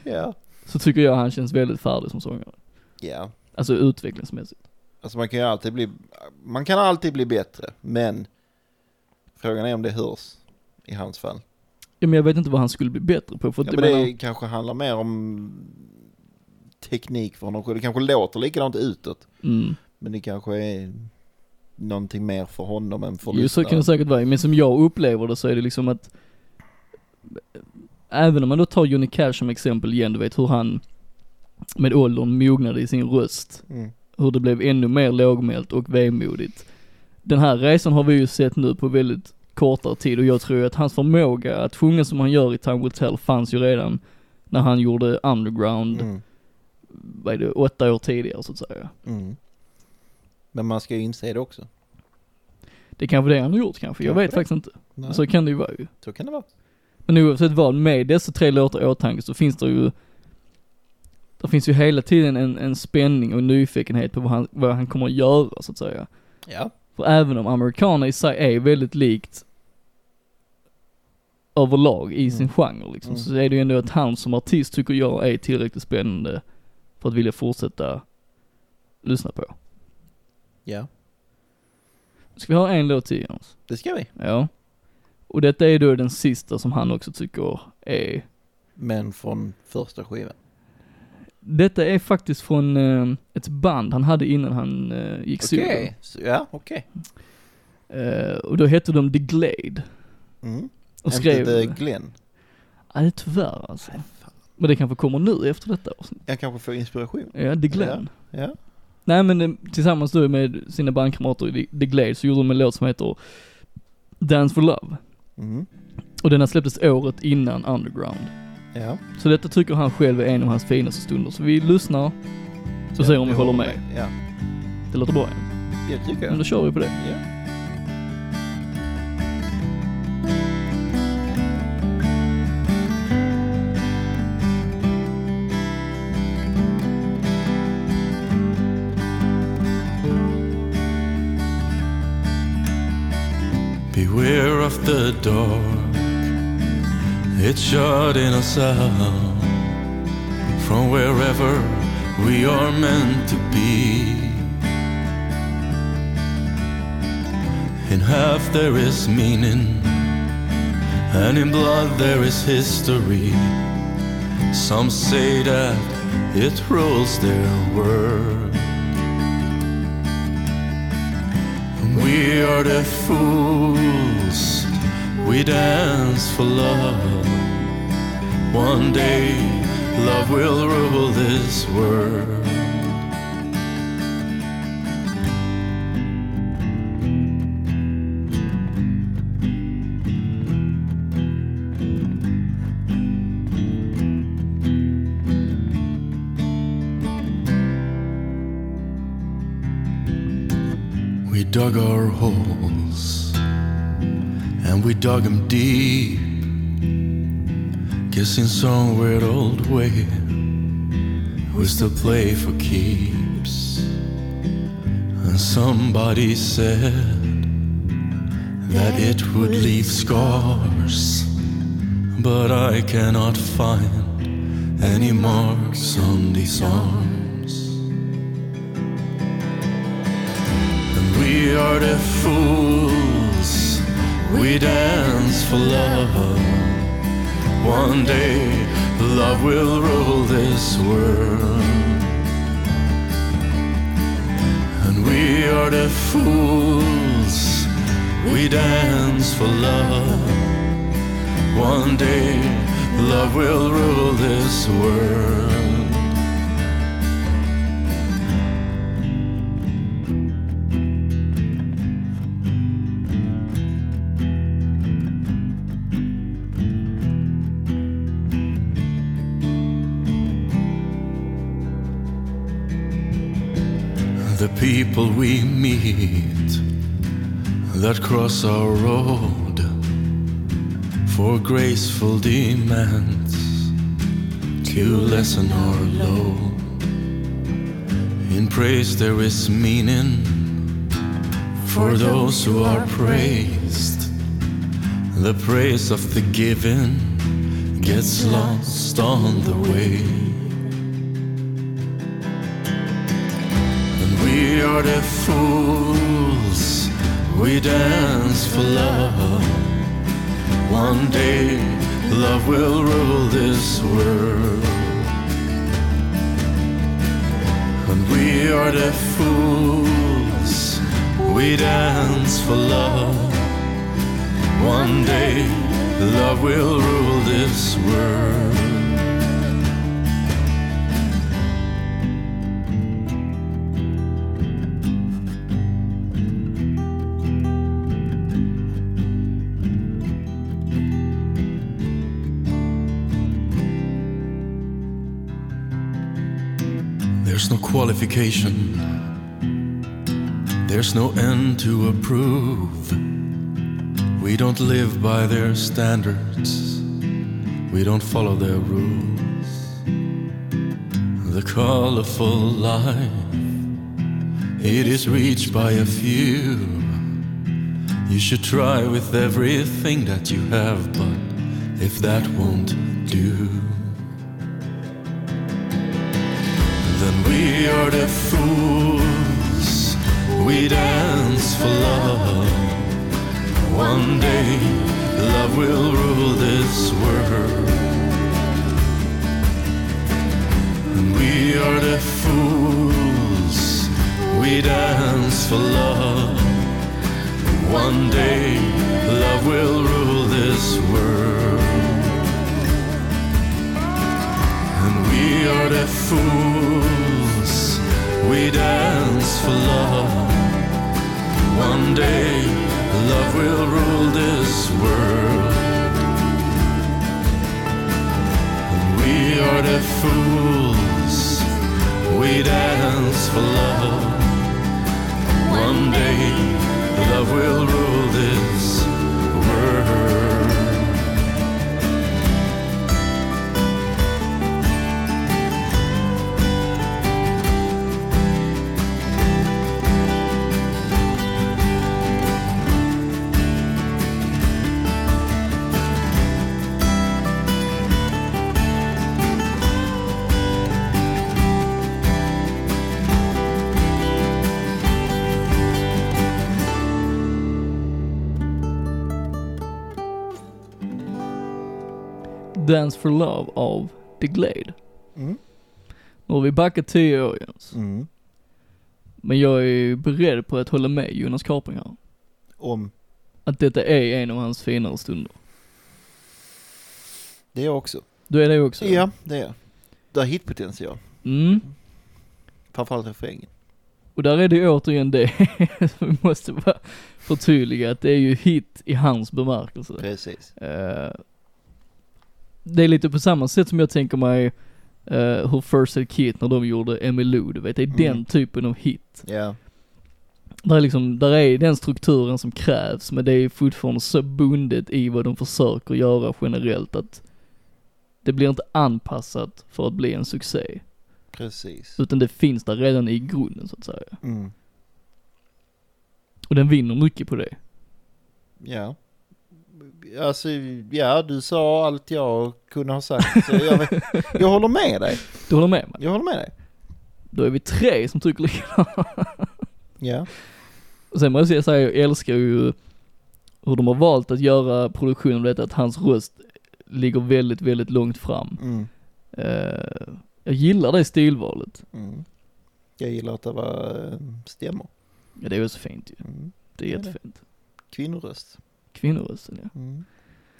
S1: Ja.
S2: så tycker jag han känns väldigt färdig som sångare.
S1: Ja.
S2: Alltså utvecklingsmässigt.
S1: Alltså man kan ju alltid bli, man kan alltid bli bättre, men frågan är om det hörs i hans fall.
S2: Ja, men jag vet inte vad han skulle bli bättre på, för
S1: Ja,
S2: att
S1: men
S2: jag
S1: det
S2: menar,
S1: kanske handlar mer om teknik för honom själv. Det kanske låter likadant utåt,
S2: mm,
S1: men det kanske är någonting mer för honom än för
S2: ju så kan det
S1: lyssnaren.
S2: säkert vara, men som jag upplever det så är det liksom att Även om man då tar Johnny Cash som exempel igen, du vet hur han med åldern mognade i sin röst.
S1: Mm.
S2: Hur det blev ännu mer lågmält och vemodigt. Den här resan har vi ju sett nu på väldigt kortare tid och jag tror ju att hans förmåga att sjunga som han gör i Time Will Tell fanns ju redan när han gjorde Underground,
S1: Mm.
S2: vad är det, åtta år tidigare så att säga.
S1: Mm. Men man ska ju inse det också.
S2: Det är kanske det han har gjort kanske, jag
S1: Kanske
S2: vet
S1: det.
S2: faktiskt inte.
S1: Nej,
S2: Så kan det ju vara ju.
S1: så kan det vara.
S2: Men oavsett vad, med dessa tre låtar i åtanke så finns det ju, det finns ju hela tiden en, en spänning och nyfikenhet på vad han, vad han kommer att göra så att säga.
S1: Ja.
S2: För även om Americana i sig är väldigt likt överlag i sin
S1: Mm.
S2: genre liksom,
S1: Mm.
S2: så är det ju ändå att han som artist tycker jag är tillräckligt spännande för att vilja fortsätta lyssna på.
S1: ja,
S2: Ska vi ha en låt till Jens?
S1: det ska vi.
S2: Ja. Och detta är då den sista som han också tycker är
S1: Men från första skivan.
S2: Detta är faktiskt från eh, ett band han hade innan han eh, gick solo.
S1: Så- Ja, okej.
S2: Eh, och då hette de The Glade.
S1: Mm.
S2: Och
S1: Inte
S2: skrev...
S1: The Glenn.
S2: Nej, tyvärr alltså. Men det kanske kommer nu efter detta avsnitt.
S1: Jag kanske får inspiration.
S2: Ja, The Glenn.
S1: Ja.
S2: Nej men eh, tillsammans då med sina bandkamrater i The- The Glade så gjorde de en låt som heter Dance for Love.
S1: Mm.
S2: Och den här släpptes året innan Underground.
S1: Ja.
S2: Så detta tycker han själv är en av hans finaste stunder. Så vi lyssnar och ser om vi håller med.
S1: Ja,
S2: Det låter bra.
S1: det tycker
S2: Men
S1: jag.
S2: då kör vi på det.
S1: Ja.
S3: Beware of the dark. It's shutting us out from wherever we are meant to be. In half there is meaning, and in blood there is history. Some say that it rules their world. We are the fools, we dance for love. One day, love will rule this world. We dug our holes and we dug them deep. Guessing somewhere the old way we still play for keeps. And somebody said that it would leave scars, but I cannot find any marks on these arms. We are the fools. We dance for love. One day, love will rule this world. And we are the fools. We dance for love. One day, love will rule this world. The people we meet that cross our road for graceful demands to lessen our load. In praise there is meaning for those who are praised. The praise of the giving gets lost on the way. We are the fools. We dance for love. One day, love will rule this world. And we are the fools. We dance for love. One day, love will rule this world. There's no qualification. There's no end to approve. We don't live by their standards. We don't follow their rules. The colorful life, it is reached by a few. You should try with everything that you have, but if that won't do. Then we are the fools. We dance for love. One day, love will rule this world. And we are the fools. We dance for love. One day, love will rule this world. And we are the fools. We dance for love. One day, love will rule this world. And we are the fools. We dance for love. One day, love will rule this world.
S2: Dance for Love av The Glade.
S1: Mm.
S2: Nu har vi backat 10 år Jens.
S1: Mm.
S2: Men jag är beredd på att hålla med Jonas Carpring här.
S1: Om
S2: Att detta är en av hans finare stunder.
S1: det är jag också.
S2: Du är det också?
S1: Ja, det är jag. Det har hitpotential.
S2: Mm.
S1: Framförallt refrängen.
S2: Och där är det ju återigen det (laughs) vi måste bara förtydliga att det är ju hit i hans bemärkelse.
S1: Precis.
S2: Eh, det är lite på samma sätt som jag tänker mig eh, hur First Aid Kit när de gjorde Emmylou, du vet, det är
S1: Mm.
S2: den typen av hit.
S1: Ja.
S2: Där är liksom, där är den strukturen som krävs men det är fortfarande så bundet i vad de försöker göra generellt att det blir inte anpassat för att bli en succé.
S1: Precis.
S2: Utan det finns där redan i grunden så att säga.
S1: Mm.
S2: Och den vinner mycket på det.
S1: Ja. Alltså, ja, du sa allt jag kunde ha sagt. Så jag, vet,
S2: (laughs)
S1: jag håller med dig.
S2: Du håller med mig?
S1: Jag håller med dig.
S2: Då är vi tre som tycker lika.
S1: Ja.
S2: Och sen måste jag säga, jag älskar ju hur de har valt att göra produktionen av detta, att hans röst ligger väldigt, väldigt långt fram.
S1: Mm.
S2: Eh, jag gillar det stilvalet.
S1: Mm. Jag gillar att det var eh, stämmor.
S2: Ja, det är ju så fint ju.
S1: Mm.
S2: Det är
S1: Ja, det.
S2: jättefint.
S1: Kvinnoröst.
S2: Kvinnorösten ja.
S1: Mm.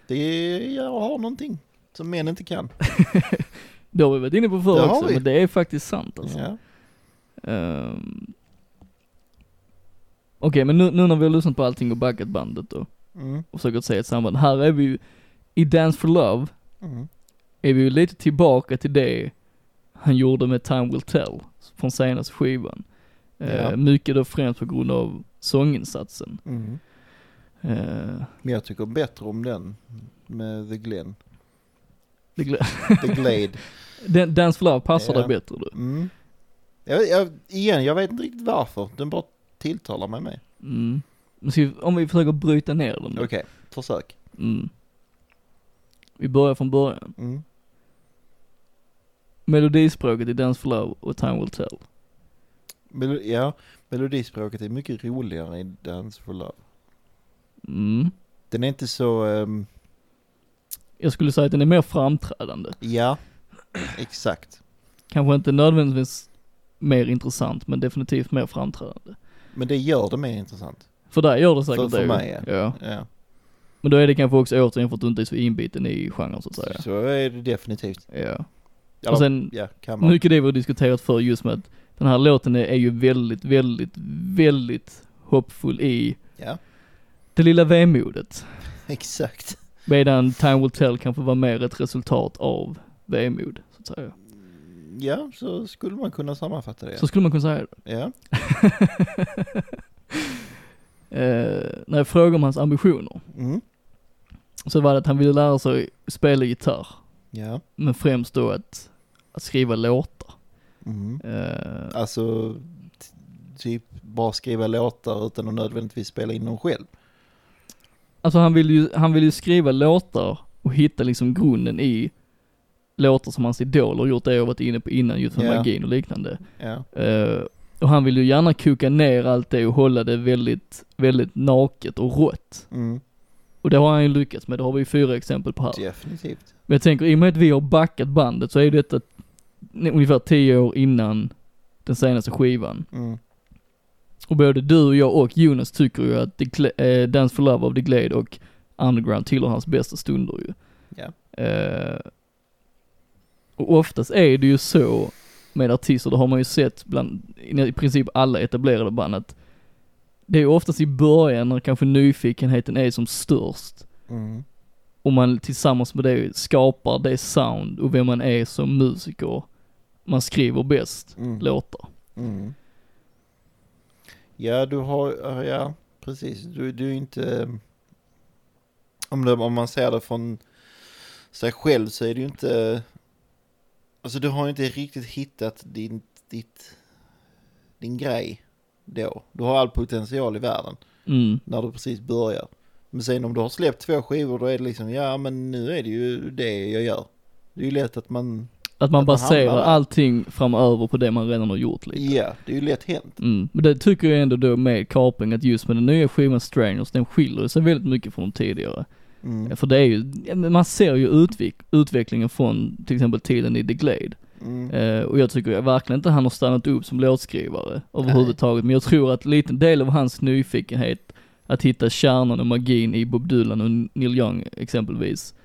S1: Det är, jag har någonting som män inte kan.
S2: Det har vi varit inne på
S1: Det
S2: förr
S1: har
S2: också,
S1: vi.
S2: men det är faktiskt sant alltså.
S1: Ja.
S2: Ehm. Okej, men nu, nu när vi har lyssnat på allting och backat bandet då,
S1: Mm.
S2: och försöker se ett samband. Här är vi ju, i Dance for Love,
S1: Mm.
S2: är vi ju lite tillbaka till det han gjorde med Time Will Tell från senaste skivan.
S1: Ja.
S2: Eh, mycket då främst på grund av sånginsatsen.
S1: Mm.
S2: Eh,
S1: Men jag tycker bättre om den med The Glen.
S2: det gl-
S1: (laughs) The Glade.
S2: (laughs) Dan- Dance for Love passar
S1: Ja.
S2: dig bättre du.
S1: Mm. Jag, jag, igen, jag vet inte riktigt varför. Den bara tilltalar mig med.
S2: Mm. Men ska vi, om vi försöker bryta ner den då.
S1: Okej, försök.
S2: mm. Vi börjar från början.
S1: Mm.
S2: Melodispråket i Dance for Love och Time Will Tell.
S1: Melo- ja, melodispråket är mycket roligare i Dance for Love.
S2: Mm.
S1: Den är inte så, ehm,
S2: Jag skulle säga att den är mer framträdande.
S1: ja, exakt.
S2: Kanske inte nödvändigtvis mer intressant, men definitivt mer framträdande.
S1: Men det gör det mer intressant.
S2: För där gör det säkert
S1: För- för
S2: det. ju.
S1: mig,
S2: ja. ja.
S1: Ja.
S2: Men då är det kanske också återigen för att du inte är så inbiten i genren så att säga.
S1: Så är det definitivt.
S2: Ja.
S1: Eller,
S2: Och sen,
S1: ja, kan man.
S2: mycket det vi har diskuterat för just med att den här låten är, är ju väldigt, väldigt, väldigt hoppfull i
S1: Ja, (laughs)
S2: det lilla vemodet.
S1: exakt.
S2: Medan Time Will Tell kanske var mer ett resultat av vemod, så att säga.
S1: Ja, så skulle man kunna sammanfatta det.
S2: Så skulle man kunna säga det.
S1: Ja.
S2: Eh, när jag frågade om hans ambitioner
S1: Mm.
S2: så var det att han ville lära sig spela gitarr,
S1: Ja.
S2: men främst då att, att skriva låtar.
S1: Mm.
S2: Eh,
S1: Alltså, t- typ bara skriva låtar utan att nödvändigtvis spela in dem själv.
S2: Alltså han vill ju, han vill ju skriva låtar och hitta liksom grunden i låtar som hans idoler gjort det jag varit inne på innan, just med
S1: Ja.
S2: magin och liknande.
S1: Ja.
S2: Eh, och han vill ju gärna koka ner allt det och hålla det väldigt, väldigt naket och rått.
S1: Mm.
S2: Och det har han ju lyckats med, det har vi ju fyra exempel på här.
S1: Definitivt.
S2: Men jag tänker, i och med att vi har backat bandet så är detta ungefär tio år innan den senaste skivan.
S1: Mm.
S2: Och både du och jag och Jonas tycker ju att The Gla- eh, Dance for Love of The Glade och Underground tillhör hans bästa stunder ju.
S1: Ja.
S2: Eh, och oftast är det ju så med artister, det har man ju sett bland i princip alla etablerade band att det är ju oftast i början när kanske nyfikenheten är som störst
S1: Mm.
S2: och man tillsammans med det skapar det sound och vem man är som musiker. Man skriver bäst
S1: Mm.
S2: låtar.
S1: Mm. Ja, du har, ja precis. Du, du är inte, om, det, om man ser det från sig själv så är du inte, alltså du har ju inte riktigt hittat din, ditt, din grej då. Du har all potential i världen
S2: Mm.
S1: när du precis börjar. Men sen om du har släppt två skivor då är det liksom, ja men nu är det ju det jag gör. Det är ju lätt att man,
S2: Att man
S1: Att man hamnar
S2: baserar
S1: där.
S2: allting framöver på det man redan har gjort lite.
S1: ja, det är ju lätt hänt.
S2: Mm. Men det tycker jag ändå då med Carping att just med den nya skivan Strangers, den skiljer sig väldigt mycket från de tidigare.
S1: Mm.
S2: För det är ju, ja, men man ser ju utvik- utvecklingen från till exempel tiden i The Glade.
S1: Mm.
S2: Eh, och jag tycker verkligen inte han har stannat upp som låtskrivare överhuvudtaget. Men jag tror att en liten del av hans nyfikenhet att hitta kärnan och magin i Bob Dylan och Neil Young exempelvis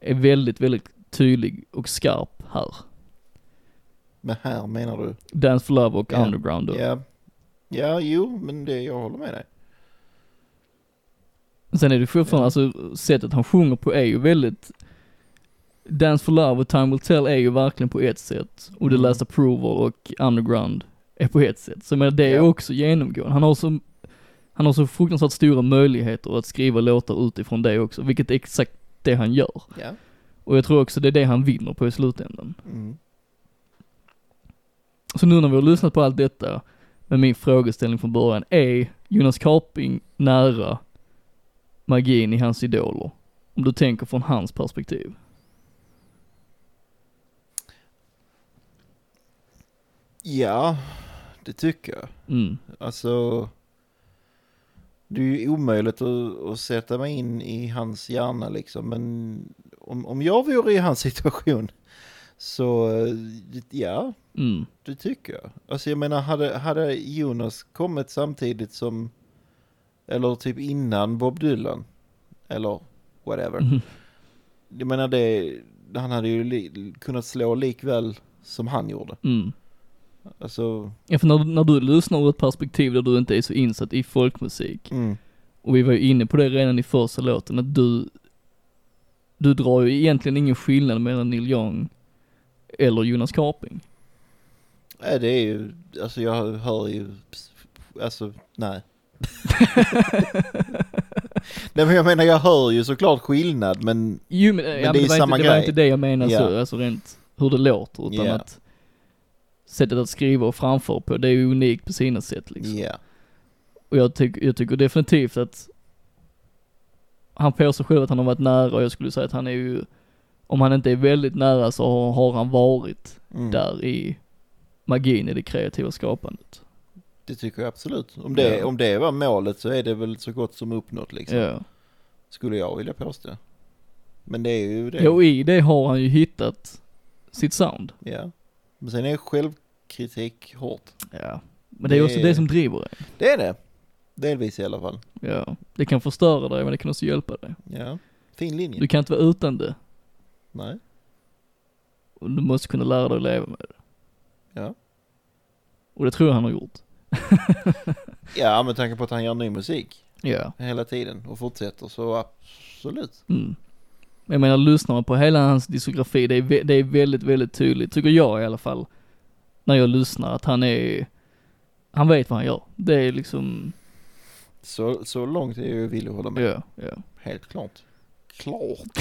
S2: är väldigt, väldigt tydlig och skarp här.
S1: Men här menar du?
S2: Dance for Love och
S1: Ja.
S2: Underground då.
S1: Ja. ja, jo, men det, jag håller med dig.
S2: Sen är det fortfarande, alltså sättet han sjunger på är ju väldigt Dance for Love och Time Will Tell är ju verkligen på ett sätt och The
S1: Mm.
S2: Last Approval och Underground är på ett sätt. Så men det är ju
S1: Ja.
S2: också genomgående. Han har så, han har så fruktansvärt stora möjligheter att skriva låtar utifrån det också, vilket är exakt det han gör.
S1: Ja.
S2: Och jag tror också det är det han vinner på i slutändan.
S1: Mm.
S2: Så nu när vi har lyssnat på allt detta, men min frågeställning från början är Jonas Karping nära magin i hans idoler? Om du tänker från hans perspektiv.
S1: ja, det tycker jag.
S2: Mm.
S1: Alltså, det är ju omöjligt att, att sätta mig in i hans hjärna liksom. Men om, om jag vore i hans (laughs) situation så, eh, ja,
S2: Mm.
S1: det tycker jag. Alltså jag menar, hade, hade Jonas kommit samtidigt som, eller typ innan Bob Dylan, eller whatever.
S2: Mhm.
S1: Jag menar det, han hade ju li, kunnat slå likväl som han gjorde.
S2: Mm.
S1: Alltså,
S2: Ja, för när, när du lyssnar ur ett perspektiv där du inte är så insatt i folkmusik,
S1: mm,
S2: och vi var ju inne på det redan i första låten, att du, du drar ju egentligen ingen skillnad mellan Neil Young eller Jonas Karping.
S1: nej det är ju, alltså jag hör ju, alltså nej.
S2: (laughs)
S1: nej men jag menar jag hör ju såklart skillnad men,
S2: Jo men, ja, men det, är var
S1: samma
S2: inte, det var
S1: grej.
S2: inte det jag menade så,
S1: Ja.
S2: alltså rent hur det låter utan
S1: Ja.
S2: att sättet att skriva och framföra på, det är ju unikt på sina sätt
S1: ja.
S2: liksom. Och jag, tyck, jag tycker definitivt att han påstår själv att han har varit nära och jag skulle säga att han är ju, om han inte är väldigt nära så har, har han varit
S1: Mm.
S2: där i magin i det kreativa skapandet.
S1: Det tycker jag absolut. Om det,
S2: Ja.
S1: om det var målet så är det väl så gott som uppnått liksom.
S2: Ja.
S1: Skulle jag vilja påstå. Men det är ju det.
S2: ja, och i det har han ju hittat sitt sound.
S1: Ja. Men sen är självkritik hårt.
S2: Ja. Men det är ju också
S1: Det-
S2: det som driver en.
S1: Det är det. Delvis i alla fall.
S2: Ja. Det kan förstöra dig men det kan också hjälpa dig.
S1: Ja. Fin linje.
S2: Du kan inte vara utan det.
S1: Nej.
S2: Och du måste kunna lära dig att leva med det.
S1: Ja.
S2: Och det tror jag han har gjort.
S1: Ja, med tanke på att han gör ny musik
S2: Ja.
S1: hela tiden och fortsätter så absolut.
S2: Mm. Jag menar, lyssnar man på hela hans diskografi, det är, vä- det är väldigt, väldigt tydligt, tycker jag i alla fall, när jag lyssnar, att han är, han vet vad han gör. Det är liksom,
S1: Så, så långt är jag villig att hålla med.
S2: ja, ja.
S1: Helt klart. Klart.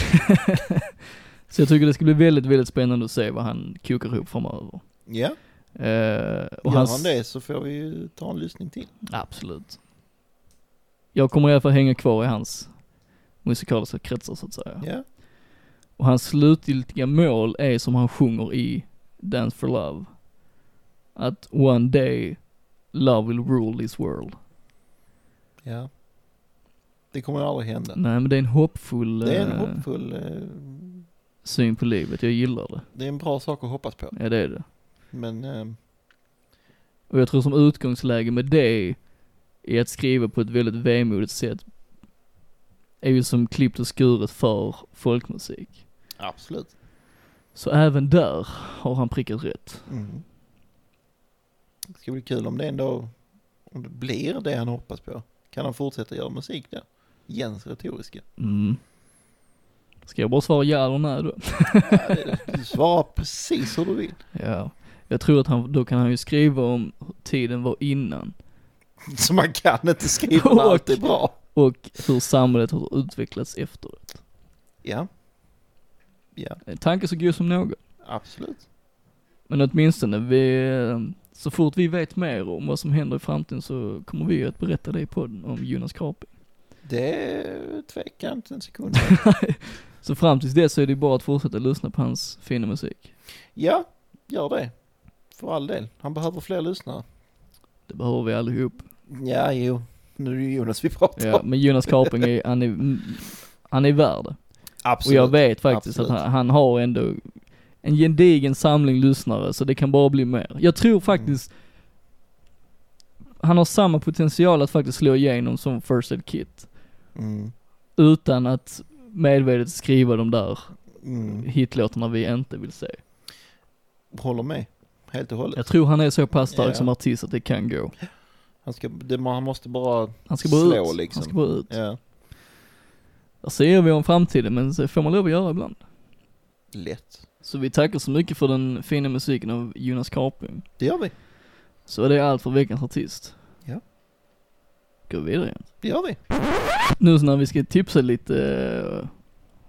S2: Så jag tycker det ska bli väldigt, väldigt spännande att se vad han kokar ihop framöver.
S1: Ja,
S2: Eh,
S1: och gör
S2: hans-
S1: han det så får vi ju ta en lyssning till.
S2: Absolut. Jag kommer i alla fall hänga kvar i hans musikaliska kretsar så att säga.
S1: Ja.
S2: Och hans slutgiltiga mål är som han sjunger i Dance for Love. Att one day love will rule this world.
S1: Ja. Det kommer ju aldrig hända.
S2: Nej men det är en hoppfull,
S1: Det är en
S2: eh,
S1: hoppfull, eh,
S2: syn på livet. Jag gillar det.
S1: det är en bra sak att hoppas på.
S2: Ja det är det.
S1: Men eh,
S2: Och jag tror som utgångsläge med det är att skriva på ett väldigt vemodigt sätt är ju som klippt och skuret för folkmusik.
S1: absolut.
S2: Så även där har han prickat rätt.
S1: Mm. Det ska bli kul om det en dag om det blir det han hoppas på. Kan han fortsätta göra musik då? Jens retoriska.
S2: Mm. Ska jag bara svara ja eller nej då?
S1: Ja, det- Du svarar precis hur du vill. (laughs)
S2: Ja. Jag tror att han, då kan han ju skriva om hur tiden var innan
S1: Så man kan inte skriva när allt är bra.
S2: och hur samhället har utvecklats efteråt.
S1: Ja. Ja,
S2: En tanke så god som någon.
S1: absolut.
S2: Men åtminstone, vi, eh, så fort vi vet mer om vad som händer i framtiden så kommer vi att berätta det i podden om Jonas Karpe.
S1: Det tvekar jag inte en sekund.
S2: Så fram tills dess så är det bara att fortsätta lyssna på hans fina musik.
S1: Ja, gör det. För all del. Han behöver fler lyssnare.
S2: Det behöver vi allihop.
S1: Ja, jo. Nu är det ju Jonas vi pratar
S2: Ja,
S1: om.
S2: men Jonas Karping är, han är, mm, han är värd det. Och
S1: Absolut.
S2: jag vet faktiskt
S1: Absolut.
S2: att han, han har ändå en gedigen samling lyssnare, så det kan bara bli mer. Jag
S1: Mm.
S2: tror faktiskt han har samma potential att faktiskt slå igenom som First Aid Kit.
S1: Mm.
S2: Utan att medvetet skriva de där
S1: Mm.
S2: hitlåtarna vi inte vill se.
S1: Håller med. Helt och hållet.
S2: Jag tror han är så pass stark
S1: Ja.
S2: som artist att det kan gå.
S1: Han, ska, det, han måste bara...
S2: Han ska bara
S1: Slå,
S2: ut.
S1: liksom.
S2: Han ska bara ut.
S1: Ja,
S2: Där ser vi om framtiden, men så får man lov att göra ibland.
S1: lätt.
S2: Så vi tackar så mycket för den fina musiken av Jonas Karping.
S1: Det gör vi.
S2: Så det är allt för veckans artist.
S1: Ja.
S2: Går vi vidare igen.
S1: Det gör vi.
S2: Nu så när vi ska tipsa lite eh,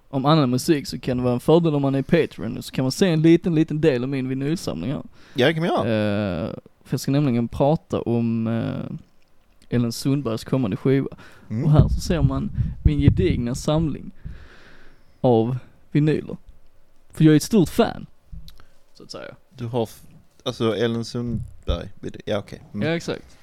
S2: om annan musik så kan det vara en fördel om man är Patreon. Så kan man se en liten, liten del av min vinylsamling här.
S1: Ja, det kan vi göra.
S2: Eh, för jag ska nämligen prata om eh, Ellen Sundbergs kommande skiva. Och
S1: Mm.
S2: här så ser man min gedigna samling av vinyler. För jag är ett stort fan. Så att säga.
S1: Du har... f- Alltså Ellen Sundberg. Ja, okej. Mm.
S2: Ja, exakt.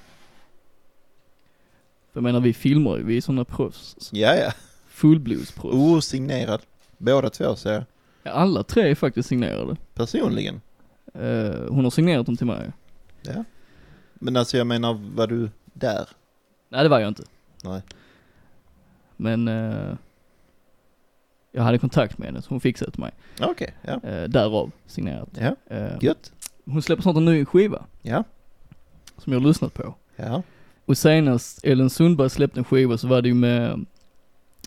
S2: För Jag menar vi filmar ju, vi är sådana proffs. Så
S1: Ja, ja.
S2: Fullblodsproffs.
S1: Oh. Osignerad. Båda två säger jag.
S2: Ja, Alla tre är faktiskt signerade.
S1: Personligen.
S2: Eh, hon har signerat dem till mig.
S1: Men alltså jag menar, var du där?
S2: Nej det var jag inte.
S1: Nej.
S2: Men eh, jag hade kontakt med henne så hon fixade det till mig.
S1: Ja, Okej, ja.
S2: Eh, därav signerat.
S1: Ja,
S2: Eh,
S1: gött.
S2: hon släpper snart en ny skiva
S1: Ja,
S2: som jag har lyssnat på.
S1: ja.
S2: Och senast Ellen Sundberg släppte en skiva så var det ju med,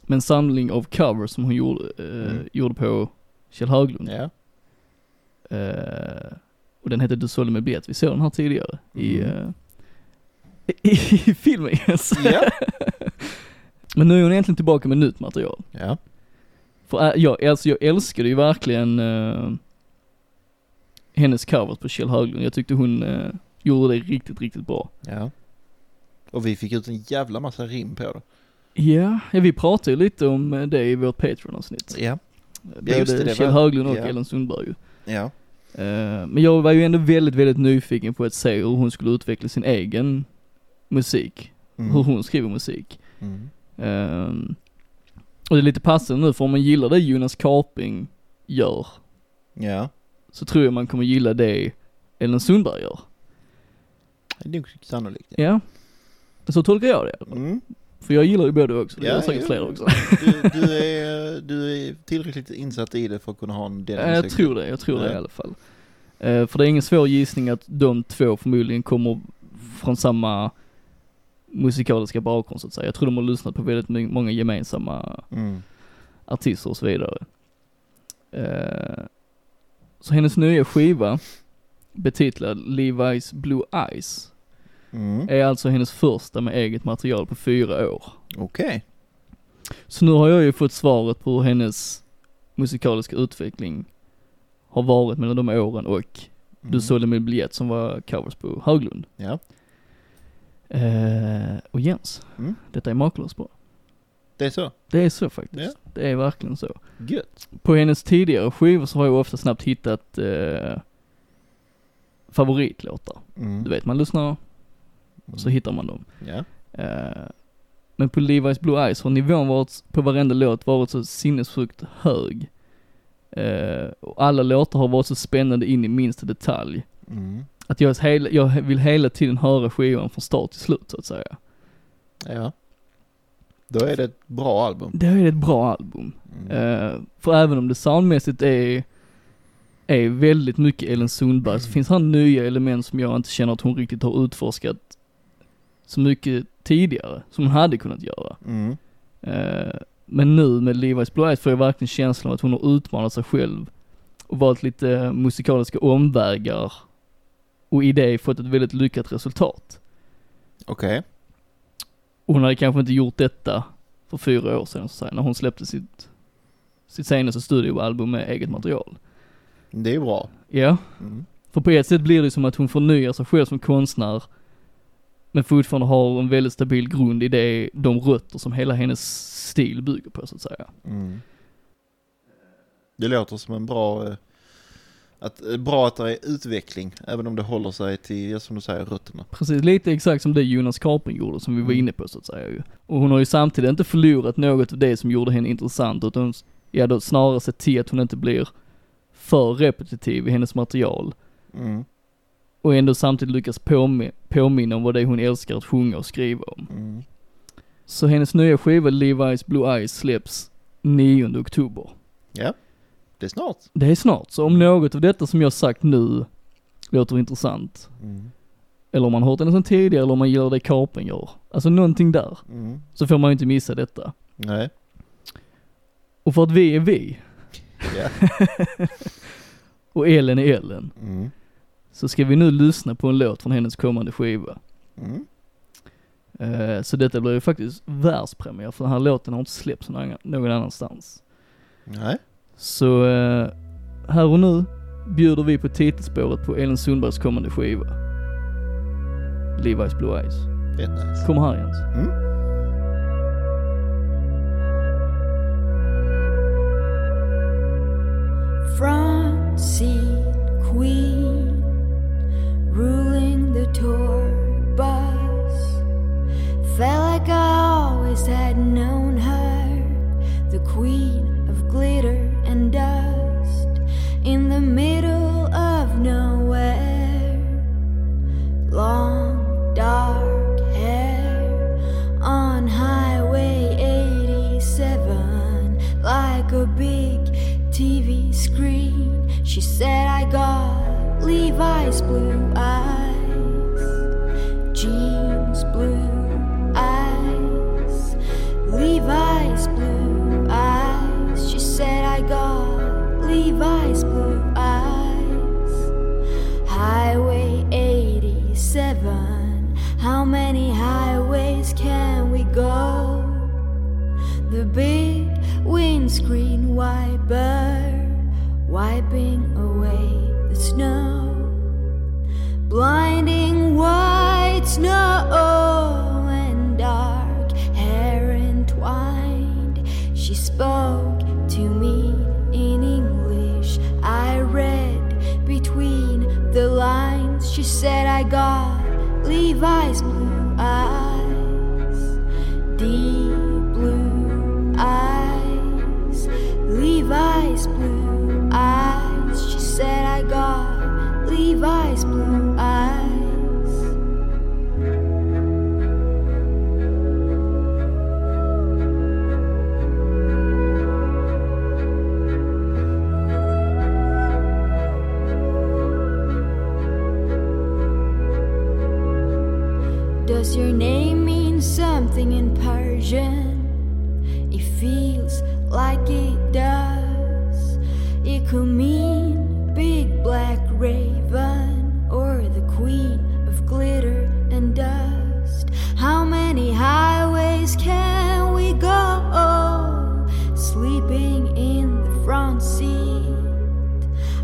S2: med en samling av covers som hon gjorde, eh,
S1: Mm.
S2: gjorde på Kjell Höglund.
S1: Ja,
S2: Eh, och den hette Du sålde mig biljett. Vi såg den här tidigare i,
S1: Mm.
S2: eh, (laughs) i, i filmen yes. (laughs)
S1: ja.
S2: Men nu är hon egentligen tillbaka med nytt material.
S1: ja.
S2: För äh, jag, alltså, jag älskade ju verkligen eh, hennes covers på Kjell Höglund. Jag tyckte hon eh, gjorde det riktigt, riktigt bra.
S1: ja. Och vi fick ut en jävla massa rim på det.
S2: Ja, ja vi pratade ju lite om eh, det i vårt Patreon-avsnitt. Eh,
S1: Ja,
S2: Både
S1: just det, det
S2: Kjell
S1: var-
S2: Höglund och
S1: ja.
S2: Ellen Sundberg ju.
S1: ja.
S2: Eh, Men jag var ju ändå väldigt, väldigt nyfiken på att se hur hon skulle utveckla sin egen musik. Hur hon skriver musik.
S1: Mm.
S2: Eh, Och det är lite passande nu för om man gillar det Jonas Karping gör
S1: Ja,
S2: så tror jag man kommer gilla det Ellen Sundberg gör.
S1: det är nog sannolikt. Ja.
S2: Ja. Så tolkar jag det.
S1: Mm.
S2: För jag gillar ju både också. Det
S1: Ja,
S2: gör säkert
S1: jo.
S2: fler också.
S1: Du, du, är, du är tillräckligt insatt i det för att kunna ha en del
S2: Ja, Eh, jag
S1: åsikt.
S2: tror det, jag tror det
S1: Ja.
S2: i alla fall. Eh, för det är ingen svår gissning att de två förmodligen kommer från samma musikaliska bakgrund så att säga. Jag tror de har lyssnat på väldigt my- många gemensamma
S1: Mm.
S2: artister och så vidare. Eh, så hennes nya skiva, betitlad Levi's Blue Eyes,
S1: Mm.
S2: är alltså hennes första med eget material på fyra år.
S1: Okej.
S2: Så nu har jag ju fått svaret på hur hennes musikaliska utveckling har varit mellan de åren och
S1: Mm.
S2: Du sålde min biljett som var covers på Höglund.
S1: Ja,
S2: Eh, och Jens,
S1: Mm.
S2: detta är makalöst bra.
S1: det är så.
S2: Det är så faktiskt. Det är verkligen så.
S1: Gött.
S2: På hennes tidigare skivor så har jag ofta snabbt hittat eh, favoritlåtar.
S1: Mm.
S2: Du vet, man lyssnar och så hittar man dem.
S1: Ja.
S2: Eh, men på Levi's Blue Eyes har nivån varit, på varenda låt varit så sinnessjukt hög. Eh, och alla låtar har varit så spännande in i minsta detalj.
S1: Mm.
S2: Att jag, hela, jag vill hela tiden höra skivan från start till slut så att säga.
S1: Ja. Då är det ett bra album.
S2: Det här är ett bra album.
S1: Mm.
S2: Eh, för även om det soundmässigt är är väldigt mycket Ellen Sundberg så finns här nya element som jag inte känner att hon riktigt har utforskat så mycket tidigare, som hon hade kunnat göra.
S1: Mm.
S2: Eh, Men nu med Levi's Blue Eyes får jag verkligen känslan av att hon har utmanat sig själv och valt lite musikaliska omvägar och i det fått ett väldigt lyckat resultat.
S1: Okej.
S2: Och hon hade kanske inte gjort detta för fyra år sedan, så att säga, när hon släppte sitt, sitt senaste studioalbum med eget material.
S1: Det är bra.
S2: Ja,
S1: Mm.
S2: för på ett sätt blir det som att hon förnyar sig själv som konstnär, men fortfarande har en väldigt stabil grund i det, de rötter som hela hennes stil bygger på, så att säga.
S1: Mm. Det låter som en bra... eh, Att, eh, bra att det är utveckling, även om det håller sig till, ja, som du säger, rötterna.
S2: Precis, lite exakt som det Jonas Karping gjorde som vi var
S1: Mm.
S2: inne på så att säga ju. Och hon har ju samtidigt inte förlorat något av det som gjorde henne intressant utan ja, då snarare sett till att hon inte blir för repetitiv i hennes material.
S1: Mm.
S2: Och ändå samtidigt lyckas påmi- påminna om vad det är hon älskar att sjunga och skriva om.
S1: Mm.
S2: Så hennes nya skiva Levi's Blue Eyes släpps 9 oktober.
S1: Det är snart.
S2: Det är snart, så om något av detta som jag sagt nu låter intressant,
S1: Mm.
S2: eller om man hört henne sedan tidigare eller om man gillar det Karping gör, alltså någonting där,
S1: Mm.
S2: så får man ju inte missa detta.
S1: Nej.
S2: Och för att vi är vi
S1: Ja.
S2: och Ellen är Ellen
S1: Mm.
S2: så ska vi nu lyssna på en låt från hennes kommande skiva.
S1: Mm.
S2: Eh, Så detta blir ju faktiskt världspremiär för den här låten har inte släppts någon annan- någon annanstans.
S1: Nej.
S2: Så eh, här och nu bjuder vi på titelspåret på Ellen Sundbergs kommande skiva. Levi's Blue Eyes.
S1: Rätt nice.
S2: Kom här Jens.
S1: Mm.
S4: front seat queen ruling the tour bus felt like i always had known her the queen of glitter and dust in the middle of nowhere long dark hair on highway 87 like a big tv screen she said i got levi's blue eyes jeans blue eyes levi's blue eyes she said i got levi's blue eyes Highway 87. How many highways can we go? The big windscreen wiper wiping away the snow blinding white snow and dark hair entwined. She spoke to me in English. I read between the lines. She said, I got Levi's blue eyes, deep blue eyes, Levi's blue eyes. She said, I got Levi's blue eyes. Does your name mean something in Persian? It feels like it does. It could mean big black raven or the queen of glitter and dust. How many highways can we go? Sleeping in the front seat.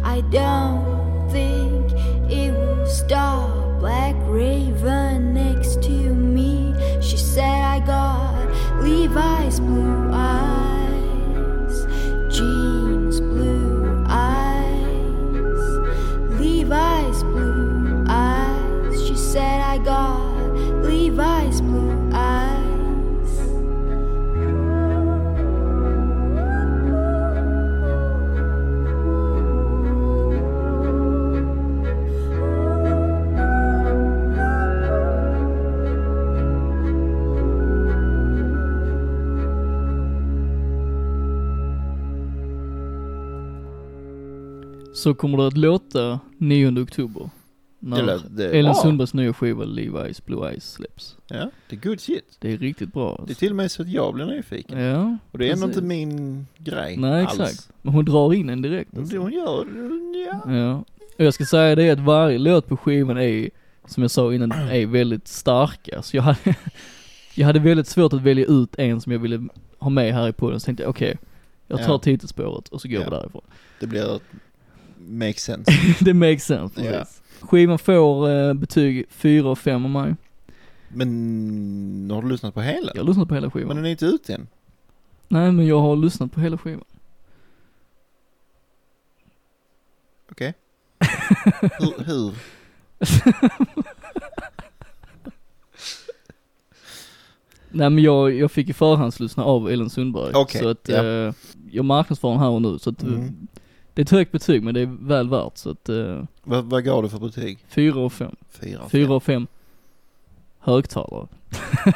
S4: I don't think it will stop. Black Raven next to me. She said, I got Levi's blue eyes, jeans blue eyes, Levi's blue eyes. She said, I got Levi's blue eyes.
S2: så kommer det att låta 9 oktober. När
S1: Eller, det är
S2: Elin
S1: bra.
S2: Sundbergs nya skiva Levi's Blue Eyes släpps.
S1: Ja, det är good shit.
S2: Det är riktigt bra
S1: Det är
S2: alltså.
S1: till och med så att jag blir nyfiken.
S2: Ja,
S1: Och det är ändå
S2: precis.
S1: inte min grej
S2: Nej
S1: alls.
S2: exakt. Men hon drar in en direkt
S1: Men Det
S2: alltså.
S1: hon gör, ja.
S2: Ja. Och jag ska säga det att varje låt på skivan är, som jag
S1: (clears throat)
S2: sa innan, är väldigt starka. Så jag hade, (laughs) jag hade väldigt svårt att välja ut en som jag ville ha med här i podden. Så tänkte jag okej, jag tar
S1: Ja.
S2: titelspåret och så går
S1: Ja.
S2: vi därifrån. (laughs)
S1: Det blir ett make (laughs) sense.
S2: det makes sense precis.
S1: Ja.
S2: Skivan får eh, betyg 4 och 5 av mig.
S1: Men har du lyssnat på hela?
S2: Jag har lyssnat på hela skivan.
S1: Men den är inte ute än.
S2: Nej men jag har lyssnat på hela skivan.
S1: Okej. Hur, hur?
S2: Nej men jag, jag fick ju förhandslyssna av Ellen Sundberg.
S1: Okej,
S2: så att
S1: ja.
S2: eh, jag marknadsför den här och nu. Så att eh,
S1: Mm.
S2: det är ett högt betyg men det är väl värt. Så att eh,
S1: Vad, vad gav du för betyg?
S2: 4 och 5.
S1: Fyra. av
S2: 4 och 5 högtalare.
S1: fem.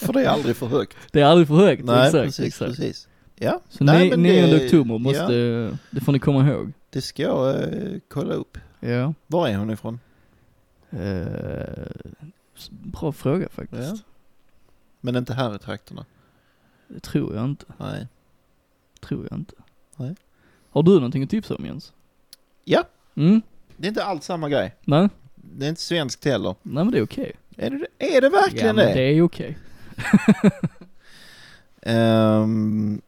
S1: För det är aldrig för (laughs) högt.
S2: Det är aldrig för högt,
S1: Nej,
S2: exakt.
S1: precis,
S2: exakt.
S1: precis. Ja.
S2: Så
S1: Nej,
S2: Nej,
S1: men
S2: 9
S1: det-
S2: oktober måste,
S1: Ja,
S2: det får ni komma ihåg.
S1: det ska jag eh, kolla upp.
S2: Ja.
S1: Var är hon ifrån?
S2: Eh, s- bra fråga faktiskt.
S1: Ja. Men inte här i trakterna.
S2: Det tror jag inte.
S1: Nej.
S2: Tror jag inte.
S1: Nej.
S2: Har du någonting att tipsa om Jens?
S1: Ja.
S2: Mm?
S1: Det är inte alls samma grej.
S2: Nej?
S1: Det är inte svenskt heller.
S2: Nej men det är okej.
S1: Är det, är det verkligen
S2: ja,
S1: det?
S2: men det är okej.
S1: Ehm.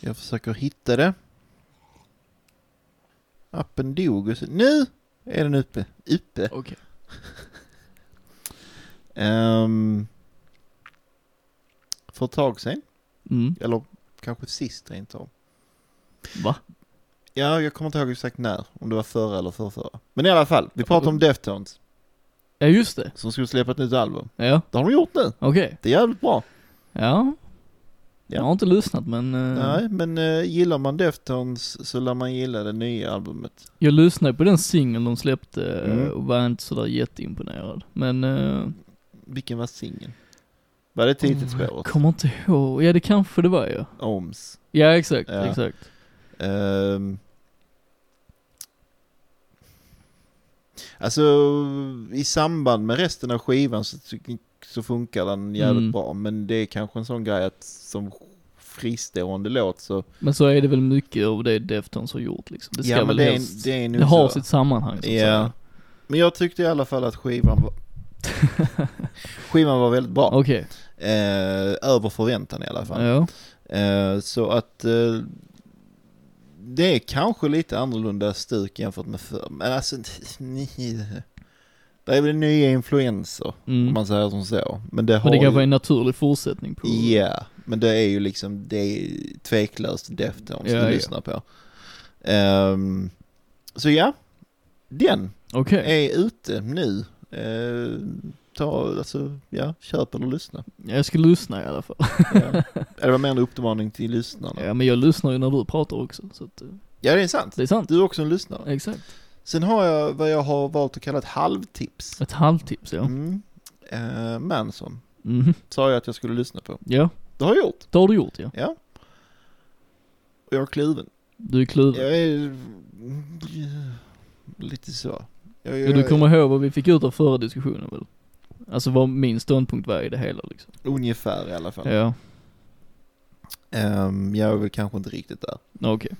S1: jag försöker hitta det. Appen dog och så, nu är den uppe. uppe.
S2: Okej.
S1: (laughs) Ehm. för ett tag sedan,
S2: Mm.
S1: eller kanske sist rent av.
S2: Va?
S1: Ja, jag kommer inte ihåg exakt när, om det var förra eller förrförra. Men i alla fall, vi pratar om Deftones
S2: Ja just det.
S1: som skulle släppa ett nytt album.
S2: Ja,
S1: Det har de gjort nu.
S2: okej.
S1: Det är jävligt bra.
S2: Ja. Jag
S1: Ja.
S2: har inte lyssnat men eh,
S1: Nej, men eh, gillar man Deftones så lär man gilla det nya albumet.
S2: jag lyssnade på den singeln de släppte eh,
S1: Mm.
S2: och var inte sådär jätteimponerad. Men eh,
S1: Vilken var singeln? Var det
S2: Mm.
S1: titelspåret?
S2: kommer inte ihåg. Ja det kanske det var ja.
S1: Oms.
S2: Ja exakt,
S1: Ja.
S2: exakt.
S1: Ehm. alltså, i samband med resten av skivan så, ty- så funkar den jävligt
S2: Mm.
S1: bra. Men det är kanske en sån grej att som fristående låt så...
S2: Men så är det väl mycket av det Deftones har gjort liksom. Det ska
S1: ja, men
S2: väl
S1: det,
S2: helst,
S1: är, det är
S2: det,
S1: nog
S2: har
S1: så.
S2: sitt sammanhang så att
S1: Ja.
S2: säga.
S1: Men jag tyckte i alla fall att skivan var...
S2: (laughs)
S1: skivan var väldigt bra.
S2: Okej,
S1: Eh, över förväntan i alla fall.
S2: ja.
S1: Eh, så att eh, det är kanske lite annorlunda stuk jämfört med förr. Men alltså, ni, det är väl nya influenser om
S2: Mm.
S1: man säger som så. Men det har
S2: Men det
S1: ju-
S2: kan vara en naturlig fortsättning på...
S1: Ja, men det är ju liksom, det är tveklöst Deftones
S2: Ja,
S1: du
S2: ja.
S1: lyssnar på. Ehm, så ja, den
S2: Okej,
S1: är ute nu. Eh, ta, alltså, ja, köp eller
S2: (laughs)
S1: lyssna.
S2: jag ska lyssna i alla fall.
S1: Ja. det var mer en uppmaning till lyssnarna.
S2: Ja men jag lyssnar ju när du pratar också så att, eh,
S1: Ja, det är sant.
S2: det är sant.
S1: Du är också en lyssnare.
S2: Exakt.
S1: Sen har jag vad jag har valt att kalla ett halvtips.
S2: Ett halvtips ja.
S1: Mm. Eh, Manson
S2: Mhm.
S1: sa jag att jag skulle lyssna på.
S2: Ja,
S1: Det har jag gjort.
S2: det har du gjort ja.
S1: Ja. Och jag är kluven.
S2: Du är kluven.
S1: Jag är mm, lite så. Jag,
S2: Men du kommer ihåg vad vi fick ut av förra diskussionen väl? Alltså vad min ståndpunkt var i det hela liksom.
S1: Ungefär i alla fall.
S2: Ja,
S1: Ehm, jag är väl kanske inte riktigt där.
S2: okej.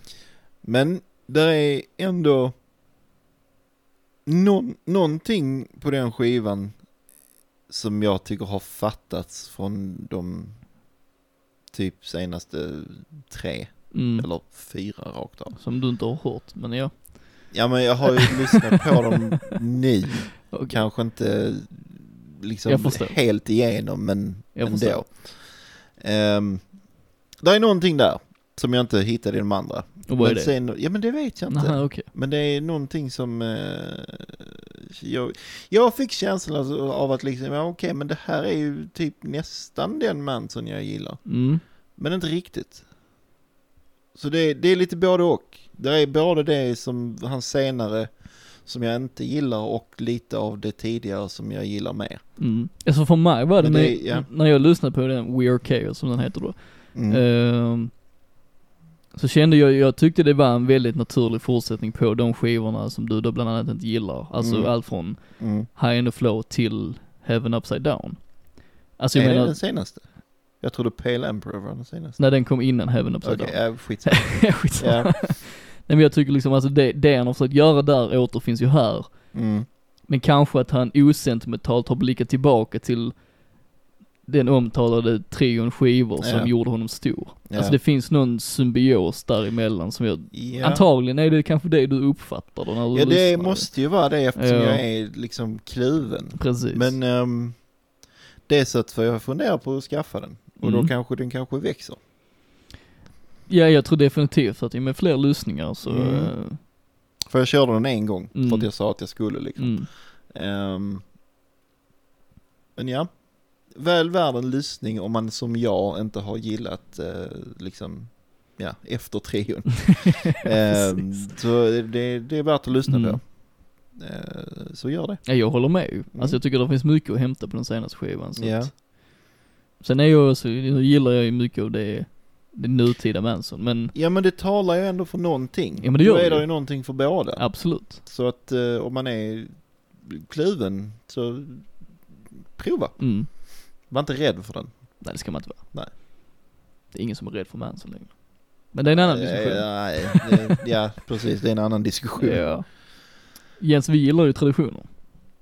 S1: Men där är ändå någon, någonting på den skivan som jag tycker har fattats från de typ senaste tre
S2: Mm.
S1: eller fyra rakt av.
S2: Som du inte har hört, men ja.
S1: Ja men jag har
S2: (laughs)
S1: ju lyssnat på dem nu,
S2: Okej.
S1: kanske inte
S2: Jag
S1: liksom
S2: förstår.
S1: helt igenom men
S2: Jag
S1: ändå.
S2: förstår.
S1: Um, det är någonting där som jag inte hittade i de andra.
S2: Och vad är
S1: men
S2: det?
S1: Sen, ja men det vet jag inte.
S2: Nähä, okej.
S1: Men det är någonting som... Eh, jag, jag fick känslan av- av att liksom, ja, okej, men det här är ju typ nästan den Manson jag gillar.
S2: Mm.
S1: Men inte riktigt. Så det, det är lite både och. Det är både det som han senare, som jag inte gillar och lite av det tidigare som jag gillar mer.
S2: Mm. Alltså för mig var det,
S1: Men det-
S2: när,
S1: ja.
S2: när jag lyssnade på den We Are Chaos som den heter då.
S1: Mm.
S2: Ehm, så kände jag, jag tyckte det var en väldigt naturlig fortsättning på de skivorna som du då bland annat inte gillar. Alltså
S1: Mm.
S2: allt från
S1: Mm.
S2: High End of Flow till Heaven Upside Down. Alltså jag
S1: är det
S2: menar,
S1: den senaste? Jag trodde Pale Emperor var den senaste.
S2: när den kom innan Heaven Upside
S1: Okej,
S2: Down.
S1: ja, skitsamma.
S2: (laughs) Skitsamma.
S1: Ja.
S2: Nej men jag tycker liksom alltså det, det han har försökt göra där återfinns ju här.
S1: Mm.
S2: Men kanske att han osentimentalt har blickat tillbaka till den omtalade trion skivor som
S1: Ja.
S2: gjorde honom stor.
S1: Ja.
S2: Alltså det finns någon symbios däremellan som jag,
S1: Ja.
S2: antagligen är det kanske det du uppfattar då när du
S1: Ja, det
S2: lyssnar.
S1: måste ju vara det eftersom
S2: Ja.
S1: jag är liksom kluven.
S2: Precis.
S1: Men ehm, det är så att för jag funderar på att skaffa den. Och då
S2: Mm.
S1: kanske den kanske växer.
S2: Ja, jag tror definitivt att med fler lyssningar så,
S1: Mm.
S2: eh,
S1: För jag körde den en gång
S2: Mm.
S1: för att jag sa att jag skulle liksom.
S2: mm.
S1: Ehm, men ja, väl värd en lyssning om man som jag inte har gillat eh, liksom, ja, efter
S2: (laughs)
S1: trion. Ehm,
S2: Precis.
S1: så det, det är värt att lyssna
S2: Mm.
S1: på. Eh, så gör det.
S2: ja, jag håller med ju.
S1: Mm.
S2: Alltså jag tycker det finns mycket att hämta på den senaste skivan. Så
S1: Ja.
S2: att, sen är jag också, nu gillar jag ju mycket av det, det nutida Manson, men
S1: Ja men det talar ju ändå för någonting.
S2: Ja, men det gör
S1: Då
S2: det
S1: är det
S2: ju.
S1: ju någonting för båda.
S2: absolut.
S1: Så att eh, om man är kluven så prova.
S2: Mm.
S1: Var inte rädd för den.
S2: Nej, det ska man inte vara.
S1: Nej.
S2: Det är ingen som är rädd för Manson längre. Men det är en annan diskussion.
S1: Eh, nej, det, ja precis, det är en annan diskussion.
S2: Ja. Jens, vi gillar ju traditioner.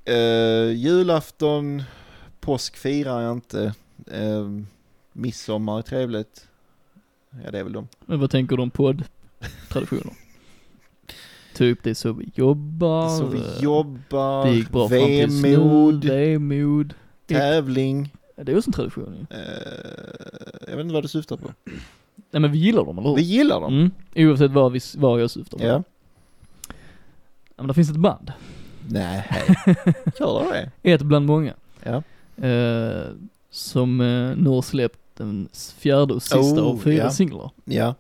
S1: Eh, julafton, påsk firar jag inte. Eh, midsommar är trevligt. Ja det är väl de.
S2: Men vad tänker du
S1: (laughs)
S2: om podd-traditioner? typ det är så vi jobbar.
S1: Så vi
S2: eh,
S1: jobbar,
S2: Det gick bra fram tills
S1: vemod,
S2: nu, vemod.
S1: tävling.
S2: Ja, Det är också en tradition ju.
S1: Eh, jag vet inte vad du syftar på.
S2: Nej men vi gillar dem, eller hur?
S1: Vi gillar dem.
S2: Mm. Oavsett vad, vi, vad jag syftar på.
S1: Ja.
S2: Ja, Men det finns ett band.
S1: (laughs) Nej. Gör det?
S2: Ett bland många.
S1: Ja.
S2: Eh, som eh, nu har släppt den s- fjärde och sista
S1: Oh,
S2: av fyra
S1: ja.
S2: singlar.
S1: Ja.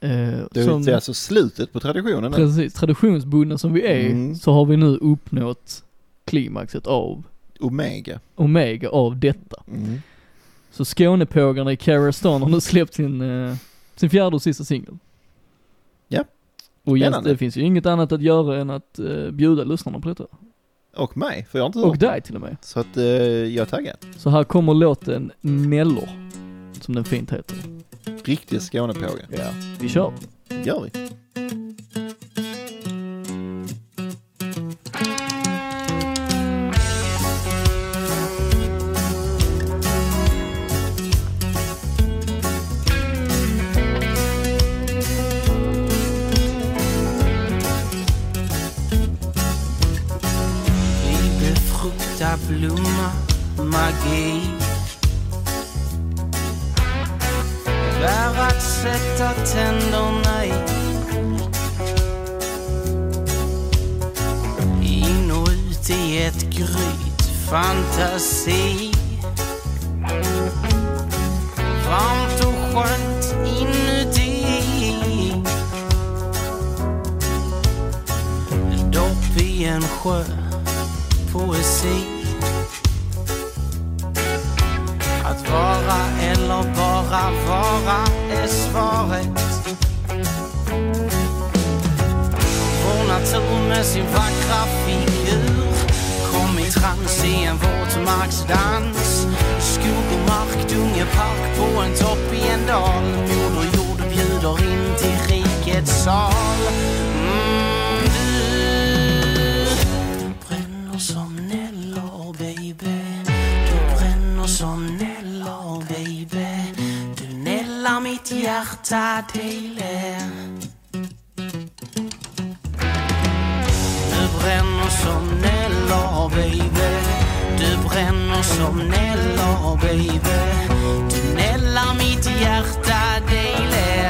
S2: Eh,
S1: Det
S2: som,
S1: är alltså slutet på traditionen nu.
S2: precis, traditionsbundna som vi är,
S1: Mm.
S2: så har vi nu uppnått klimaxet av
S1: Omega.
S2: Omega av detta.
S1: Mm.
S2: Så Skånepågarna i Carastan har nu släppt sin, eh, sin fjärde och sista singel.
S1: Ja.
S2: Och Jens,
S1: Spännande.
S2: det finns ju inget annat att göra än att eh, bjuda lyssnarna på detta.
S1: Och mig, för jag har inte
S2: Och
S1: hört den.
S2: dig till och med.
S1: Så att eh, jag är taggad.
S2: Så här kommer låten Mellor, som den fint heter.
S1: Riktig Skånepåge.
S2: Ja. Vi kör.
S1: gör vi.
S5: Liebe Frukta Bluma Magie För att sätta tänderna i In och ut i ett gryt fantasi Varmt och skönt inuti Dopp i en sjö poesi Att vara eller bara vara är svaret Vår natur med sin vackra figur Kom i trans i en våtmarksdans Skog och mark, dungepark på en topp i en dal Moder jord bjuder in till rikets sal mm, du bränner som neller baby Du bränner som neller baby Du nällar mitt hjärta Dejle Du bränner som neller baby Du bränner som neller baby Du nällar mitt hjärta Dejle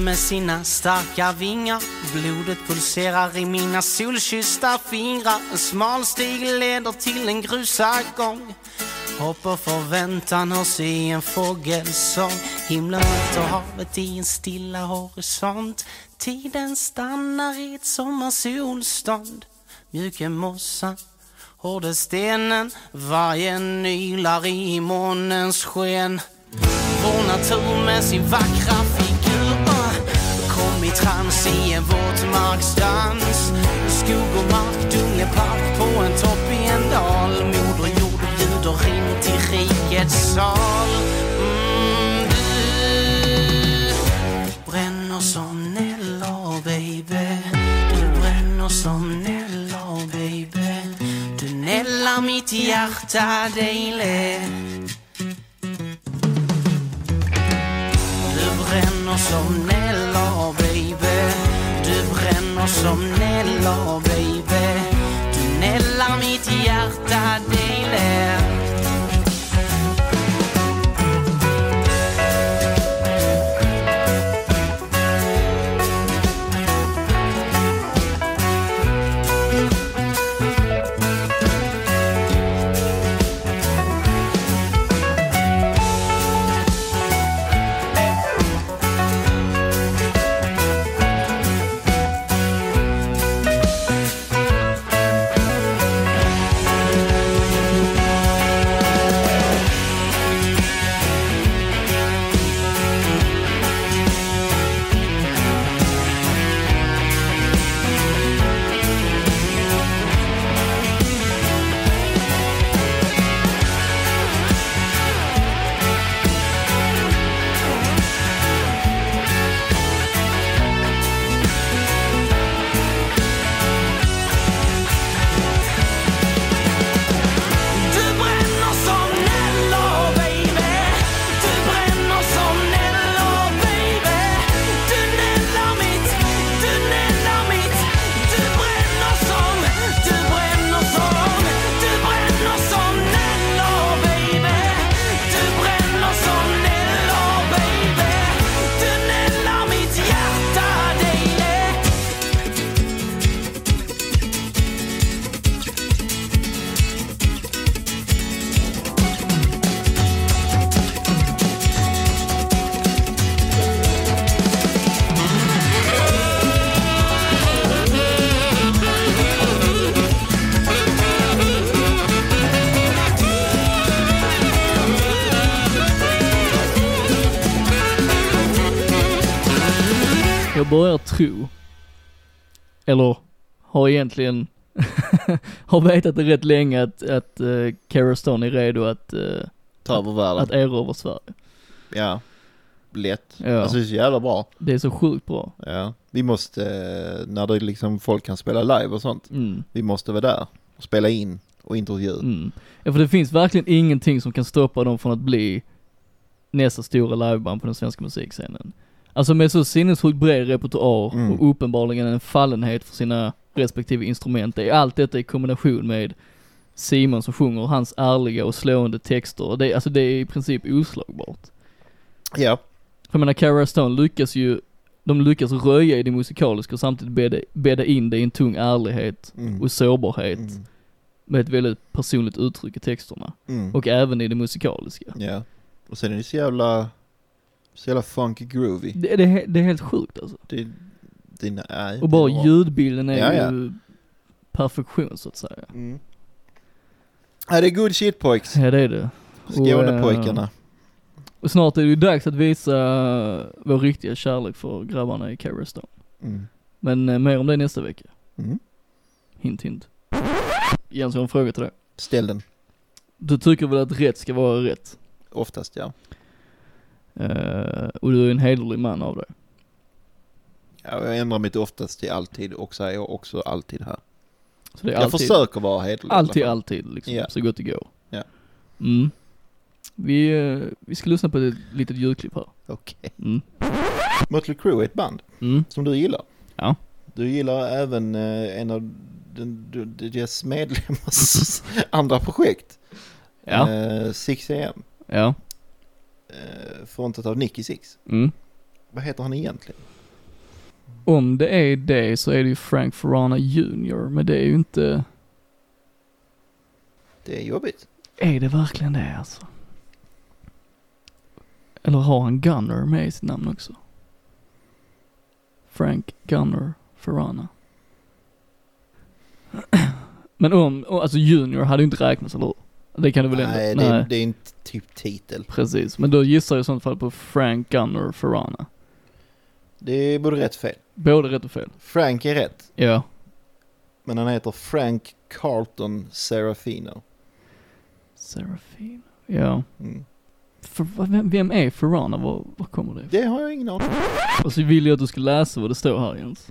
S5: med sina starka vingar Blodet pulserar i mina solkyssta fingrar En smal stig leder till en grusad gång Hopp och förväntan hörs i en fågelsång Himlen möter havet i en stilla horisont Tiden stannar i ett sommarsolstånd Mjuke mossan hårde stenen Varje nylar i månens sken Vår natur med sin vackra figur Kom i trans i en våtmarksdans Skog och mark, dungepark på en topp i en dal Moder jord bjuder in till rikets sal mm, Du bränner som Nello baby Du bränner som Nello baby Du nällar mitt hjärta daily Du bränner som Nella baby Du bränner som Nella baby Du nällar mitt hjärta daily Du bränner som Nello, baby Du bränner som Nello, baby Du nällar mitt, du nällar mitt Du bränner som, du bränner som Du bränner som Nello, baby Du bränner som Nello, baby Du nällar mitt hjärta, daily
S2: Jag börjar tro, eller har egentligen, (laughs) har vetat det rätt länge att, att eh, Cara Stone är redo att, eh,
S1: Ta över världen.
S2: att erövra Sverige.
S1: Ja. Lätt.
S2: Ja.
S1: Alltså det är så jävla bra.
S2: Det är så sjukt bra.
S1: Ja. Vi måste, eh, när det liksom folk kan spela live och sånt,
S2: Mm,
S1: vi måste vara där och spela in och intervju.
S2: mm. Ja, för det finns verkligen ingenting som kan stoppa dem från att bli nästa stora liveband på den svenska musikscenen. Alltså med så sinnessjukt bred repertoar
S1: Mm.
S2: och uppenbarligen en fallenhet för sina respektive instrument. Det är allt detta i kombination med Simon som sjunger, hans ärliga och slående texter. Det, är- alltså det är i princip oslagbart.
S1: Ja.
S2: För jag menar, Cara Stone lyckas ju, de lyckas röja i det musikaliska och samtidigt bädda, bädda in det i en tung ärlighet
S1: Mm.
S2: och sårbarhet
S1: Mm.
S2: med ett väldigt personligt uttryck i texterna.
S1: Mm.
S2: Och även i det musikaliska.
S1: Ja. Och sen är det så jävla, så jävla funky groovy.
S2: Det, det, är he- det är helt sjukt alltså.
S1: Det, det, nej,
S2: Och
S1: det
S2: bara
S1: är bra.
S2: ljudbilden är
S1: Ja, ja.
S2: ju perfektion så att säga.
S1: Mm. Ja, det är good shit pojks.
S2: Ja det är det.
S1: Skånepojkarna.
S2: Och snart är det ju dags att visa eh, vår riktiga kärlek för grabbarna i Cara Stone.
S1: Mm.
S2: Men eh, mer om det nästa vecka.
S1: Mm.
S2: Hint hint. Jens, jag har en fråga till dig.
S1: Ställ den.
S2: Du tycker väl att rätt ska vara rätt?
S1: Oftast ja.
S2: Eh, och du är en hederlig man av det.
S1: Ja, Jag ändrar mitt oftast till alltid och säger också alltid här.
S2: Så det är
S1: Jag
S2: alltid,
S1: försöker vara hederlig. i alla
S2: alltid,
S1: fall.
S2: alltid liksom,
S1: Ja.
S2: så gott det går.
S1: Ja.
S2: Mm. Vi, eh, vi ska lyssna på ett litet ljudklipp här.
S1: Okej.
S2: Mm.
S1: Mötley Crüe är ett band
S2: Mm.
S1: som du gillar.
S2: Ja.
S1: Du gillar även eh, en av den- du- deras medlemmars (laughs) andra projekt.
S2: Ja.
S1: Eh, 6 AM.
S2: Ja.
S1: Eh, frontat av Nicky Six.
S2: Mm.
S1: Vad heter han egentligen?
S2: om det är det så är det ju Frank Farana Jr. Men det är ju inte...
S1: Det är jobbigt.
S2: Är det verkligen det alltså? Eller har han Gunner med i sitt namn också? Frank Gunner Ferrana. (clears throat) Men om, och alltså Junior hade ju inte räknats, eller hur? Det kan du väl ändå?
S1: Nej, det, är- det är en t- typ titel.
S2: Precis, men då gissar jag i sånt fall på Frank Gunner Ferrana.
S1: Det är både rätt och fel.
S2: Både rätt och fel.
S1: Frank är rätt,
S2: Ja.
S1: men han heter Frank Carlton Serafino.
S2: Serafin. Ja.
S1: Mm.
S2: För, vad- vem, vem är Ferrana? Var, var kommer det ifrån?
S1: Det har jag ingen aning om.
S2: Och så vill Alltså, jag att du ska läsa vad det står här Jens.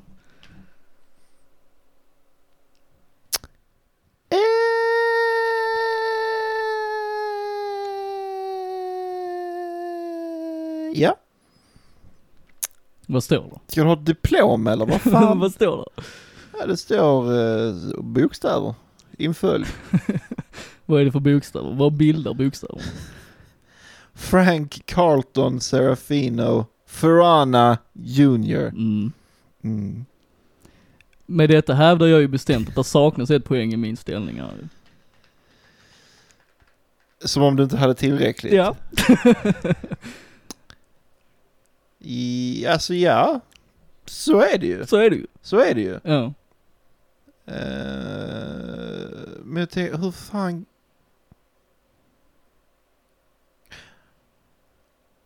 S1: Eh, Ja.
S2: Vad står det?
S1: Ska du ha ett diplom eller
S2: (laughs)
S1: vad fan?
S2: vad står det?
S1: ja, det står eh, bokstäver. Inföljd.
S2: Vad är det för bokstäver? Vad bildar bokstäver?
S1: Frank Carlton Serafino Ferrana Jr.
S2: Mm.
S1: Mm.
S2: Med detta hävdar jag ju bestämt att det saknas ett poäng i min ställning här.
S1: Som om du inte hade tillräckligt.
S2: Ja.
S1: I, alltså ja, så är det ju.
S2: Så är det ju.
S1: Så är det ju.
S2: Ja.
S1: Eh, men jag tänker, hur fan...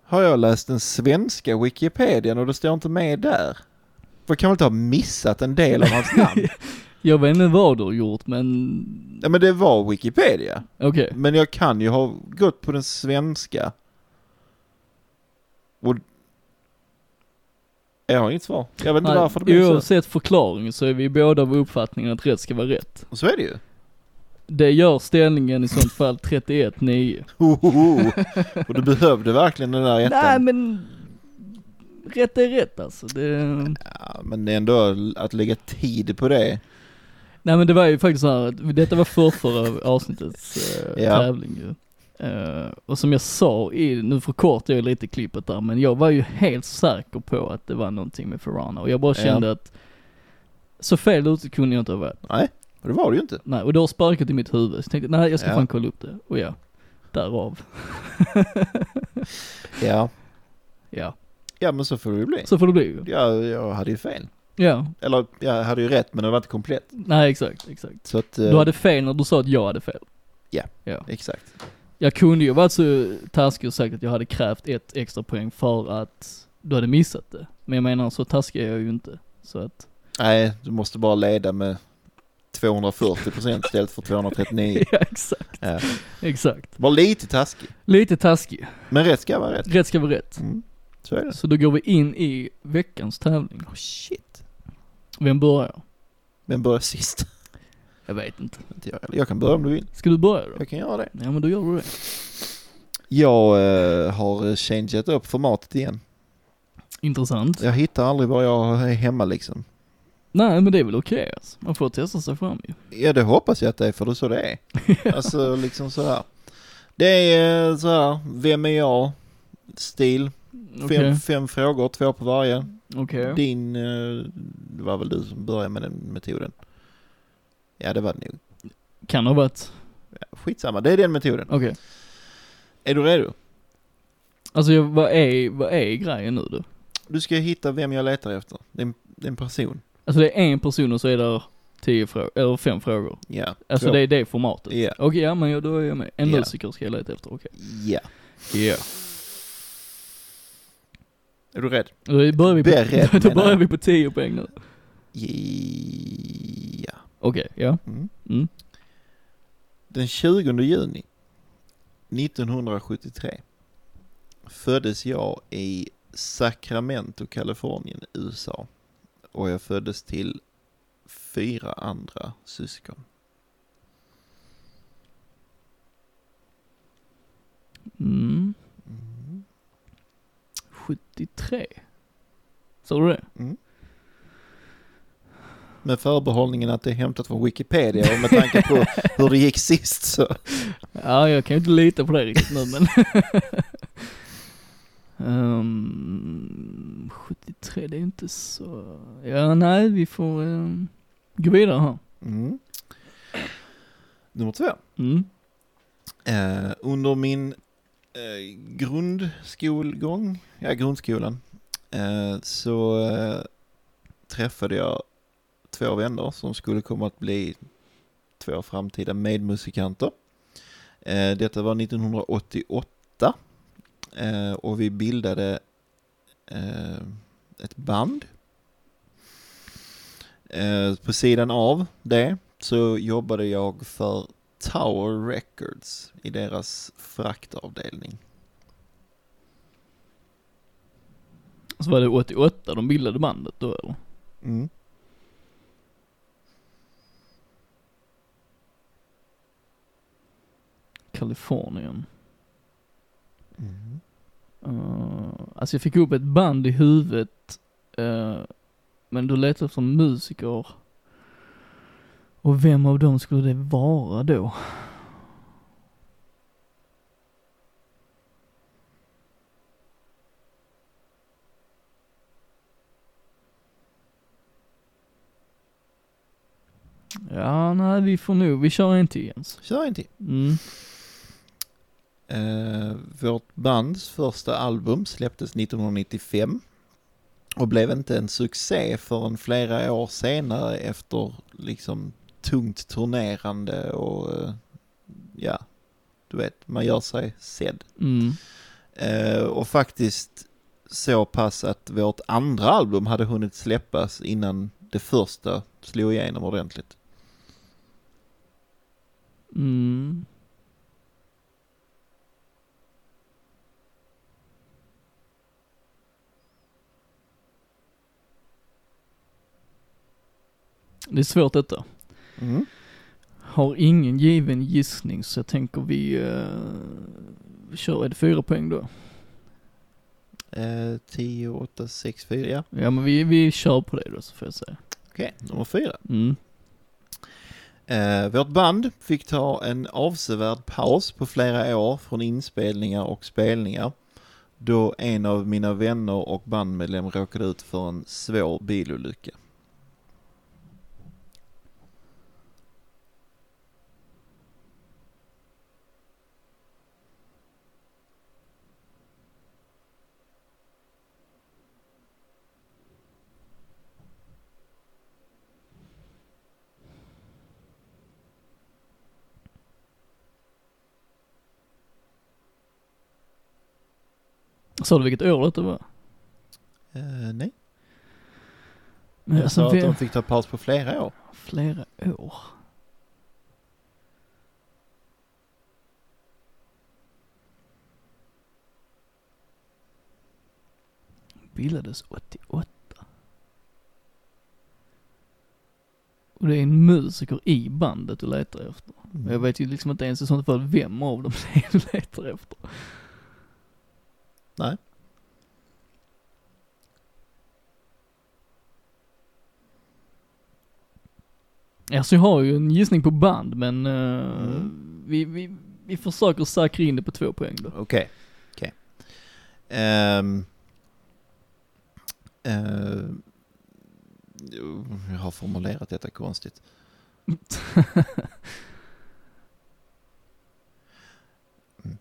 S1: Har jag läst den svenska Wikipedian och det står inte med där? För kan väl inte ha missat en del av hans
S2: (laughs)
S1: namn?
S2: Jag vet inte vad du har gjort men...
S1: Nej men det var Wikipedia.
S2: Okej.
S1: Men jag kan ju ha gått på den svenska. Och... Jag har inget svar. Jag vet inte
S2: Nej,
S1: varför det blev så.
S2: Oavsett förklaring så är vi båda av uppfattningen att rätt ska vara rätt.
S1: Och så är det ju.
S2: Det gör ställningen i sånt fall 31-9.
S1: Hohoho. Och du behövde verkligen den där ettan.
S2: (laughs) Nej men... Rätt är rätt alltså. Det...
S1: Ja, men ändå att lägga tid på det.
S2: Nej men det var ju faktiskt så här, att detta var förrförra avsnittets eh,
S1: Ja.
S2: tävling ju. Eh, och som jag sa, i, nu förkortar jag lite klippet där, men jag var ju helt säker på att det var någonting med Ferrana och jag bara
S1: Ja.
S2: kände att så fel ute kunde jag inte ha varit.
S1: Nej, och det var det ju inte.
S2: Nej, och det har sparkat i mitt huvud, så jag tänkte nej jag ska
S1: Ja.
S2: fan kolla upp det. Och ja, därav.
S1: Ja.
S2: Ja,
S1: Ja, men så får Eh, det ju bli.
S2: så får det bli ju.
S1: Ja, jag hade ju fel.
S2: Ja,
S1: Eller jag hade ju rätt, men det var inte komplett.
S2: nej exakt, exakt.
S1: Så att... eh,
S2: Du hade fel när du sa att jag hade fel.
S1: Exakt.
S2: Jag kunde ju varit så taskig och sagt att jag hade krävt ett extra poäng för att du hade missat det. Men jag menar, så taskig är jag ju inte. Så att,
S1: Nej, du måste bara leda med 240 procent istället för (laughs) 239.
S2: (laughs) ja exakt,
S1: Ja.
S2: exakt.
S1: Var lite taskig.
S2: Lite taskig.
S1: Men rätt ska vara rätt.
S2: Rätt ska vara rätt.
S1: Mm. Så är det.
S2: Så då går vi in i veckans tävling.
S1: Oh, shit.
S2: Vem börjar?
S1: Men börja (laughs) sist.
S2: Jag vet inte.
S1: Inte jag heller. Jag kan börja om du vill.
S2: Ska du börja då?
S1: Jag kan göra det.
S2: Ja men då gör du det.
S1: Jag eh, har changeat upp formatet igen.
S2: Intressant.
S1: Jag hittar aldrig var jag är hemma liksom.
S2: Nej men det är väl okej alltså. Man får testa sig fram ju.
S1: Ja, det hoppas jag att det är, för det är så det är. Alltså, liksom så här. Det är eh, så här, vem är jag-stil. Fem,
S2: Okej,
S1: fem frågor, två på varje.
S2: okej.
S1: Din, eh, det var väl du som började med den metoden? Ja, det var det nog.
S2: Kan ha varit.
S1: Ja, Skitsamma, det är den metoden.
S2: Okej.
S1: Är du redo?
S2: Alltså jag- vad är, vad är grejen nu då?
S1: Du ska hitta vem jag letar efter. Det är en, det är en person.
S2: Alltså det är en person och så är det tio frågor, eller fem frågor.
S1: Ja.
S2: Alltså
S1: Två.
S2: det är det formatet?
S1: Ja.
S2: Okej, ja men jag- då är jag med. En
S1: Ja.
S2: musiker ska jag leta efter, okej.
S1: Ja.
S2: Ja.
S1: Är du rädd?
S2: Då börjar vi på,
S1: Beredd,
S2: (laughs) då
S1: menar
S2: börjar
S1: jag.
S2: vi på 10 poäng nu.
S1: Ja.
S2: Okej, ja.
S1: Mm.
S2: Mm.
S1: Den 20 juni 1973 föddes jag i Sacramento, Kalifornien, USA. Och jag föddes till fyra andra syskon.
S2: Mm. 73. Sa du det?
S1: Med förbehållningen att det är hämtat från Wikipedia och med tanke på hur det gick sist så.
S2: Ja, jag kan ju inte lita på det riktigt nu men. (laughs) Ehm, 73, det är ju inte så... Ja, nej, vi får ehm, gå vidare här.
S1: Mm. Nummer två.
S2: Mm.
S1: Eh, under min eh, grundskolgång, ja grundskolan, eh, så eh, träffade jag två vänner som skulle komma att bli två framtida medmusikanter. Eh, detta var 1988 eh, och vi bildade eh, ett band. Eh, på sidan av det så jobbade jag för Tower Records i deras fraktavdelning.
S2: Så var det 88 de bildade bandet då eller?
S1: Mm.
S2: Kalifornien.
S1: Mm.
S2: Uh, alltså jag fick upp ett band i huvudet. eh, men du letar efter musiker. Och vem av dem skulle det vara då? Ja, nej vi får nog, vi kör en till Jens.
S1: Kör en till.
S2: Mm.
S1: Eh, vårt bands första album släpptes 1995 och blev inte en succé förrän flera år senare efter liksom tungt turnerande och eh, ja, du vet, man gör sig sedd.
S2: Mm.
S1: Eh, och faktiskt så pass att vårt andra album hade hunnit släppas innan det första slog igenom ordentligt.
S2: Mm. Det är svårt detta.
S1: Mm.
S2: Har ingen given gissning så jag tänker vi eh, kör, är det fyra poäng då?
S1: Eh, 10, 8, 6, 4, ja.
S2: Ja men vi, vi kör på det då så får jag säga.
S1: Okej, nummer fyra.
S2: Mm.
S1: Eh, vårt band fick ta en avsevärd paus på flera år från inspelningar och spelningar då en av mina vänner och bandmedlem råkade ut för en svår bilolycka.
S2: Sa du vilket år det var?
S1: Eh, nej,
S2: Men
S1: jag sa
S2: alltså,
S1: att
S2: vi,
S1: de fick ta paus på flera år.
S2: flera år. Bildades 88. Och det är en musiker i bandet du letar efter. Men Jag vet ju liksom inte ens i sånt fall vem av dem det är du (laughs) letar efter.
S1: Nej.
S2: Alltså jag har ju en gissning på band men eh, vi, vi, vi försöker säkra in det på två poäng då.
S1: Okej. Okej. Ehm. Ehm. Jo, jag har formulerat detta konstigt. Mm.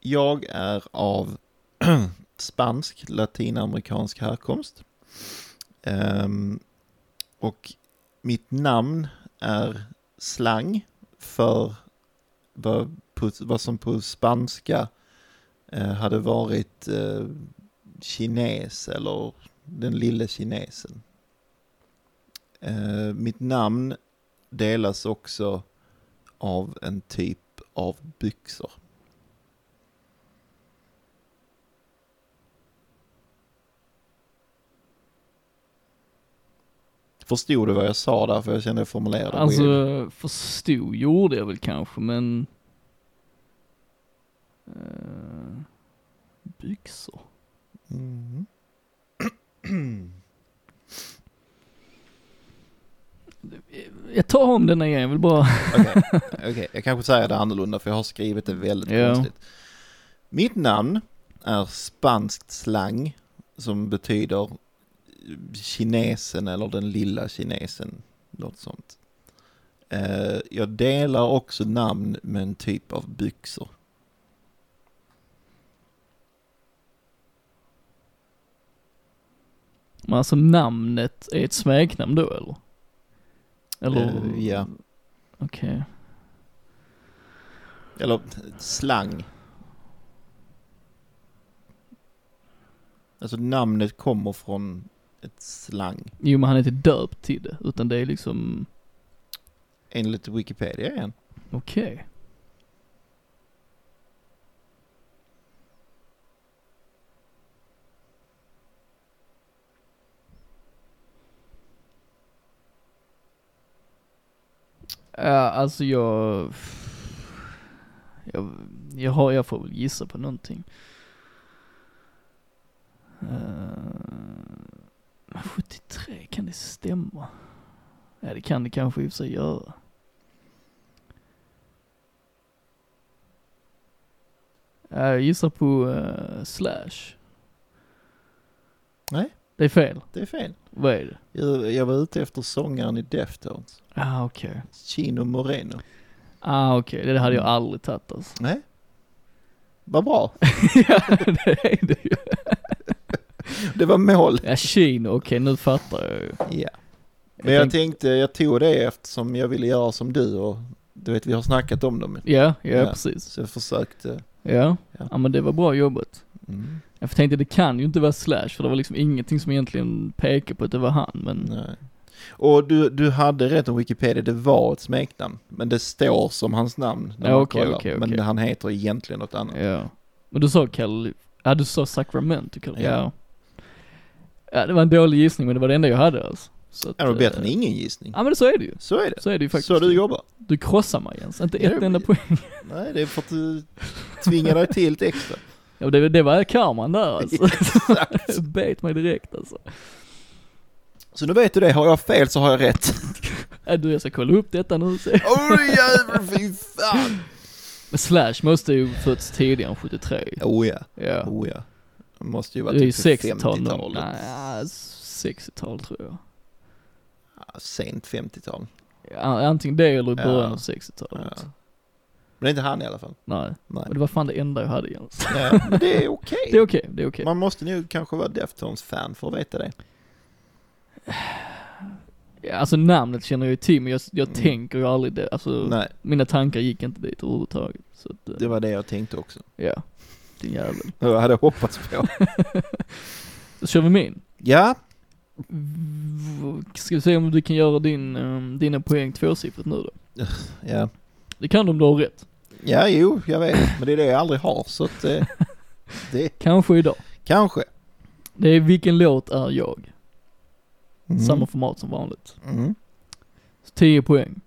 S1: Jag är av (clears throat) spansk, latinamerikansk härkomst. Ehm, och mitt namn är slang för vad på, vad som på spanska eh, hade varit eh, kines eller den lille kinesen. Eh, mitt namn delas också av en typ av byxor. Förstod du vad jag sa där? För jag kände jag formulerade det weird.
S2: Alltså förstod gjorde jag väl kanske men... Eh, byxor?
S1: (clears throat) Mhm.
S2: Jag tar om denna igen, jag vill bara...
S1: Okej, okej. jag kanske säger det annorlunda för jag har skrivit det väldigt
S2: Ja.
S1: konstigt. Mitt namn är spanskt slang som betyder kinesen eller den lilla kinesen, något sånt. Eh, jag delar också namn med en typ av byxor.
S2: Men alltså namnet är ett smeknamn då eller? Eller?
S1: Eh, ja,
S2: Okej.
S1: eller slang. Alltså namnet kommer från ett slang.
S2: Jo men han är inte döpt till det, utan det är liksom,
S1: Enligt Wikipedia igen.
S2: okej. Ja, alltså jag... Jag, jag, har, jag får väl gissa på någonting. Äh, Eh, 73, kan det stämma? Ja, det kan det kanske i och för sig göra. Ja, jag gissar på eh, Slash.
S1: Nej.
S2: Det är fel.
S1: Det är fel.
S2: Vad är det?
S1: Jag, jag var ute efter sångaren i Deftones.
S2: Ah, okej.
S1: Chino Moreno.
S2: Ah, okej. Det hade jag aldrig tagit alltså.
S1: Nej. Vad bra.
S2: (laughs) ja, det är det ju.
S1: Det var
S2: (laughs)
S1: mål.
S2: Ja, Kino. Okej, nu fattar jag ju.
S1: Ja. Men jag
S2: tänk-
S1: tänkte, jag tog det eftersom jag ville göra som du och du vet vi har snackat om dem.
S2: Ja, ja,
S1: Ja.
S2: precis.
S1: Så jag försökte.
S2: Ja.
S1: Ja.
S2: ja. men det var bra jobbat.
S1: Mm,
S2: Jag tänkte det kan ju inte vara Slash, för det var liksom ingenting som egentligen pekade på att det var han, men...
S1: nej. Och du, du hade rätt om Wikipedia, det var ett smeknamn. Men det står som hans namn när
S2: Ja,
S1: man
S2: okej,
S1: kollar.
S2: okej,
S1: Men
S2: okej.
S1: han heter egentligen något annat.
S2: Ja. Men du sa Kal... Ja, du sa Sacramento Kal...
S1: Ja.
S2: Ja. ja. det var en dålig gissning, men det var det enda jag hade alltså. Så att,
S1: Ja, det var bättre än
S2: eh,
S1: ingen gissning.
S2: Ja, men så är det ju.
S1: Så är det.
S2: Så är det ju faktiskt.
S1: Så du jobbar.
S2: Du krossar mig Jens, inte
S1: Ja,
S2: ett
S1: men-
S2: enda poäng.
S1: Nej, det är för att du tvingar dig till lite extra.
S2: Ja, det, det var
S1: (laughs)
S2: karman där alltså. (laughs) Bet mig direkt alltså.
S1: (laughs) Så nu vet du det, har jag fel så har jag rätt.
S2: Ja, Äh, du, jag ska kolla upp detta nu. så-
S1: Åh oh, jävlar, fy fan!
S2: Men Slash måste ju fötts tidigare än 73.
S1: Oh ja,
S2: Ja.
S1: oh ja. Det måste ju
S2: Det
S1: vara
S2: är ju
S1: typ på
S2: 60-tal nu.
S1: 50-talet.
S2: Nej, ja, 60-tal tror jag.
S1: Ja, Sent 50-tal.
S2: Ja, antingen det eller i
S1: Ja.
S2: början av 60-talet.
S1: Ja. Men det är inte han i alla fall.
S2: Nej.
S1: Nej.
S2: Och det var fan det enda jag hade Jens.
S1: Ja, men det är okej.
S2: (laughs) Det är okej, det är okej.
S1: Man måste nog kanske vara Deftones-fan för att veta det.
S2: Ja, alltså namnet känner jag ju till, men jag, jag
S1: Mm.
S2: tänker ju aldrig det. Alltså,
S1: Nej,
S2: mina tankar gick inte dit överhuvudtaget. Så att, eh,
S1: det var det jag tänkte också.
S2: (laughs) ja. Din jävel.
S1: Jag hade hoppats på.
S2: Då kör vi min.
S1: Ja,
S2: V- Ska vi se om du kan göra din, um, dina poäng tvåsiffrigt nu då?
S1: ja.
S2: Det kan du om du har rätt.
S1: Ja, jo, jag vet. Men det är det jag aldrig har, så att...
S2: (laughs)
S1: Eh, det
S2: Kanske idag.
S1: kanske.
S2: Det är Vilken låt är jag?
S1: Mm.
S2: Samma format som vanligt.
S1: Mm.
S2: Så 10 poäng.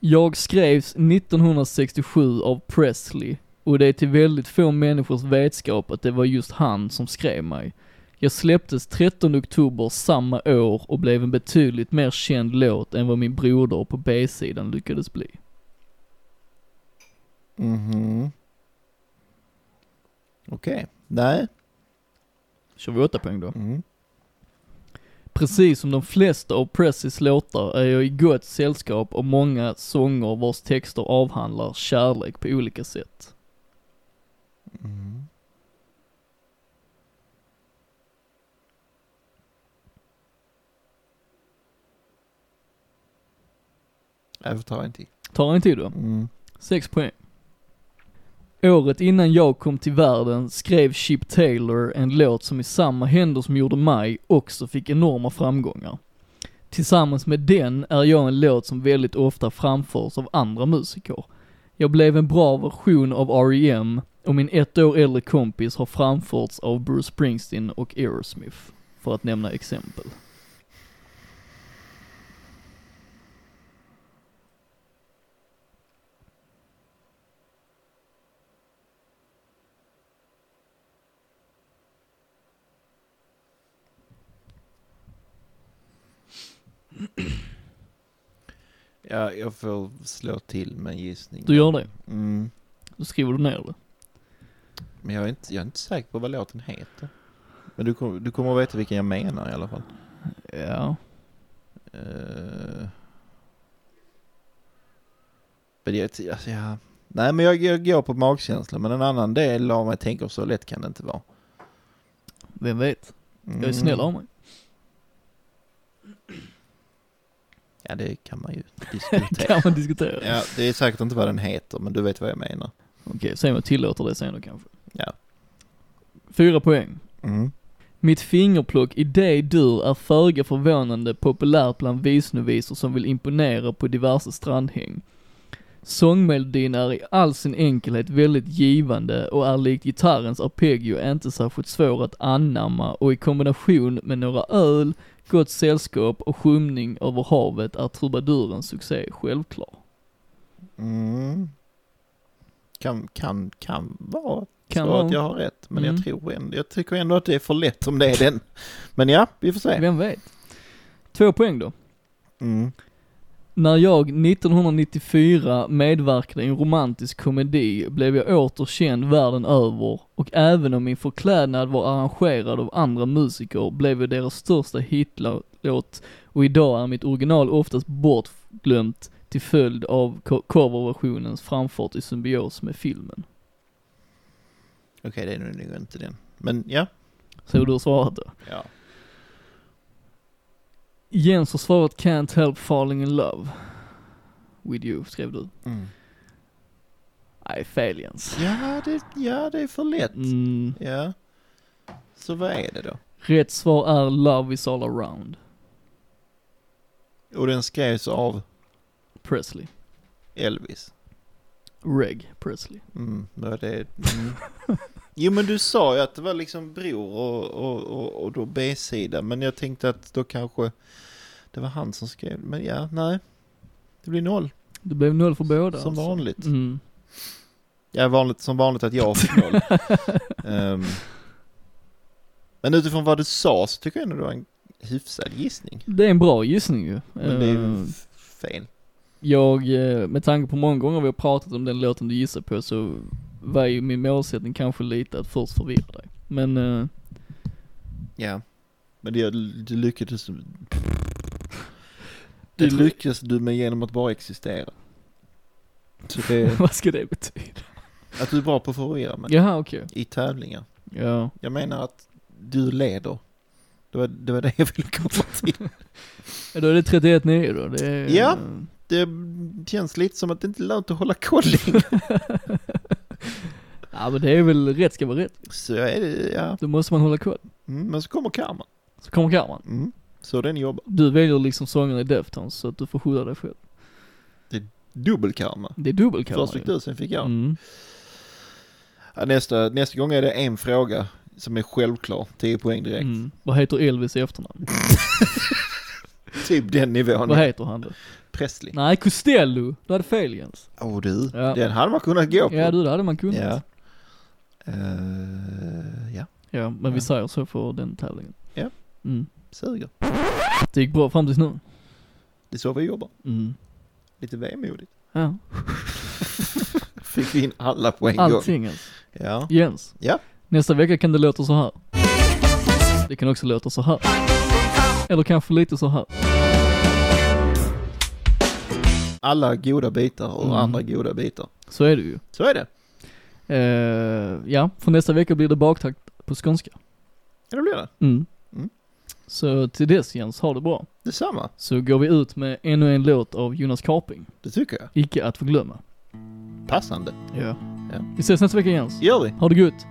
S2: Jag skrevs 1967 av Presley och det är till väldigt få människors vetskap att det var just han som skrev mig. Jag släpptes 13 oktober samma år och blev en betydligt mer känd låt än vad min broder på B-sidan lyckades bli.
S1: Mhm. Okej. Nej.
S2: Kör vi 8 poäng då?
S1: Mm.
S2: Precis som de flesta av Presleys låtar är jag i gott sällskap av många sånger vars texter avhandlar kärlek på olika sätt.
S1: Mm. Jag får ta en till.
S2: Tar en tid då?
S1: Mm.
S2: 6 poäng. Året innan jag kom till världen skrev Chip Taylor en låt som i samma händer som gjorde mig också fick enorma framgångar. Tillsammans med den är jag en låt som väldigt ofta framförs av andra musiker. Jag blev en bra version av R.E.M. och min ett år äldre kompis har framförts av Bruce Springsteen och Aerosmith, för att nämna exempel.
S1: Ja, jag får slå till med en gissning.
S2: Du gör det,
S1: Mm.
S2: då skriver du ner det.
S1: Men jag är inte, jag är inte säker på vad låten heter. Men du, kom- du kommer att veta vilken jag menar i alla fall.
S2: Ja.
S1: Eh. Men jag, alltså, jag, nej men jag, jag går på magkänsla. Men en annan del av mig tänker så lätt kan det inte vara.
S2: Vem vet?
S1: Mm.
S2: Jag är snäll av mig.
S1: Ja det kan man ju diskutera.
S2: (laughs) Kan man
S1: (laughs)
S2: diskutera.
S1: ja, det är säkert inte vad den heter men du vet vad jag menar.
S2: Okej, se om jag tillåter det sen då kanske.
S1: Ja.
S2: Fyra poäng.
S1: Mm.
S2: Mitt fingerplock i dig dur är föga förvånande populärt bland visnovisor som vill imponera på diverse strandhäng. Sångmelodin är i all sin enkelhet väldigt givande och är likt gitarrens arpeggio inte särskilt svår att anamma och i kombination med några öl, gott sällskap och skymning över havet är trubadurens succé självklar.
S1: Mm. Kan, kan, kan vara
S2: Kan
S1: så
S2: vara.
S1: att jag har rätt. Men
S2: Mm.
S1: jag tror ändå, jag tycker ändå att det är för lätt om det är den. Men ja, vi får se.
S2: Vem vet? Två poäng då.
S1: Mm.
S2: När jag 1994 medverkade i en romantisk komedi blev jag åter känd världen över och även om min förklädnad var arrangerad av andra musiker blev jag deras största hitlåt och idag är mitt original oftast bortglömt till följd av co- coverversionens framfart i symbios med filmen.
S1: Okej, det är nog inte den. Men ja.
S2: Så du har svarat då?
S1: ja.
S2: Jens har svarat Can't Help Falling In Love. With You, skrev du. Nej, fel Jens.
S1: Mm. Ja, det, ja, det är för lätt.
S2: Mm.
S1: Ja. Så vad är det då?
S2: Rätt svar är Love is all around,
S1: Och den skrevs av
S2: Presley.
S1: Elvis.
S2: Reg Presley.
S1: Mm, ja, det, mm. Jo men du sa ju att det var liksom Bror och, och, och, och då B-sida. Men jag tänkte att då kanske det var han som skrev. Men ja, nej. Det blir noll.
S2: Det blev noll för båda.
S1: som
S2: alltså.
S1: vanligt.
S2: Mm.
S1: Ja, vanligt. Som vanligt att jag får
S2: (laughs)
S1: noll. Ehm, men utifrån vad du sa så tycker jag ändå det var en hyfsad gissning.
S2: Det är en bra gissning ju.
S1: Men det är
S2: Eh,
S1: ju f- fel.
S2: Jag, eh, med tanke på många gånger vi har pratat om den låten du gissar på så var ju min målsättning kanske lite att först förvirra dig. Men eh,
S1: Ja. Men det, det lyckades...
S2: (laughs)
S1: Det
S2: Jag tror-
S1: lyckades du med genom att bara existera. Så det,
S2: (laughs) vad ska det betyda?
S1: att du är bra på att förvirra mig.
S2: Jaha, okej.
S1: I tävlingar.
S2: Ja.
S1: Jag menar att du leder. Det var det, var det jag ville komma till.
S2: Ja, Då är det 31 9 då. Det är,
S1: Ja.
S2: eh,
S1: Det känns lite som att det inte är lönt att hålla koll
S2: (laughs)
S1: längre.
S2: ja men det är väl rätt ska vara rätt.
S1: Så är det, ja.
S2: Då måste man hålla koll.
S1: Mm, men så kommer karma.
S2: Så kommer karman.
S1: Mm. Så den jobbar.
S2: Du väljer liksom sången i Deftones så att du får skylla dig själv.
S1: Dubbel karma.
S2: Det är dubbel karma
S1: Först fick
S2: ju.
S1: du, sen fick jag.
S2: Mm.
S1: Ja, nästa, nästa gång är det en fråga som är självklar. 10 poäng direkt.
S2: Mm. Vad heter Elvis i efternamn?
S1: Typ den nivån.
S2: Vad heter han då?
S1: Presley.
S2: Nej, Costello! Du hade fel Jens.
S1: Åh oh, du,
S2: Ja.
S1: den hade man kunnat gå på.
S2: Ja du, det hade man kunnat.
S1: Ja.
S2: Ja,
S1: Eh, ja,
S2: men vi säger så för den tävlingen.
S1: Ja.
S2: Mm.
S1: suger.
S2: Det gick bra fram tills nu.
S1: Det är så vi jobbar.
S2: Mm.
S1: Lite vemodigt. (laughs)
S2: Ja,
S1: Fick vi in alla på en gång.
S2: allting Jens.
S1: Ja.
S2: Jens.
S1: Ja.
S2: Nästa vecka kan det låta så här. Det kan också låta så här. Eller kanske lite så här.
S1: Alla goda bitar och
S2: Mm.
S1: andra goda bitar.
S2: Så är det ju.
S1: Så är det.
S2: Eh, ja, för nästa vecka blir det baktakt på skånska.
S1: Ja, det blir det.
S2: Mm.
S1: Mm.
S2: Så till dess Jens, ha det bra.
S1: Detsamma.
S2: Så går vi ut med ännu en låt av Jonas Karping.
S1: Det tycker jag.
S2: Icke att förglömma.
S1: Passande.
S2: Ja.
S1: Ja.
S2: Vi ses nästa vecka Jens.
S1: Gör vi.
S2: Ha det gött.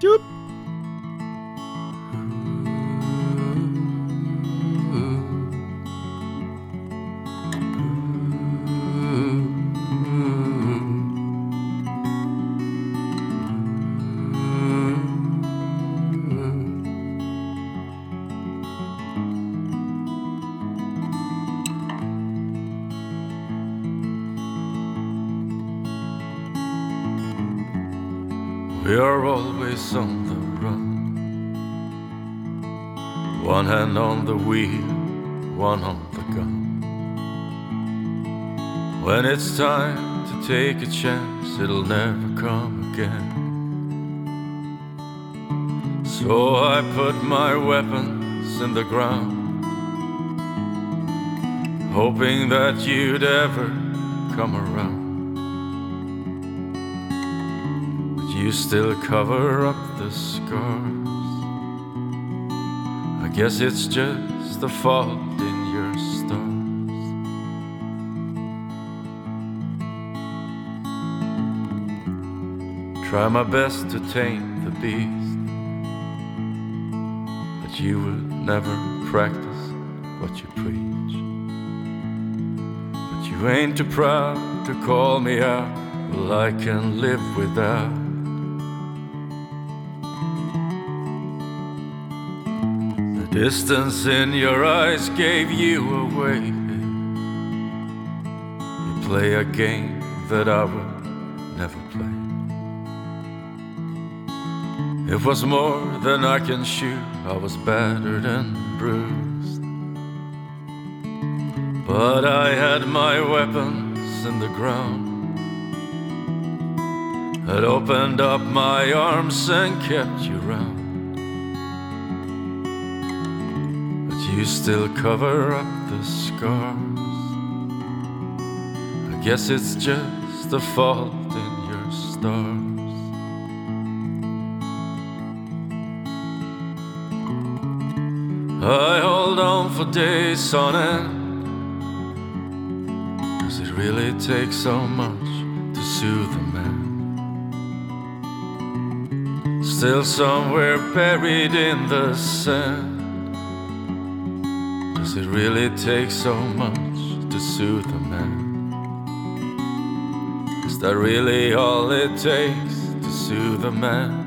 S3: We are always on the run. One hand on the wheel, one on the gun. When it's time to take a chance, it'll never come again. So I put my weapons in the ground, hoping that you'd ever come around. But you still cover up the scars. I guess it's just the fault in your stars. Try my best to tame the beast that you will never practice what you preach. But you ain't too proud to call me out. Well, I can live without. The distance in your eyes gave you away. You play a game that I would never play. It was more than I can shoot. I was battered and bruised. But I had my weapons in the ground. Had opened up my arms and kept you round. But you still cover up the scars. I guess it's just the fault in your stars. I hold on for days on end. Does it really take so much to soothe a man? Still somewhere buried in the sand. Does it really take so much to soothe a man? Is that really all it takes to soothe a man?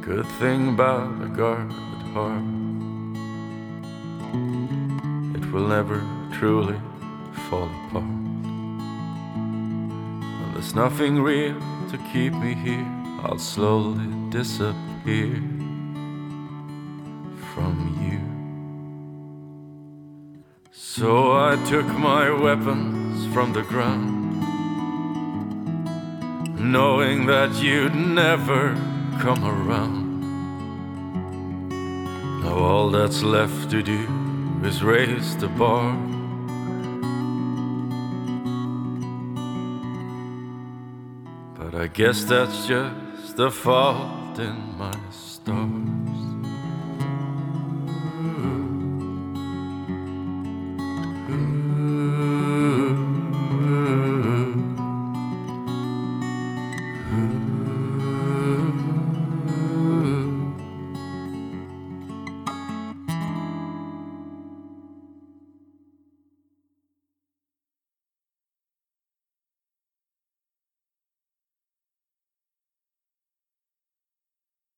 S3: Good thing about a guarded heart. It will never truly fall apart. And there's nothing real to keep me here. I'll slowly disappear from you. So I took my weapons from the ground knowing that you'd never come around. Now all that's left to do is raise the bar. But I guess that's just the fault in my stars.